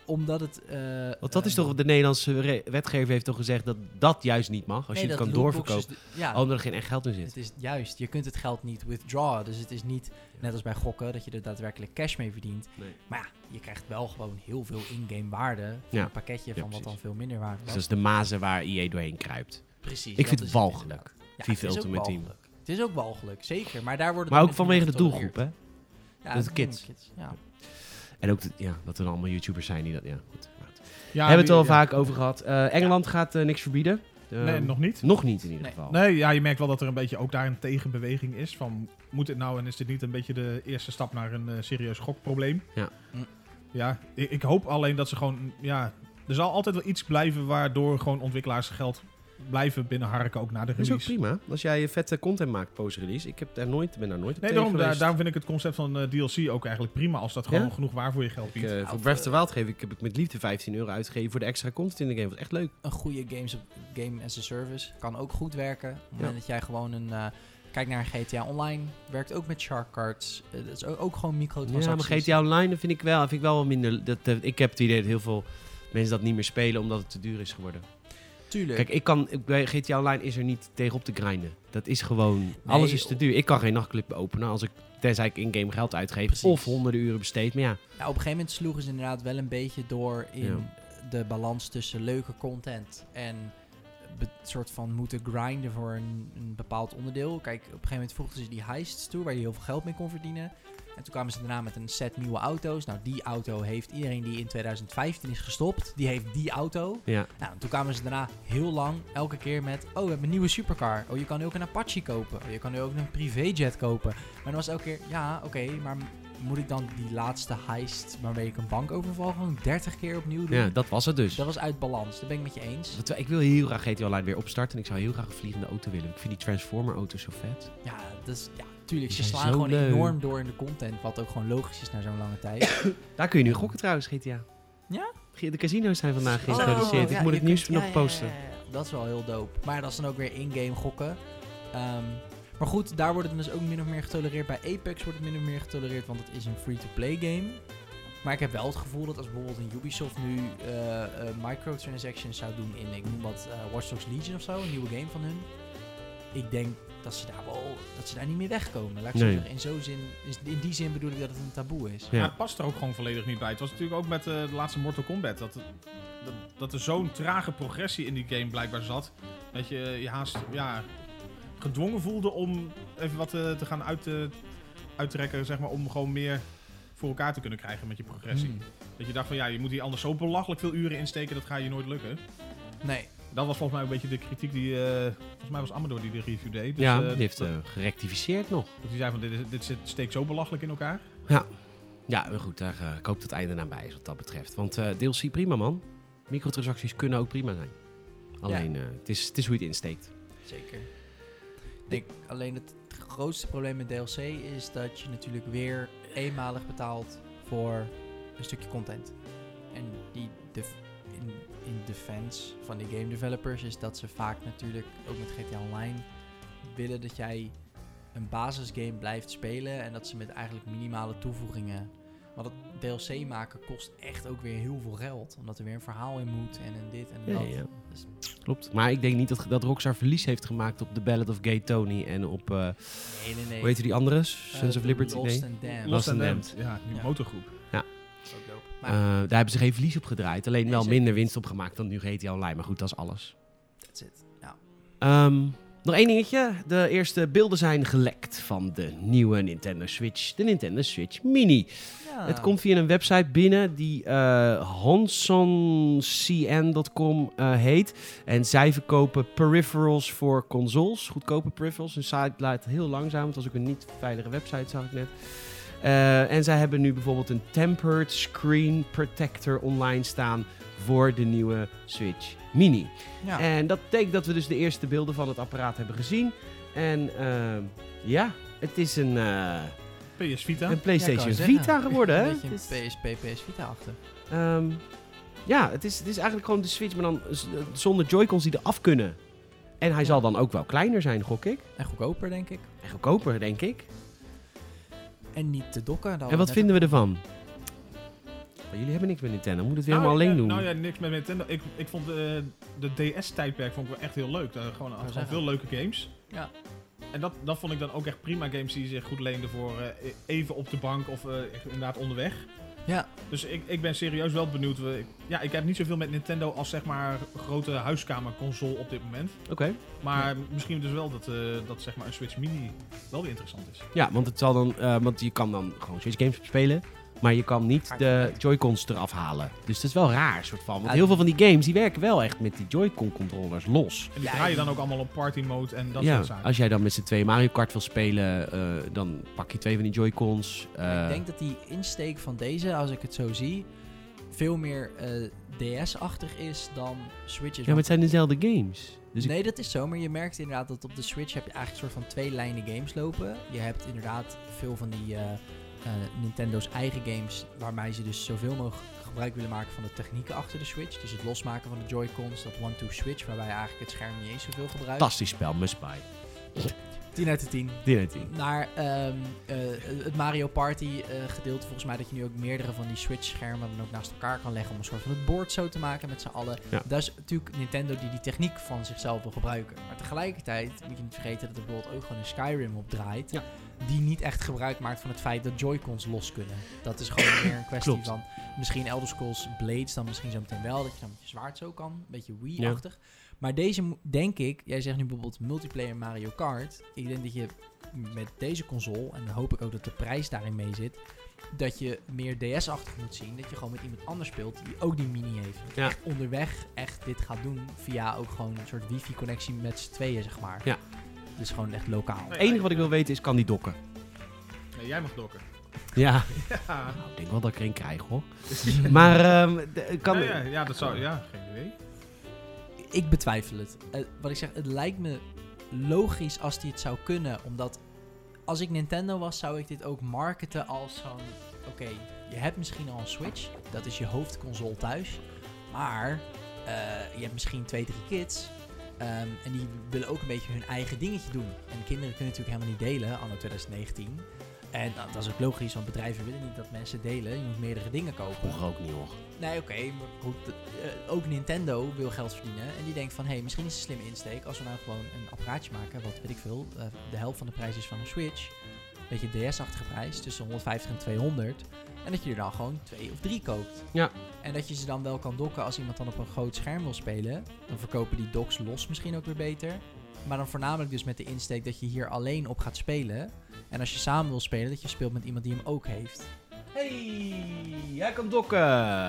S2: Omdat het. eh,
S1: Want dat is
S2: eh,
S1: toch, de Nederlandse re- wetgever heeft toch gezegd dat dat juist niet mag. Als
S2: nee,
S1: je het
S2: dat
S1: kan
S2: lootboxes
S1: doorverkopen,
S2: de- Ja,
S1: omdat er geen echt geld in zit.
S2: Het is juist, je kunt het geld niet withdrawen. Dus het is niet, net als bij gokken, dat je er daadwerkelijk cash mee verdient.
S1: Nee.
S2: Maar ja, je krijgt wel gewoon heel veel in-game waarde van
S1: Ja.
S2: een pakketje
S1: Ja,
S2: van wat dan
S1: precies.
S2: veel minder waarde
S1: Dus
S2: was.
S1: dat is de mazen waar IE doorheen kruipt.
S2: precies.
S1: Ik
S2: dat
S1: vind
S2: is
S1: het walgelijk.
S2: inderdaad. Ja,
S1: FIFA
S2: het is ook
S1: Ultimate Team.
S2: walgelijk. Het is ook walgelijk, zeker. Maar daar wordt het
S1: Maar
S2: op
S1: ook
S2: een of
S1: vanwege de
S2: andere manier
S1: doelgroep, hè?
S2: getolereerd. Ja,
S1: Dat
S2: de
S1: kids.
S2: Ja.
S1: En ook dat- ja, dat er allemaal YouTubers zijn die dat... Ja, goed. Maar goed.
S3: Ja,
S1: Hebben we het al
S3: die- ja.
S1: vaak over gehad. Eh, Engeland gaat eh, niks verbieden. Eh,
S3: Nee, nog niet.
S1: Nog niet in ieder
S2: Nee.
S1: geval.
S3: Nee, ja, je merkt wel dat er een beetje ook daar een tegenbeweging is. Van, moet dit nou en is dit niet een beetje de eerste stap naar een eh, serieus gokprobleem?
S1: Ja.
S2: Hm.
S3: Ja, ik, ik hoop alleen dat ze gewoon, ja... Er zal altijd wel iets blijven waardoor gewoon ontwikkelaars geld blijven binnenharken, ook na de
S1: Dat is ook
S3: release.
S1: prima. Als jij je vette content maakt post-release. Ik heb daar nooit, ben daar nooit op
S3: Nee,
S1: tegen
S3: daarom, daar-
S1: geweest.
S3: daarom vind ik het concept van eh, DLC ook eigenlijk prima. Als dat gewoon
S1: Ja?
S3: genoeg waar voor je geld
S1: Ik,
S3: biedt.
S1: eh, voor Breath of the Wild geef ik, heb ik met liefde 15 euro uitgegeven voor de extra content in de game. Dat was echt leuk.
S2: een goede games, game as a service kan ook goed werken. Op het
S1: Ja.
S2: moment dat jij gewoon een... eh, kijk naar GTA Online, werkt ook met shark cards. Eh, dat is ook, ook gewoon microtransacties.
S1: Ja, maar GTA Online dat vind ik wel, vind ik wel wat minder... Dat, eh, ik heb het idee dat heel veel mensen dat niet meer spelen omdat het te duur is geworden.
S2: Tuurlijk.
S1: Kijk, ik kan, ik- bij GTA Online is er niet tegenop te grinden. Dat is gewoon, alles is te duur. Ik kan geen nachtclub openen als ik, tenzij ik in-game geld uitgeef.
S2: Precies.
S1: Of honderden uren besteed. Maar ja,
S2: Nou, op een gegeven moment sloegen ze inderdaad wel een beetje door in de balans tussen leuke content en be- soort van moeten grinden voor een, een bepaald onderdeel. Kijk, op een gegeven moment voegden ze die heists toe waar je heel veel geld mee kon verdienen. En toen kwamen ze daarna met een set nieuwe auto's. Nou, die auto heeft iedereen die in 2015 is gestopt, die heeft die auto.
S1: ja.
S2: Nou, en toen kwamen ze daarna heel lang elke keer met... Oh, we hebben een nieuwe supercar. Oh, je kan nu ook een Apache kopen. Oh, je kan nu ook een privéjet kopen. Maar dan was het elke keer... Ja, oké, maar moet ik dan die laatste heist... waarmee ik een bankoverval gewoon 30 keer opnieuw doen?
S1: ja, dat was het dus.
S2: Dat was uit balans. Daar ben ik met je eens.
S1: Dat- Ik wil heel graag GTA Online weer opstarten. En ik zou heel graag een vliegende auto willen. Ik vind die Transformer auto's zo vet.
S2: Ja, dat is... Ja, tuurlijk. Ze
S1: Die zijn zo
S2: slaan gewoon
S1: leuk.
S2: enorm door in de content. Wat ook gewoon logisch is na zo'n lange tijd.
S1: Daar kun je nu gokken trouwens, GTA.
S2: Ja?
S1: De casino's zijn vandaag
S2: Oh,
S1: geïntroduceerd.
S2: ja,
S1: ik moet
S2: je
S1: het nieuws
S2: kunt- ja,
S1: nog
S2: ja, ja,
S1: posten.
S2: ja, ja. Dat is wel heel dope. Maar dat is dan ook weer in-game gokken. Ehm, maar goed, daar wordt het dus ook min of meer getolereerd. Bij Apex wordt het min of meer getolereerd, want het is een free-to-play game. Maar ik heb wel het gevoel dat als bijvoorbeeld een Ubisoft nu eh, eh, microtransactions zou doen in, ik noem wat, eh, Watch Dogs Legion of zo, een nieuwe game van hun. Ik denk dat ze daar wel, dat ze daar niet meer wegkomen. Laat ik zo
S1: Nee.
S2: zeggen, in, zo'n zin, is- in die zin bedoel ik dat het een taboe is.
S1: Ja.
S3: Maar het past er ook gewoon volledig niet bij. Het was natuurlijk ook met eh, de laatste Mortal Kombat. Dat, dat, dat er zo'n trage progressie in die game blijkbaar zat. Dat je eh, je haast ja, gedwongen voelde om even wat eh, te gaan uit, eh, uittrekken. Zeg maar, om gewoon meer voor elkaar te kunnen krijgen met je progressie.
S2: Hmm.
S3: Dat je dacht van ja, je moet hier anders zo belachelijk veel uren insteken. Dat ga je nooit lukken.
S2: Nee,
S3: Dat was volgens mij een beetje de kritiek die... eh, volgens mij was Amador die de review deed. Dus,
S1: ja,
S3: eh,
S1: die heeft
S3: dat-
S1: eh, gerectificeerd nog.
S3: dat die zei van, dit, is- dit zit, steekt zo belachelijk in elkaar.
S1: Ja, maar goed, daar, eh, ik hoop dat het einde aan bij is wat dat betreft. Want eh DLC prima, man. Microtransacties kunnen ook prima zijn. Alleen, eh, het, is, het is hoe je het insteekt.
S2: Zeker. Ik denk alleen het grootste probleem met DLC is dat je natuurlijk weer eenmalig betaalt voor een stukje content. En die def- in, in defense van die game developers is dat ze vaak natuurlijk ook met GTA Online willen dat jij een basisgame blijft spelen en dat ze met eigenlijk minimale toevoegingen. Want het DLC maken kost echt ook weer heel veel geld. Omdat er weer een verhaal in moet en een dit en een
S1: Ja,
S2: dat.
S1: ja.
S2: Dus-
S1: Klopt. Maar ik denk niet dat, dat Rockstar verlies heeft gemaakt op The Ballad of Gay Tony en op, eh
S2: Nee, nee, nee.
S1: hoe heet die andere? Sons
S2: Eh,
S1: of Liberty?
S2: Lost
S1: Nee.
S2: and Damned.
S1: Lost and
S3: Ja, die
S2: Ja.
S3: motorgroep.
S2: Ook dope.
S1: Eh,
S2: Maar
S1: daar hebben ze geen verlies op gedraaid. Alleen
S2: Nee,
S1: wel
S2: zeker
S1: minder
S2: niet.
S1: winst op gemaakt dan nu GTA Online. Maar goed, dat is alles.
S2: that's it.
S1: Ehm, nog één dingetje. De eerste beelden zijn gelekt van de nieuwe Nintendo Switch. De Nintendo Switch Mini. Het komt via een website binnen die eh hansoncn.com eh, heet. En zij verkopen peripherals voor consoles. Goedkope peripherals. Hun site laat heel langzaam. Het was ook een niet veilige website, zag ik net. Eh, en zij hebben nu bijvoorbeeld een tempered screen protector online staan voor de nieuwe Switch Mini.
S2: Ja.
S1: En dat betekent dat we dus de eerste beelden van het apparaat hebben gezien. En eh, ja, het is een, eh,
S3: PS Vita.
S1: een
S2: Ja,
S1: PlayStation
S2: ik wou
S1: Vita
S2: zeggen.
S1: geworden. hè?
S2: Een beetje
S1: Het is-
S2: een PSP, PS Vita achter.
S1: Ehm, ja, het is, het is eigenlijk gewoon de Switch, maar dan z- zonder Joy-Cons die eraf kunnen. En hij
S2: Ja.
S1: zal dan ook wel kleiner zijn, gok ik.
S2: En goedkoper, denk ik.
S1: En goedkoper, denk ik.
S2: En niet te dokken. daar
S1: en
S2: hadden
S1: wat
S2: we
S1: vinden we ervan? Maar jullie hebben niks met Nintendo, moet het weer
S3: Nou,
S1: helemaal alleen
S3: ja,
S1: doen.
S3: Nou ja, niks met Nintendo. Ik, ik vond de, de DS-tijdperk vond ik wel echt heel leuk. Daar gewoon, had gewoon
S2: zeggen.
S3: veel leuke games.
S2: Ja.
S3: En dat, dat vond ik dan ook echt prima games die zich goed leenden voor eh, even op de bank of eh, echt inderdaad onderweg.
S2: net- Ja,
S3: Dus ik, ik ben serieus wel benieuwd. We- ik- Ja, ik heb niet zoveel met Nintendo als zeg maar grote huiskamerconsole op dit moment.
S1: Oké.
S3: Maar misschien dus wel dat, eh, dat zeg maar een Switch Mini wel weer interessant is.
S1: Ja, want, het zal dan, eh, want je kan dan gewoon Switch games spelen, maar je kan niet de
S2: Uiteraard.
S1: Joy-Cons eraf halen. Dus dat is wel raar, soort van. Want
S2: Ja,
S1: heel veel van die games, die werken wel echt met die Joy-Con-controllers los.
S3: En die
S2: Ja,
S3: draai je
S2: en-
S3: dan ook allemaal op party mode en dat
S1: ja,
S3: soort zaken.
S1: als jij dan met z'n twee Mario Kart wil spelen, eh, dan pak je twee van die Joy-Cons. eh,
S2: ik denk dat die insteek van deze, als ik het zo zie, veel meer eh, DS-achtig is dan Switch is.
S1: Ja, maar
S2: Want-
S1: het zijn dezelfde games. Dus ik-
S2: nee, dat is zo. Maar je merkt inderdaad dat op de Switch heb je eigenlijk een soort van twee lijnen games lopen. Je hebt inderdaad veel van die eh, eh, Nintendo's eigen games, waarmee ze dus zoveel mogelijk gebruik willen maken van de technieken achter de Switch. Dus het losmaken van de Joy-Cons, dat one-two switch, waarbij je eigenlijk het scherm niet eens zoveel gebruikt.
S1: fantastisch spel, must buy.
S2: 10 uit de 10.
S1: Die heet die.
S2: Naar ehm, eh, het Mario Party eh, gedeelte, volgens mij dat je nu ook meerdere van die Switch-schermen dan ook naast elkaar kan leggen om een soort van het bord zo te maken met z'n allen.
S1: Ja.
S2: Dat is natuurlijk Nintendo die die techniek van zichzelf wil gebruiken. Maar tegelijkertijd moet je niet vergeten dat er bijvoorbeeld ook gewoon een Skyrim op draait,
S1: Ja.
S2: die niet echt gebruik maakt van het feit dat Joy-Cons los kunnen. Dat is gewoon meer een kwestie
S1: Klopt.
S2: van misschien Elder Scrolls Blades dan misschien zo meteen wel, dat je dan met je zwaard zo kan, een beetje Wii-achtig. Maar deze, mo- denk ik, jij zegt nu bijvoorbeeld multiplayer Mario Kart. Ik denk dat je met deze console, en dan hoop ik ook dat de prijs daarin mee zit, dat je meer DS-achtig moet zien. Dat je gewoon met iemand anders speelt die ook die mini heeft. Dat je
S1: Ja.
S2: echt onderweg echt dit gaat doen via ook gewoon een soort wifi-connectie met z'n tweeën, zeg maar.
S1: Ja.
S2: Dus gewoon echt lokaal.
S1: Het enige wat ik wil weten is, kan die dokken?
S3: Nee, jij mag dokken.
S1: Ja,
S3: Ja.
S1: nou, ik denk wel dat ik er een krijg, hoor. maar ehm, de- kan...
S3: Ja, ja, ja, dat zou... Ja, geen idee.
S2: Ik betwijfel het. Eh, wat ik zeg, het lijkt me logisch als die het zou kunnen. Omdat als ik Nintendo was, zou ik dit ook marketen als zo'n... Oké, je hebt misschien al een Switch. Dat is je hoofdconsole thuis. Maar eh, je hebt misschien twee, drie kids. ehm, en die willen ook een beetje hun eigen dingetje doen. En kinderen kunnen natuurlijk helemaal niet delen, anno 2019. En nou, dat is ook logisch, want bedrijven willen niet dat mensen delen. Je moet meerdere dingen kopen.
S1: Vroeger ook niet, hoor.
S2: Nee, oké, maar goed. dat- eh, ook Nintendo wil geld verdienen. En die denkt van, hé, hey, misschien is het een slimme insteek als we nou gewoon een apparaatje maken, wat weet ik veel, eh, de helft van de prijs is van een Switch. Een beetje DS-achtige prijs, tussen 150 en 200. En dat je er dan gewoon twee of drie koopt.
S1: Ja.
S2: En dat je ze dan wel kan dokken als iemand dan op een groot scherm wil spelen. Dan verkopen die docks los misschien ook weer beter. Maar dan voornamelijk dus met de insteek dat je hier alleen op gaat spelen. En als je samen wil spelen, dat je speelt met iemand die hem ook heeft.
S1: hey, jij kan dokken!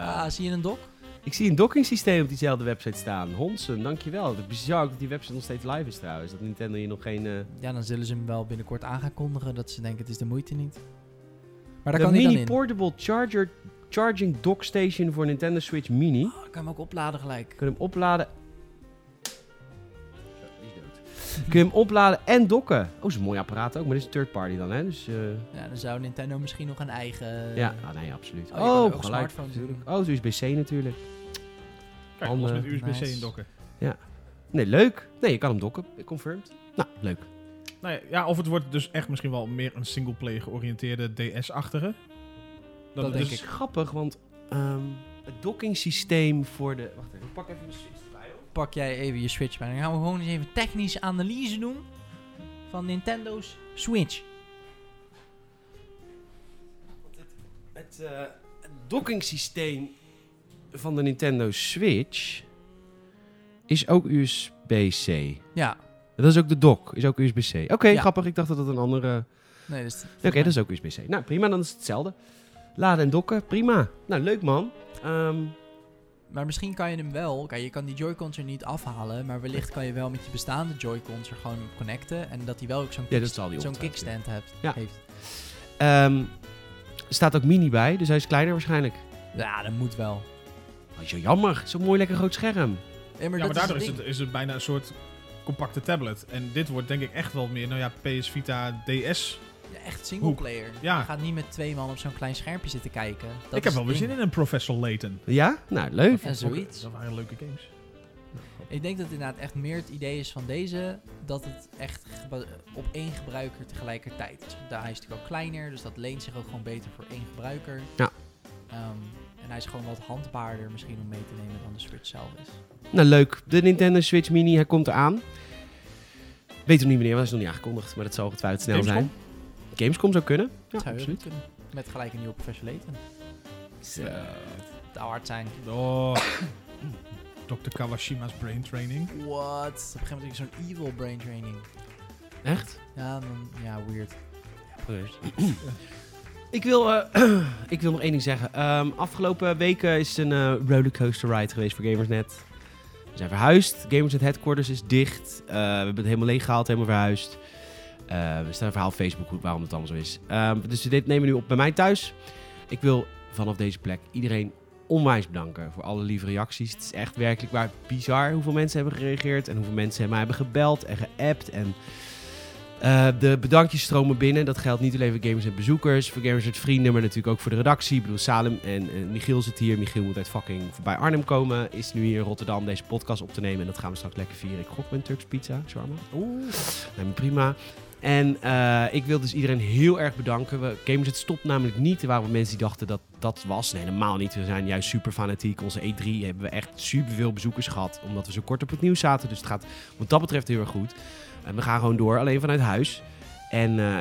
S2: Ah, zie je een dok?
S1: Ik zie een dockingsysteem op diezelfde website staan. Honsen, dankjewel. Het is bizar ook dat die website nog steeds live is trouwens. Dat Nintendo hier nog geen... eh,
S2: Ja, dan zullen ze hem wel binnenkort aan gaan kondigen dat ze denken het is de moeite niet. Maar daar
S1: de
S2: kan hij dan
S1: mini
S2: in.
S1: portable charger, charging dock station voor Nintendo Switch Mini.
S2: Oh, ik kan hem ook opladen gelijk.
S1: Kun je hem opladen... Zo, die is dood. Kun je hem opladen en dokken. Oh, is een mooi apparaat ook, maar dit is third party dan, hè? Dus, eh,
S2: Ja, dan zou Nintendo misschien nog een eigen...
S1: ja, ah, nee, absoluut.
S2: oh, je kan er ook een
S1: geluid
S2: smartphone
S1: natuurlijk. Oh, het is USB-C natuurlijk.
S3: Kijk, alles met
S1: Handen.
S3: USB-C
S2: Nice.
S3: indokken.
S1: Nee, leuk. Nee, je kan hem dokken. Confirmed. Nou, leuk.
S3: Nou ja, ja, of het wordt dus echt misschien wel meer een singleplayer georiënteerde DS-achtige.
S2: Dat
S3: het
S2: denk
S1: Het
S3: dus-
S1: is grappig, want ehm, het dockingsysteem voor de... Wacht even, ik pak even mijn Switch erbij. hoor.
S2: Pak jij even je Switch bij. Dan gaan we gewoon eens even technische analyse doen van Nintendo's Switch.
S1: Het, eh, het dockingsysteem van de Nintendo Switch is ook USB-C.
S2: Ja.
S1: Dat is ook de dock, is ook USB-C. Oké,
S2: Ja.
S1: grappig. Ik dacht dat dat een andere...
S2: Nee, dus
S1: Oké, dat is ook USB-C. Nou, prima. Dan is het hetzelfde. Laden en dokken, prima. Nou, leuk man. Ehm,
S2: Maar misschien kan je hem wel... Kijk, je kan die Joy-Cons er niet afhalen, maar wellicht kan je wel met je bestaande Joy-Cons er gewoon op connecten. En dat hij wel ook zo'n
S1: ja,
S2: kick-
S1: dat zal die
S2: zo'n
S1: ongetwijfeld weer.
S2: kickstand hebt,
S1: Ja.
S2: heeft.
S1: Ehm, er staat ook mini bij, dus hij is kleiner waarschijnlijk.
S2: Ja, dat moet wel.
S1: Dat
S2: Oh,
S1: is jammer. Zo'n mooi lekker groot scherm.
S2: Ja, maar,
S3: Ja,
S2: dat
S3: maar daardoor is
S2: ding.
S3: het, is het bijna een soort compacte tablet. En dit wordt denk ik echt wel meer, nou ja, PS Vita DS.
S2: Ja, echt singleplayer.
S3: Ja.
S2: Je gaat niet met twee man op zo'n klein schermpje zitten kijken. Dat
S3: ik heb wel weer zin in een Professor Layton.
S1: Ja? Nou, leuk.
S2: En zoiets.
S3: Dat waren leuke games.
S2: Ik denk dat het inderdaad echt meer het idee is van deze, dat het echt geba- op één gebruiker tegelijkertijd is. Want Hij is natuurlijk ook kleiner, dus dat leent zich ook gewoon beter voor één gebruiker.
S1: Ja.
S2: Ehm, en hij is gewoon wat handbaarder misschien om mee te nemen dan de Switch zelf is.
S1: Nou, leuk. De Nintendo Switch Mini, hij komt eraan. Weet nog niet wanneer, want hij is nog niet aangekondigd. Maar dat zal ongetwijfeld snel
S3: Gamescom?
S1: zijn. Gamescom zou kunnen. Ja,
S2: Dat zou heel
S1: absoluut.
S2: goed kunnen. Met gelijk een nieuwe Professor Layton. eh, Het zou hard zijn.
S3: Oh. Dr. Kawashima's Brain Training.
S2: What? Op een gegeven moment heb ik zo'n evil brain training.
S1: Echt?
S2: Ja, dan- ja weird.
S1: Ik wil, eh, ik wil nog één ding zeggen. Ehm, afgelopen weken is een eh, rollercoaster ride geweest voor Gamersnet. We zijn verhuisd. Gamersnet headquarters is dicht. Eh, we hebben het helemaal leeg gehaald, helemaal verhuisd. Eh, we staan een verhaal op Facebook hoe- waarom het allemaal zo is. Ehm, dus dit nemen we nu op bij mij thuis. Ik wil vanaf deze plek iedereen onwijs bedanken voor alle lieve reacties. Het is echt werkelijk waar bizar hoeveel mensen hebben gereageerd en hoeveel mensen mij hebben gebeld en geappt en eh, de bedankjes stromen binnen. Dat geldt niet alleen voor gamers en bezoekers, voor gamers en vrienden, maar natuurlijk ook voor de redactie. Ik bedoel, Salem en eh, Michiel zit hier. Michiel moet uit fucking voorbij Arnhem komen. Is nu hier in Rotterdam deze podcast op te nemen. En dat gaan we straks lekker vieren. Ik gok mijn Turks pizza, shawarma.
S3: Oeh.
S1: Lijkt me prima. En eh, ik wil dus iedereen heel erg bedanken. We, Gamers, het stopt namelijk niet. Er waren wel mensen die dachten dat dat was. Nee, helemaal niet. We zijn juist super fanatiek. Onze E3 hebben we echt super veel bezoekers gehad. Omdat we zo kort op het nieuws zaten. Dus het gaat wat dat betreft heel erg goed. En we gaan gewoon door, alleen vanuit huis. En eh,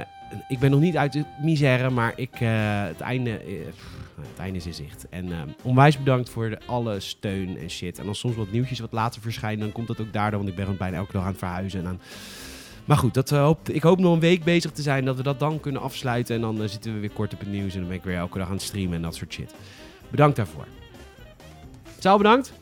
S1: ik ben nog niet uit de misère, maar ik, eh, het, einde, eh, pff, het einde is in zicht. En eh, onwijs bedankt voor de, alle steun en shit. En als soms wat nieuwtjes wat later verschijnen, dan komt dat ook daardoor. Want ik ben gewoon bijna elke dag aan het verhuizen en aan maar goed, dat, eh, hoop, ik hoop nog een week bezig te zijn. Dat we dat dan kunnen afsluiten. En dan eh, zitten we weer kort op het nieuws. En dan ben ik weer elke dag aan het streamen en dat soort shit. Bedankt daarvoor. Saal bedankt.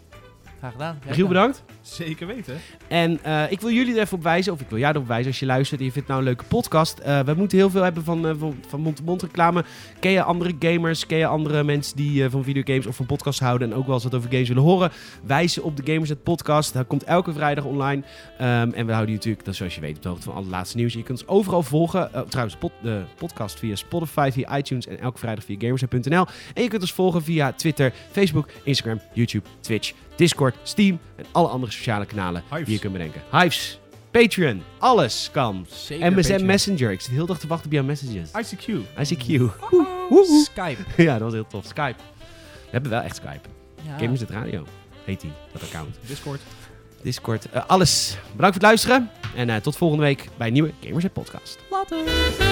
S2: Graag gedaan. Jij
S1: Michiel
S2: gedaan.
S1: bedankt.
S3: Zeker weten.
S1: En eh, ik wil jullie er even op wijzen, of ik wil jou erop wijzen als je luistert en je vindt nou een leuke podcast. Eh, we moeten heel veel hebben van, eh, van, van mond-to-mond reclame. Ken je andere gamers? Ken je andere mensen die eh, van videogames of van podcasts houden en ook wel eens wat over games willen horen? Wijs ze op de Gamers Net podcast. Dat komt elke vrijdag online. Ehm, en we houden je natuurlijk, dat, zoals je weet, op de hoogte van al het laatste nieuws. Je kunt ons overal volgen. Eh, trouwens, pod- de podcast via Spotify, via iTunes en elke vrijdag via gamersnet.nl. En je kunt ons volgen via Twitter, Facebook, Instagram, YouTube, Twitch, Discord, Steam en alle andere sociale kanalen
S3: Hives.
S1: die je kunt bedenken. Hives, Patreon, alles kan.
S2: Zeker
S1: MSN
S2: Patreon.
S1: Messenger. Ik zit heel de dag te wachten op jouw messages.
S3: ICQ.
S1: ICQ. Woe, woe, woe.
S2: Skype.
S1: Ja, dat was heel tof. Skype. We hebben wel echt Skype.
S2: Ja.
S1: Gamers het Radio heet die, dat account.
S3: Discord.
S1: Discord, eh, alles. Bedankt voor het luisteren en eh, tot volgende week bij een nieuwe Gamers Net podcast.
S2: Later.